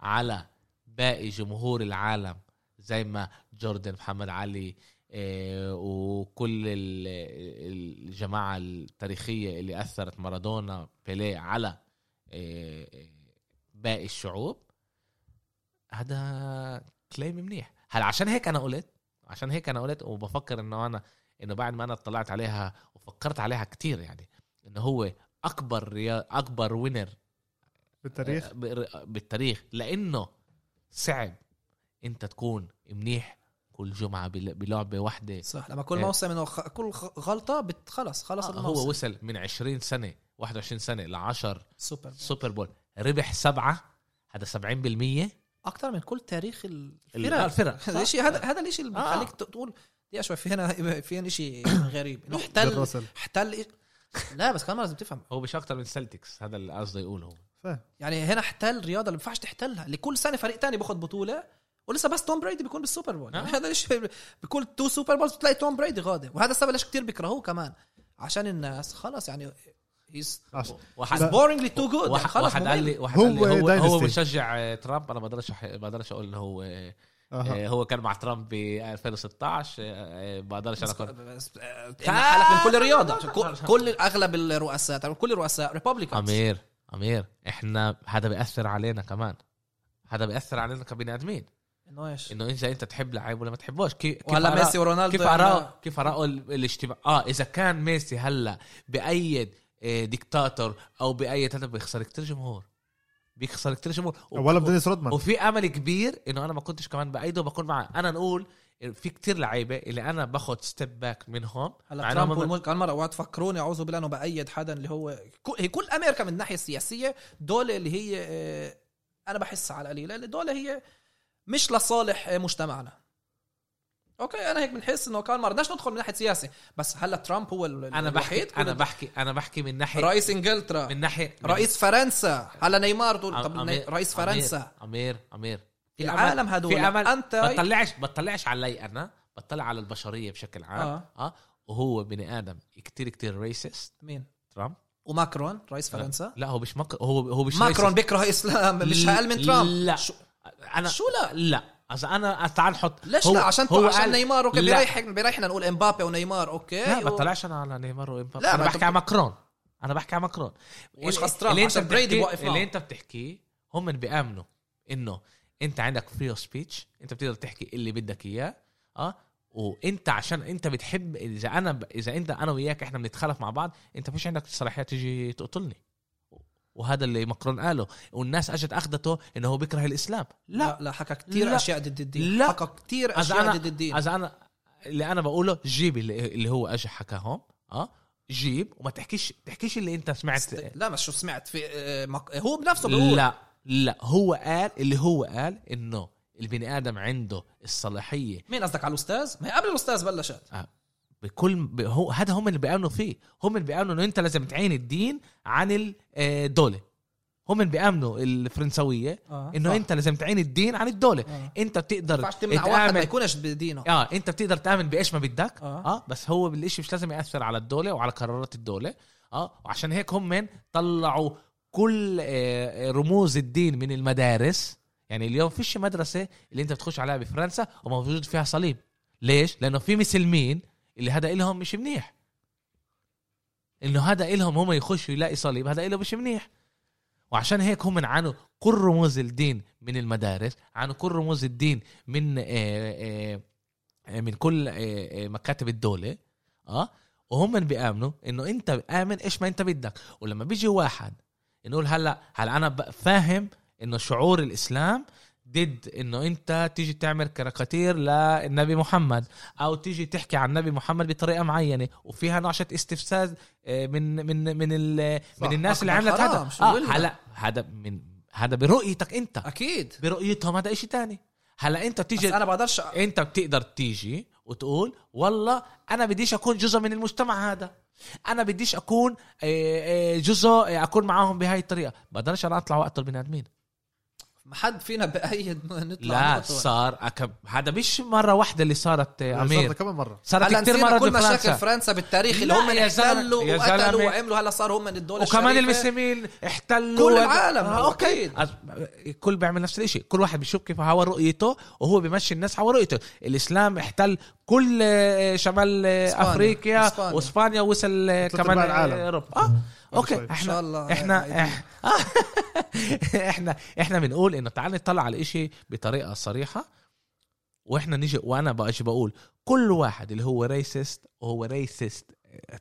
على باقي جمهور العالم زي ما جوردن محمد علي آه، وكل ال- ال- الجماعه التاريخيه اللي اثرت مارادونا بيليه على آه، باقي الشعوب هذا كليم منيح هلا عشان هيك انا قلت عشان هيك انا قلت وبفكر انه انا انه بعد ما انا اطلعت عليها وفكرت عليها كتير يعني انه هو اكبر ريا... اكبر وينر بالتاريخ آه، بالتاريخ لانه صعب انت تكون منيح كل جمعه بل- بلعبه واحده صح لما كل إيه. موسم انه خ- كل خ- غلطه بت- خلص خلص آه، الموسم هو وصل من 20 سنه 21 سنه ل 10 سوبر سوبر بول ربح سبعه هذا 70% اكثر من كل تاريخ الفرق الفرق الفرق هذا الشيء هذا هذا الشيء اللي آه. بخليك ت- تقول دي شوي في هنا في هنا شيء غريب انه جل احتل راسل احتل إيش- لا بس كمان لازم تفهم هو مش اكتر من سلتكس هذا اللي قصده يقوله هو فاهم يعني هنا احتل رياضه اللي ما ينفعش تحتلها لكل سنه فريق تاني بياخد بطوله ولسه بس توم بريدي بيكون بالسوبر بول يعني آه. هذا الشيء بكل تو سوبر بولز بتلاقي توم بريدي غادي وهذا السبب ليش كتير بيكرهوه كمان عشان الناس خلاص يعني هيز عشان- واحد بورينجلي تو جود واحد, خلاص واحد ممل. قال لي واحد هو قال لي هو, هو Dynasty. مشجع آه، ترامب انا ما بقدرش أح- ما بقدرش اقول انه هو آه، أها. هو كان مع ترامب ب 2016 آه، آه، ما بقدرش انا بس- اكون بس- آه، إنك حالك من كل الرياضه كل- كل اغلب الرؤساء طبعاً كل الرؤساء ريببليكانز امير امير احنا هذا بياثر علينا كمان هذا بياثر علينا كبني ادمين انه ايش انه انت انت تحب لعيب ولا ما تحبوش كي- كيف وهلا آراء- ميسي ورونالدو كيف اراء كيف اراء ال- الاجتماع اه اذا كان ميسي هلا بايد آه، ديكتاتور او بايد هذا بيخسر كتير جمهور بيخسر كتير جمهور ولا بدينيس رودمان وفي امل كبير انه انا ما كنتش كمان بايده بكون معاه انا نقول في كتير لعيبه اللي انا باخد ستيب باك منهم مع هلا إنهم ترامب هم- والملك كان مره اوعى تفكروني اعوذ بالله انه بايد حدا اللي هو كل هي كل امريكا من الناحيه السياسيه دول اللي هي آه، انا بحس على القليله اللي دول هي مش لصالح آه، مجتمعنا اوكي انا هيك بنحس انه كان مره بدناش ندخل من ناحيه سياسه بس هلا ترامب هو ال- انا بحكي الوحيد انا بحكي انا بحكي من ناحيه رئيس انجلترا من ناحيه من- رئيس فرنسا هلا نيمار دول أم- طب أمير- رئيس فرنسا امير امير في أمل- العالم هدول في امل انت بطلعش بطلعش علي انا بطلع على البشريه بشكل عام آه. اه, آه. وهو بني ادم كتير كتير ريسست مين ترامب وماكرون رئيس فرنسا لا هو آه. مش مك... هو هو مش ماكرون racist. بيكره اسلام مش اقل من ترامب لا شو- انا شو لا لا اذا انا تعال نحط ليش هو- لا عشان هو عشان قال- نيمار اوكي لا. بيريح بيريحنا نقول امبابي ونيمار اوكي لا و- ما طلعش انا على نيمار وامبابي لا، انا ما بحكي طب- على ماكرون انا بحكي على ماكرون ومش ال- خاص ترامب، اللي انت عشان بريدي بتحكيه- بوقف معه. اللي انت بتحكيه هم اللي بيامنوا انه انت عندك فري سبيتش انت بتقدر تحكي اللي بدك اياه اه وانت عشان انت بتحب اذا انا ب... اذا انت انا وياك احنا بنتخالف مع بعض انت مش عندك صلاحيه تيجي تقتلني وهذا اللي ماكرون قاله والناس اجت اخذته انه هو بيكره الاسلام لا لا لا حكى كثير لا. اشياء ضد الدين لا. حكى كثير إذا اشياء أنا- ضد الدين اذا انا اللي انا بقوله جيب اللي, اللي هو اجى حكاهم اه جيب وما تحكيش تحكيش اللي انت سمعت است- لا مش شو سمعت في آه، مق- هو بنفسه بيقول لا لا هو قال اللي هو قال انه البني ادم عنده الصلاحيه مين قصدك على الاستاذ؟ ما هي قبل الاستاذ بلشت بكل ب- هو هذا هم اللي بيامنوا فيه هم اللي بيامنوا انه انت لازم تعين الدين عن ال- آه، الدوله هم اللي بيامنوا الفرنسويه آه، صح. انه انت لازم تعين الدين عن الدوله آه. انت ما بتقدر ينفعش تمنع واحد ما تآمن- يكونش بدينه اه انت بتقدر تامن بايش ما بدك آه. اه, آه بس هو بالشيء مش لازم ياثر على الدوله وعلى قرارات الدوله اه وعشان هيك هم من طلعوا كل آه، آه، رموز الدين من المدارس يعني اليوم فيش مدرسه اللي انت بتخش عليها بفرنسا وموجود فيها صليب ليش لانه في مسلمين اللي هذا إلهم مش منيح انه هذا إلهم هم يخشوا يلاقي صليب هذا إله مش منيح وعشان هيك هم عانوا كل رموز الدين من المدارس عانوا كل رموز الدين من آه، آه، آه، من كل آه، آه، مكاتب الدوله اه وهم من بيامنوا انه انت امن ايش ما انت بدك ولما بيجي واحد نقول هلا هلا انا ب- فاهم انه شعور الاسلام ضد انه انت تيجي تعمل كاريكاتير للنبي محمد او تيجي تحكي عن النبي محمد بطريقه معينه وفيها نعشه استفزاز آه، من من من ال- صح. من الناس اللي أكبر عملت حرام، هذا شو آه بقول لك؟ هلا هذا من هذا برؤيتك انت اكيد برؤيتهم هذا إشي تاني هلا انت بس بتيجي انا بقدرش انت بتقدر تيجي وتقول والله انا بديش اكون جزء من المجتمع هذا انا بديش اكون آه، آه، جزء آه، اكون معاهم بهاي الطريقه بقدرش انا اطلع واقتل بني ادمين ما حد فينا بايد إنه نطلع لا نقطة. صار أكب... هذا مش مره واحده اللي صارت آه، صار امير كمان مره صارت هلا كثير نسينا مرات كل مشاكل بفرنسا فرنسا بالتاريخ اللي لا، هم يا زلمة، احتلوا يا زلمة. وقتلوا وعملوا هلا صاروا هم الدول وكمان الشريفة. المسلمين احتلوا كل وب- العالم آه، اوكي أكيد. أز- كل بيعمل نفس الشيء كل واحد بيشوف كيف هو رؤيته وهو بيمشي الناس على رؤيته الاسلام احتل كل آه، شمال آه، إسبانيا. افريقيا إسبانيا. واسبانيا وصل آه، ثلاث كمان أرباع العالم. آه، اوروبا اه اوكي شوي. ان شاء احنا الله يعني احنا إح- احنا احنا بنقول انه تعال نطلع على الاشي بطريقه صريحه واحنا نيجي وانا بقاش بقول كل واحد اللي هو ريسست وهو ريسست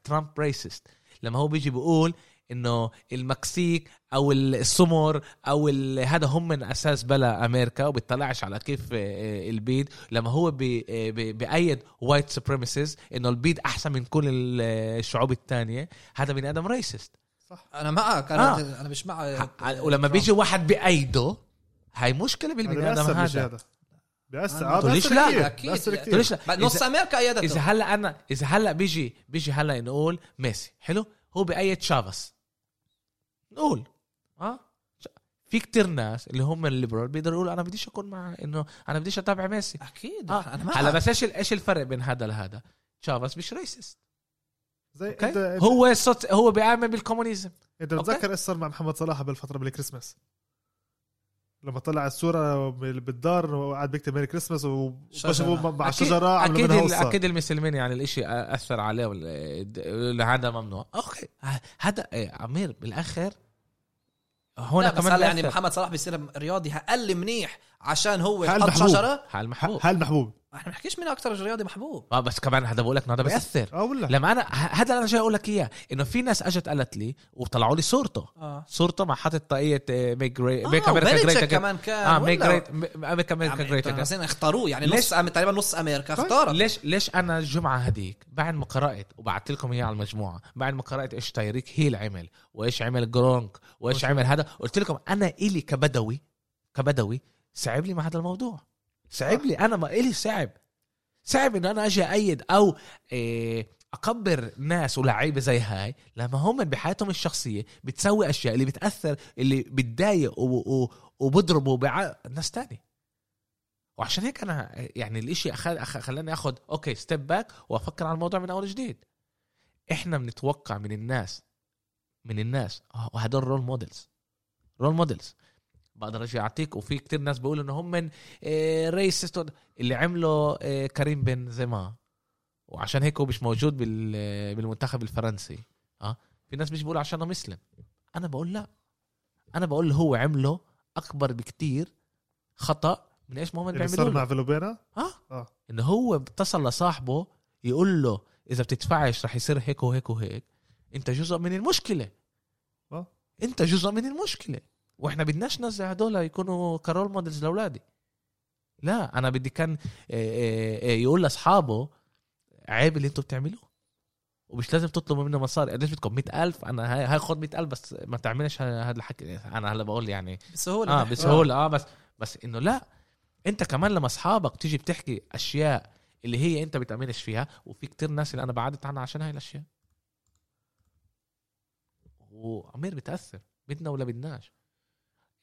ترامب ريسست لما هو بيجي بيقول انه المكسيك او السمر او ال- هذا هم من اساس بلا امريكا وبيطلعش على كيف آه، آه، البيض لما هو بي آه، بي بايد وايت سوبريمسيز انه البيض احسن من كل ال- آه، الشعوب الثانيه هذا بني ادم ريسست انا معك انا آه. انا مش مع ولما بيجي واحد بايده هاي مشكله بالبني ادم بيأثر مش هذا هذا بيأثر أنا اه ما آه، تقوليش بيأثر لا. كتير، أكيد. بيأثر كتير. تقوليش لا. بقى نص امريكا اذا ايدته هلا انا اذا هلا بيجي بيجي هلا نقول ميسي حلو هو بأيد شافاس نقول اه ش- في كتير ناس اللي هم الليبرال بيقدروا يقولوا انا بديش اكون مع انه انا بديش اتابع ميسي اكيد آه. انا هلا معك بس ايش ال- ايش الفرق بين هذا لهذا شافاس مش ريسست زي أوكي؟ انت انت- هو صوت هو بيآمن بالكومونيزم انت أوكي. بتذكر ايش صار مع محمد صلاح بالفتره بالكريسماس لما طلع الصوره بال- بالدار وقعد بيكتب ميري كريسماس وبشبه شجرة. مع أكيد- شجره عملوا اكيد منها ال- قصة. اكيد المسلمين يعني الاشي اثر عليه وال- د- هذا ممنوع اوكي ه- هذا إيه، عمير بالاخر هون لا بس كمان هلا يعني بيأثر. محمد صلاح بيصير رياضي اقل منيح عشان هو هل حط محبوب؟ شجره حال محبوب هل محبوب احنا بنحكيش مين اكثر رياضي محبوب اه بس كمان هذا بقول لك إنه هذا بياثر اه ولا لما انا ه- هذا اللي انا جاي اقول لك اياه انه في ناس اجت قالت لي وطلعوا لي صورته اه صورته مع حاطط إيه، طاقيه ميك جري ميك امريكا جريت امريكا اجين آه، كمان كان اه ميك ولا- جريت ميك امريكا عم- جريت عم- اجين عم- اختاروه يعني ليش؟ نص أم- تقريبا نص امريكا طيب، اختارت ليش ليش انا الجمعه هذيك بعد ما قرات وبعثت لكم اياه على المجموعه بعد ما قرات ايش تايريك هيل عمل وايش عمل جرونك وايش عمل هذا قلت لكم انا الي كبدوي كبدوي صعب لي مع هذا الموضوع صعب لي انا ما الي صعب صعب ان انا اجي ايد او إيه اكبر ناس ولاعيبه زي هاي لما هم بحياتهم الشخصيه بتسوي اشياء اللي بتاثر اللي بتضايق و- و- وبضربوا بع ناس تاني وعشان هيك انا يعني الاشي أخل... أخ... خلاني اخد اوكي ستيب باك وافكر على الموضوع من اول جديد احنا بنتوقع من الناس من الناس آه، وهدول رول مودلز رول مودلز بقدر اجي اعطيك وفي كتير ناس بيقولوا ان هم من ريسست اللي عمله آه، كريم بنزيما وعشان هيك هو مش موجود بال... آه، بالمنتخب الفرنسي اه في ناس مش بيقولوا عشانه مسلم انا بقول لا انا بقول اللي هو عمله اكبر بكتير خطا من ايش محمد اللي بيعملوه يعني صار له. مع فيلوبينا اه اه ان هو اتصل لصاحبه يقول له اذا بتدفعش رح يصير هيك وهيك وهيك انت جزء من المشكله آه. انت جزء من المشكله واحنا بدناش نزع هدول يكونوا كرول مودلز لاولادي لا انا بدي كان آه، آه، آه، يقول لاصحابه عيب اللي انتم بتعملوه ومش لازم تطلبوا منه مصاري قديش بدكم 100000 انا هاي- هاي خد 100000 بس ما تعملش ه- هذا الحكي انا هلا بقول يعني بسهوله اه نحكي. بسهوله اه بس بس انه لا انت كمان لما اصحابك تيجي بتحكي اشياء اللي هي انت بتامنش فيها وفي كتير ناس اللي انا بعدت عنها عشان هاي الاشياء وعمير بتاثر بدنا ولا بدناش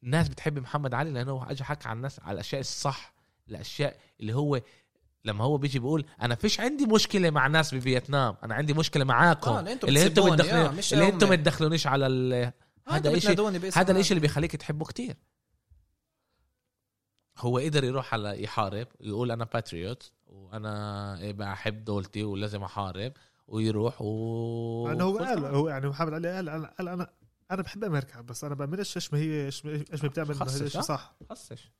الناس بتحب محمد علي لانه اجى حكى عن الناس على الاشياء الصح الاشياء اللي هو لما هو بيجي بيقول انا فيش عندي مشكله مع ناس بفيتنام انا عندي مشكله معاكم آه، اللي انتم اللي انتم بتسبوني، بتدخلوني آه، مش اللي أمي. انتم بتدخلونيش على ال... آه، أنتوا هذا الشيء بتنادوني باسم هذا الاشي اللي بيخليك تحبه كتير هو قدر يروح على يحارب يقول انا باتريوت وانا بحب إيه دولتي ولازم احارب ويروح و يعني هو قال هو يعني محمد علي قال قال, قال انا انا بحب امريكا بس انا بامنش ايش ما هي ايش ما إيش ما بتعمل خصص، هذا الشيء آه. صح خصش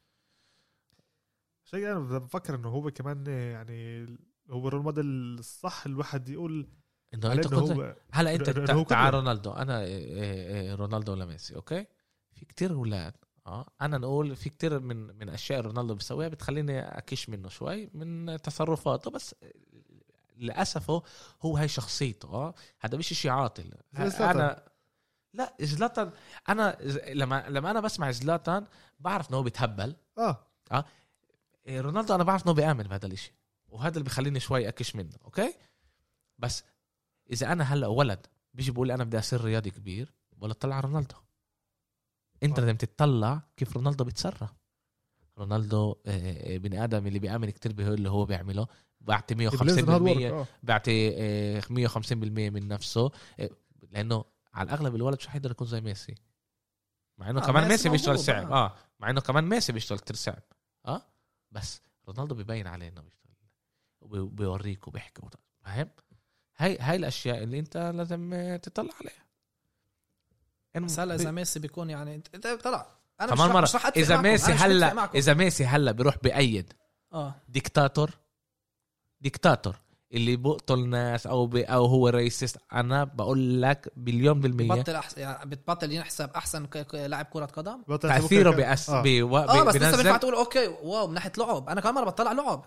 شيء انا بفكر انه هو كمان يعني هو الرول موديل الصح الواحد يقول انه على انت انه كنت هو هلا انت إنه هو تع- تعال كده. رونالدو انا إيه، إيه، إيه، رونالدو ولا ميسي اوكي في كتير اولاد اه انا نقول في كتير من من اشياء رونالدو بيسويها بتخليني اكش منه شوي من تصرفاته بس للاسف هو هاي شخصيته اه هذا مش شيء عاطل زي زلاتان. انا لا زلاتان انا ز- لما لما انا بسمع زلاتان بعرف انه هو بيتهبل اه إيه، رونالدو انا بعرف انه بيامن بهذا الاشي وهذا اللي بخليني شوي اكش منه اوكي بس اذا انا هلا ولد بيجي بقول لي انا بدي اصير رياضي كبير ولا تطلع على رونالدو انت آه. لازم تتطلع كيف رونالدو بيتسرى رونالدو آه، آه، بني ادم اللي بيامن كتير بهو اللي هو بيعمله بعطي 150% بليزن هارد ورك اه بعطي آه، 150% من نفسه آه، لانه على الاغلب الولد مش حيقدر يكون زي ميسي مع انه آه، كمان ميسي ميسي بيشتغل موهوب، صعب آه. اه مع انه كمان ميسي بيشتغل كتير صعب اه بس رونالدو ببين عليه انه بيشتغل وبي- بيوريك وبيحكي وط- فاهم هاي هاي الاشياء اللي انت لازم آه، تطلع عليها إن- بس هلا اذا ب- ميسي بيكون يعني انت- انت طلع انا مش كمان رح- مرة مش رح أتفق اذا معكم، ميسي أنا مش متفق هلا معكم. اذا ميسي هلا بيروح بأيد اه ديكتاتور ديكتاتور اللي بقتل ناس او ب... او هو ريسست انا بقول لك بليون بالمية بطل أحس... يعني بتبطل ينحسب احسن ك... ك- لاعب كره قدم بطل تاثيره ممكن- بأس آه. بي... و... اه بس لسه بينفع تقول اوكي واو من ناحيه لعب انا كمان مره بطلع لعب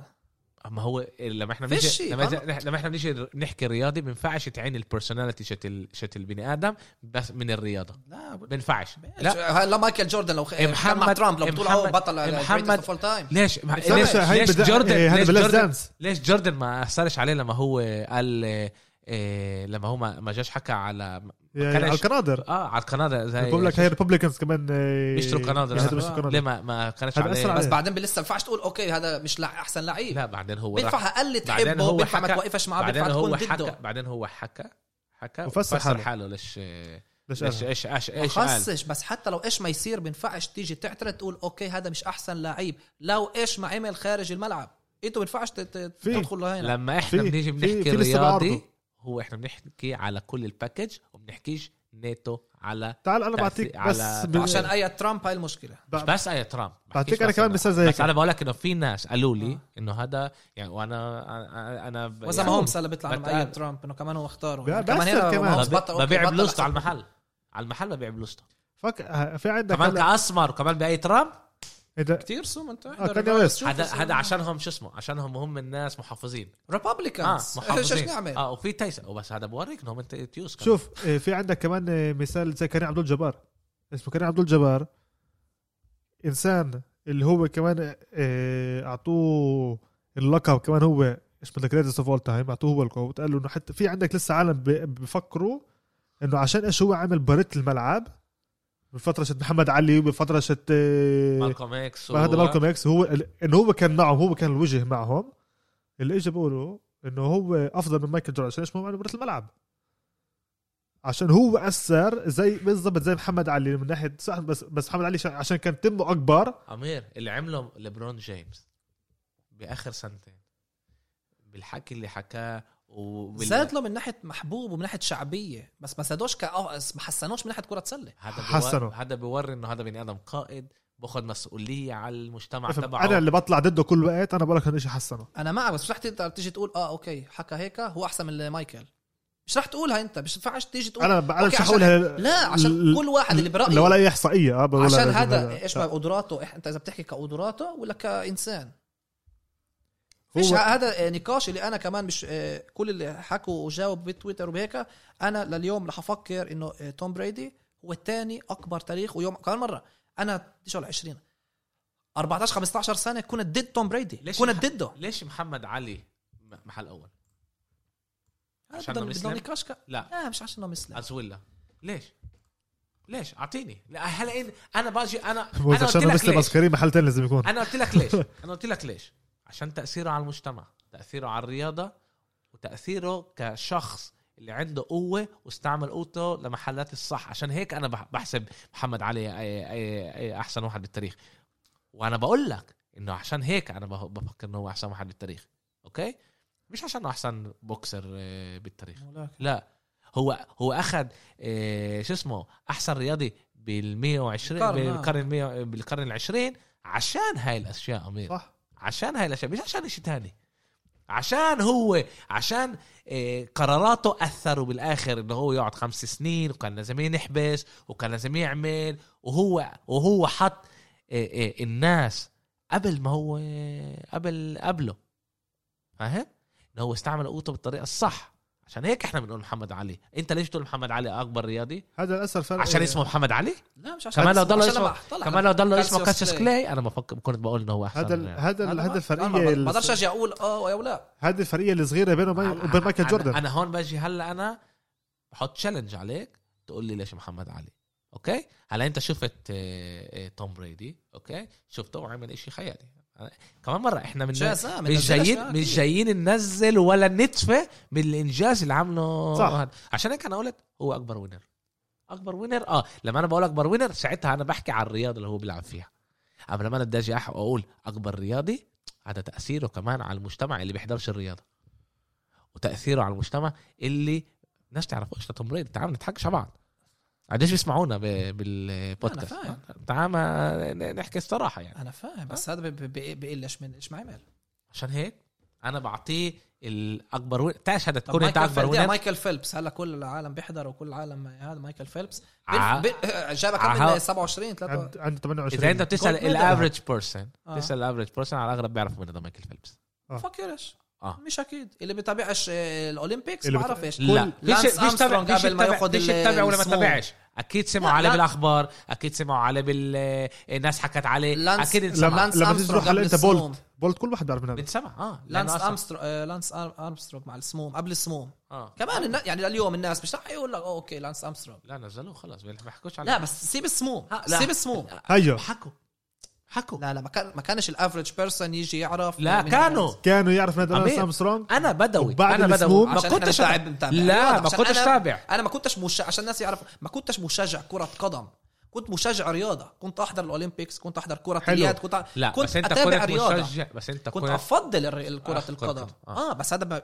ما هو لما احنا فيش بنيجي شيء، آه. لما, غلط. إحنا- لما احنا بنيجي نحكي رياضي بينفعش تعين البرسوناليتي شت ال... شت البني ادم بس من الرياضه لا ب- بينفعش لا لا هلا مايكل جوردن لو خ... كان مع محمد- ترامب لو بتقول محمد- اه بطل محمد- فول تايم ليش مع- بينفعش. ليش لسه هاي ليش بدا- جوردن هاي ليش بلاش جوردن دانس. ليش جوردن ما اثرش عليه لما هو قال آه، آه، لما هو ما ما جاش حكى على يعني على القنادر اه على القناه زي بقول لك هاي ريبوبليكنز كمان آه، بيشتروا قنادر بيشتروا آه. قنادر. ليه ما ما كانش هذا أثر عليه بس عليه. بعدين لسه ما ينفعش تقول اوكي هذا مش لع... احسن لعيب لا بعدين هو بينفع راح اقل بعدين تحبه هو بينفع ما حكى- توقفش معاه بعدين بينفع تكون هو حكى ضده بعدين هو حكى حكى وفسر وفسر حاله. حاله ليش ليش ليش قالها؟ ايش ايش ايش قال خصش بس حتى لو ايش ما يصير بينفعش تيجي تعترض تقول اوكي هذا مش احسن لعيب لو ايش ما عمل خارج الملعب انتوا بينفعش تت- تت- في. تدخلوا هنا لما احنا في- بنيجي في- بنحكي في لسه رياضي بعرضه. هو احنا بنحكي على كل الباكج وبنحكيش نيتو على تعال انا تأثير بعطيك على- بس بال- عشان اي ترامب هاي المشكله بع- بس اي ترامب بعطيك بحكيش انا بس كمان إنه- مثال زي بس هيك انا بقول لك انه في ناس قالوا لي آه. انه هذا يعني وانا انا, أنا ب- وزي ما يعني هومس هلا بيطلع عنهم بتقال- اي ترامب انه كمان هو اختاره بي- يعني بيأثر كمان هنا كمان. هومس بب- بطل- أوكي، ببيع بطل بلوسته على أحسن. المحل على المحل ببيع بلوسته فك آه، في عندك كمان هلا كاسمر وكمان باي ترامب إذا- كثير سوم انت كاني ويست. هذا هذا عشانهم شو اسمه عشانهم هم الناس محافظين اه ريبابليكانز ايش محافظين نعمل اه وفي تيسا وبس هذا بوريك انهم انت تيوس كمان. شوف آه، في عندك كمان آه، مثال زي كريم عبد الجبار اسمه كريم عبد الجبار انسان اللي هو كمان آه، اعطوه اللقب كمان هو مش ذا جريتست اوف اول تايم اعطوه هو اللقب وقال له انه حتى في عندك لسه عالم بي- بيفكروا انه عشان ايش هو عامل بريت الملعب بفتره شت محمد علي وبفتره شت آه، مالكوم اكس و- هذا مالكوم اكس هو انه هو كان معهم هو كان الوجه معهم اللي اجى بيقولوا انه هو افضل من مايكل جوردن عشان ايش مهم على مباراه الملعب عشان هو اثر زي بالضبط زي محمد علي من ناحيه صح بس بس محمد علي عشان- عشان كان تمه اكبر امير اللي عمله ليبرون جيمس باخر سنتين بالحكي اللي حكاه وبال... زاد له من ناحيه محبوب ومن ناحيه شعبيه بس ما زادوش ك ما حسنوش من ناحيه كره سله هذا بيور- حسنه. هذا بيوري انه هذا بني ادم قائد باخذ مسؤوليه على المجتمع تبعه انا اللي بطلع ضده كل وقت انا بقول لك هذا شيء حسنه انا معك بس مش رح تقدر تيجي تقول اه اوكي حكى هيك هو احسن من مايكل مش رح تقولها انت مش ينفعش تيجي تقول انا انا أوكي، مش عشان- هقولها لا عشان ل- كل واحد اللي برايه لا ولا اي احصائيه اه بقول عشان أنا- هذا ايش ما قدراته إح- انت اذا بتحكي كقدراته ولا كانسان فيش هو هذا نقاش اللي انا كمان مش آه، كل اللي حكوا وجاوب بتويتر وبهيك انا لليوم رح افكر انه آه، توم بريدي هو الثاني اكبر تاريخ ويوم كمان مره انا شو 20 14 15 سنه كنت ضد توم بريدي ليش كنت الح- ضده ليش محمد علي م- محل اول هذا عشان بدنا- إنه بدنا مسلم؟ نقاش ك- لا لا مش عشان انه مسلم ازويلا ليش ليش اعطيني لا، هلا إن- انا باجي انا انا بس قلت عشان لك مسلم ليش عسكري محل تاني لازم يكون انا قلت لك ليش انا قلت لك ليش عشان تاثيره على المجتمع تاثيره على الرياضه وتاثيره كشخص اللي عنده قوه واستعمل قوته لمحلات الصح عشان هيك انا بح- بحسب محمد علي أي- أي- أي احسن واحد بالتاريخ وانا بقول لك انه عشان هيك انا بح- بفكر انه هو احسن واحد بالتاريخ اوكي مش عشان احسن بوكسر آه، بالتاريخ لا هو هو اخذ آه، شو اسمه احسن رياضي بال 120 بالقرن، آه. بالقرن 100 بالقرن العشرين عشان هاي الاشياء امير صح عشان هاي الاشياء مش عشان شيء تاني عشان هو عشان آه، قراراته اثروا بالاخر انه هو يقعد خمس سنين وكان لازم ينحبس وكان لازم يعمل وهو وهو حط آه، آه، الناس قبل ما هو آه، قبل قبله فاهم؟ انه هو استعمل قوته بالطريقه الصح عشان هيك احنا بنقول محمد علي انت ليش تقول محمد علي اكبر رياضي هذا الاثر فرق عشان اسمه محمد علي لا مش كمان لو ضل عشان اسمه- لما طلع- كمان لو ضل اسمه كاسيوس كاسيوس كلاي. كلاي انا بفكر كنت بقول انه هو احسن هذا ال- هذا ال- أنا هذا ما- الفرقيه أنا ما- ما بقدرش ال- ارجع اقول اه او لا هذه الفرقيه الصغيره بينه وبين أنا- وبين مايكل أنا- جوردن انا هون باجي هلا انا بحط تشالنج عليك تقول لي ليش محمد علي اوكي هلا انت شفت آه، آه، توم بريدي اوكي شفته وعمل إشي خيالي أنا- كمان مره احنا من جازاء، ما يعني. مش نزلش جايين مش لا، أكيد. جايين ننزل ولا نتفه بالانجاز اللي عامله صح. هاد. عشان هيك انا قلت هو اكبر وينر اكبر وينر اه لما انا بقول اكبر وينر ساعتها انا بحكي على الرياضه اللي هو بيلعب فيها اما لما انا بدي اجي أح- اقول اكبر رياضي هذا تاثيره كمان على المجتمع اللي بيحضرش الرياضه وتاثيره على المجتمع اللي ناس تعرفوش توم بريدي تعال ما نضحكش على بعض قديش بيسمعونا ب- بالبودكاست أنا فاهم. تعال ما ن- نحكي الصراحه يعني انا فاهم بس هذا ب- ب- بقلش من ايش ما عمل عشان هيك انا بعطيه الاكبر وين تعال شهاده طب تكون انت مايكل اكبر فيلبس وين مايكل فيلبس هلا كل العالم بيحضر وكل العالم هذا مايكل فيلبس ع- بي- بي- جاب عها- كم من 27 3 عند- عنده 28 اذا انت بتسال Gold medal. الافريج بيرسون آه. تسال الافريج بيرسون على الاغلب بيعرف مين هذا مايكل فيلبس فكرش آه. مش اكيد اللي بيتابعش آه، الاولمبيكس اللي بت- بعرفش لا ليش لانس ليش تابع أرمسترونج ليش قبل ما تتابع- ياخد ليش ال- تتابع ولا ما السمو. تتابعش اكيد سمعوا لا، عليه لا. بالاخبار اكيد سمعوا عليه بال الناس حكت عليه لانس- اكيد لا. انسمع لما لانس لما أرمسترونج تيجي تروح على قبل انت السموم. بولت بولت كل واحد بيعرف من هذا بنسمع اه لأنه لانس أصلاً- أرمسترو... آه، لانس أر- ارمسترونج مع السموم قبل السموم اه كمان النا... يعني اليوم الناس مش رح يقول لك "أوه، اوكي لانس ارمسترونج لا نزلوه خلص ما بيحكوش عليه لا بس سيب السموم ها، لا. سيب السموم هيو حكوا حكوا لا لا ما كان ما كانش الافرج بيرسون يجي يعرف لا مين كانوا هذا. كانوا يعرف من هذا عمير. سامسونج انا بدوي وبعد انا بدوي السموم- ما عشان إحنا كنتش متابع- متابع. لا أيوة، ما عشان كنتش أنا- تابع انا ما كنتش مش... عشان الناس يعرفوا ما كنتش مشجع كره قدم كنت مشجع رياضه كنت احضر الاولمبيكس كنت احضر كره حلو. اليد كنت لا كنت بس انت اتابع كنت رياضه مشجع بس انت كنت كنت افضل الر- كره كرة القدم القدم. آه. اه بس هذا ما-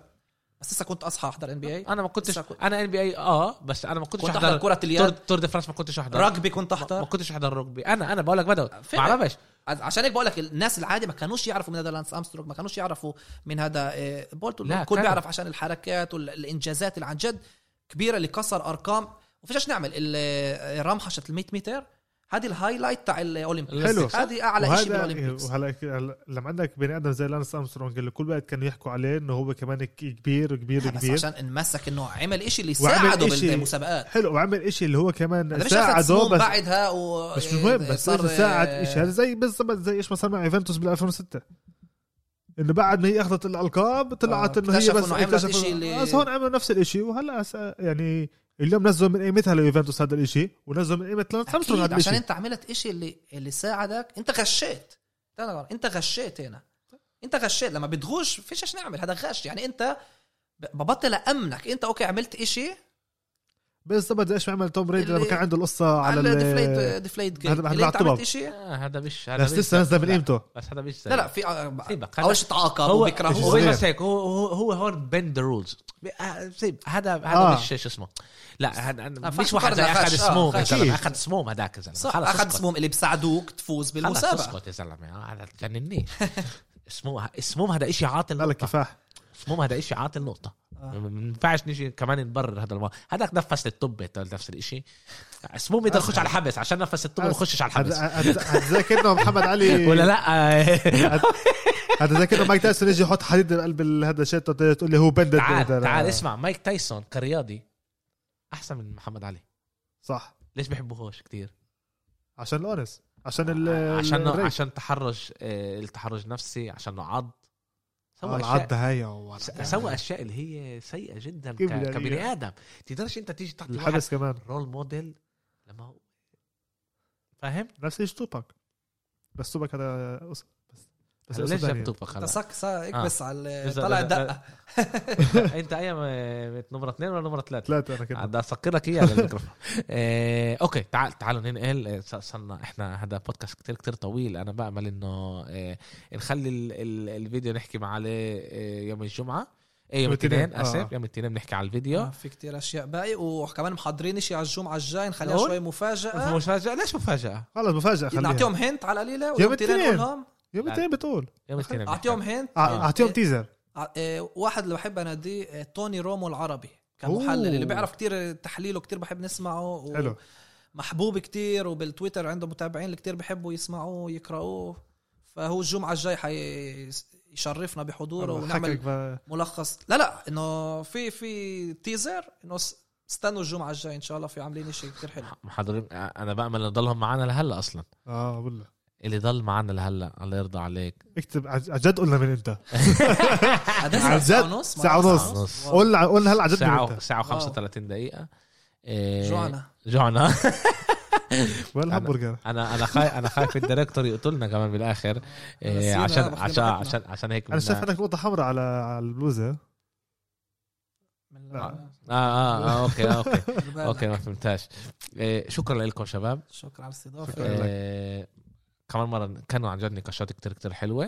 بس لسه كنت اصحى احضر ان بي اي انا ما كنتش لسه كنت- انا ان بي اي اه بس انا ما كنتش كنت احضر كره تور, اليد تور دي فرانس ما كنتش احضر رugby كنت ما احضر كنتش احضر ركبي انا انا بقول لك بدوي ما فعلا. اعرفش عشان هيك بقول لك الناس العادي ما كانوش يعرفوا من هذا لانس امسترونج ما كانوش يعرفوا من هذا آه، بولت لا، الكل كانوا. بيعرف عشان الحركات والانجازات اللي عن جد كبيره اللي كسر ارقام وفيش نعمل ال- الرمحه شت ال 100 متر هذه الهايلايت تاع الاولمبيكس حلو. هذه اعلى شيء بالاولمبيكس وهلا هلا- لما عندك بني ادم زي لانس امسترونج اللي كل وقت كانوا يحكوا عليه انه هو كمان ك- كبير كبير لا، بس كبير عشان انمسك انه عمل إشي اللي وعمل ساعده إشي- بالمسابقات حلو وعمل إشي اللي هو كمان هذا مش اخذ ساعده سموم بس بعدها و آه، بس مش مهم بس صار ساعد إشي هذا يعني زي بالضبط زي ايش ما صار مع يوفنتوس بال 2006 انه بعد ما هي اخذت الالقاب طلعت آه، انه هي اكتشفوا بس إنه عملت اكتشفوا- إشي اللي- بس هون عملوا نفس الاشي وهلا هسا يعني اليوم نزلوا من قيمتها ليوفنتوس هذا الاشي ونزلوا من قيمه لانس امسترونج أكيد هذا عشان الاشي انت عملت إشي اللي اللي ساعدك انت غشيت تعال غلط، انت غشيت هنا انت غشيت لما بتغش فيش ايش نعمل هذا غش يعني انت ب- ببطل امنك انت اوكي عملت إشي بالضبط زي ايش ما عمل توم بريدي لما اللي- كان عنده القصه على على ال- الديفليت ديفليت جيم هذا- هذا اللي انت بعتبر. عملت إشي آه، هذا مش هذا بس لسه نزل من لا، قيمته بس هذا مش لا لا في آه، سيبك، هذا- اول شيء تعاقب طيب. هو وبكره هو هو صغير. بس هيك هو هو هو هون بند ذا رولز سيب هذا هذا آه. مش شو اسمه لا هذا آه، مش فاحنا واحد زي فكرنا اخذ خش، آه، سموم يا خش. زلمه اخذ سموم هذاك يا زلمه صح خلص اخذ اسكت. سموم اللي بيساعدوك تفوز خلص بالمسابقه اسكت يا زلمه هذا تجنني سموم سموم هذا شيء عاطل لا لا نقطه كفاح سموم هذا شيء عاطل نقطه آه. ما ينفعش نجي كمان نبرر هذا الموضوع هذاك نفس للطب نفس الشيء سموم يقدر آه. يخش على الحبس عشان نفس الطب ما يخشش على الحبس هتذاكر انه محمد علي ولا لا آه. هتذاكر انه مايك تايسون يجي يحط حديد بقلب هذا الشيء تقول لي هو بندد تعال تعال اسمع مايك تايسون كرياضي احسن من محمد علي صح ليش بحبوهوش كتير عشان الاونس عشان ال عشان الريش. نوع عشان تحرج آه، التحرج نفسي عشان إنه عض آه، سوى العض اشياء هي هو س- سوى اشياء اللي هي سيئه جدا كيف بدي ك- أقول لك؟ كبني ادم تقدرش انت تيجي تحت واحد الحبس كمان رول موديل لما هو فاهم نفس الشيء توباك بس توباك هذا أس- بس بس ليش قصة تانية. جابتوك خلاص تسك ساك آه. بس على إذا- طلع إذا- دقه انت ايام آه، نمره اثنين ولا نمره ثلاثه ثلاثة انا كده بدي اسكر لك اياها للميكروفون آه، اوكي تعال تعالوا ننقل آه، ص- صرنا احنا هذا بودكاست كتير كتير طويل انا بامل انه آه، نخلي ال- ال- الفيديو نحكي مع عليه آه، يوم الجمعه آه، يوم يوم الاثنين، الاثنين آه. اسف يوم الاثنين بنحكي على آه، الفيديو في كتير اشياء باقي وكمان محضرين اشي على الجمعه الجاي نخليها نقول؟ شوي مفاجاه مفاجاه ليش مفاجاه؟ خلص مفاجأة خليها نعطيهم هنت على القليله يوم ويوم تنين الاثنين. نقولهم يوم الاثنين بتقول آه، يوم الاثنين بنحكي. اعطيهم هنت أع- اعطيهم تيزر ع- آه، واحد اللي بحب اناديه آه، توني رومو العربي أوه. كمحلل اللي بيعرف كتير تحليله كتير بحب نسمعه حلو محبوب كتير وبالتويتر عنده متابعين اللي كتير بيحبوا يسمعوه يقرأوه فهو الجمعة الجاي حي يشرفنا بحضوره ونعمل حكك بقى. ملخص لا لا انه في في تيزر انه س- استنوا الجمعة الجاي ان شاء الله في عاملين شيء كتير حلو محضرين آه، انا بامل انه ضلهم معنا لهلا اصلا اه والله اللي ضل معنا لهلا الله يرضى عليك اكتب عن عن جد قلنا من انت هذا عن ساعة جد؟ ونص ساعة مرة ونص. واو. قلنا قلنا هلا عن جد من ساعه انت ساعه و35 دقيقه آه، جوعنا جوعنا وين الهمبرجر انا انا خايف انا خايف الدايركتور يقتلنا كمان بالاخر إيه نسينا عشان ناخذ عشان راحتنا. عشان عشان هيك انا بدنا- شايف عندك نقطة حمراء على على البلوزة من- لا. آه, آه, اه اوكي اوكي بالك. اوكي ما فهمتهاش إيه شكرا لكم شباب شكرا على شكراً. الاستضافة إيه كمان مره كانوا عن جد نقاشات كتير كتير حلوه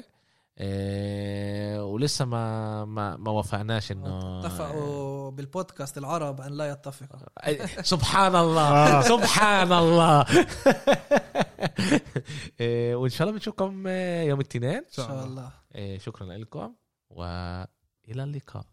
إيه ولسه ما ما ما وافقناش انه اتفقوا بالبودكاست العرب ان لا يتفقوا إيه، سبحان الله آه. سبحان الله إيه، وان شاء الله بنشوفكم آه، يوم الاثنين ان شاء الله إيه، شكرا لكم والى اللقاء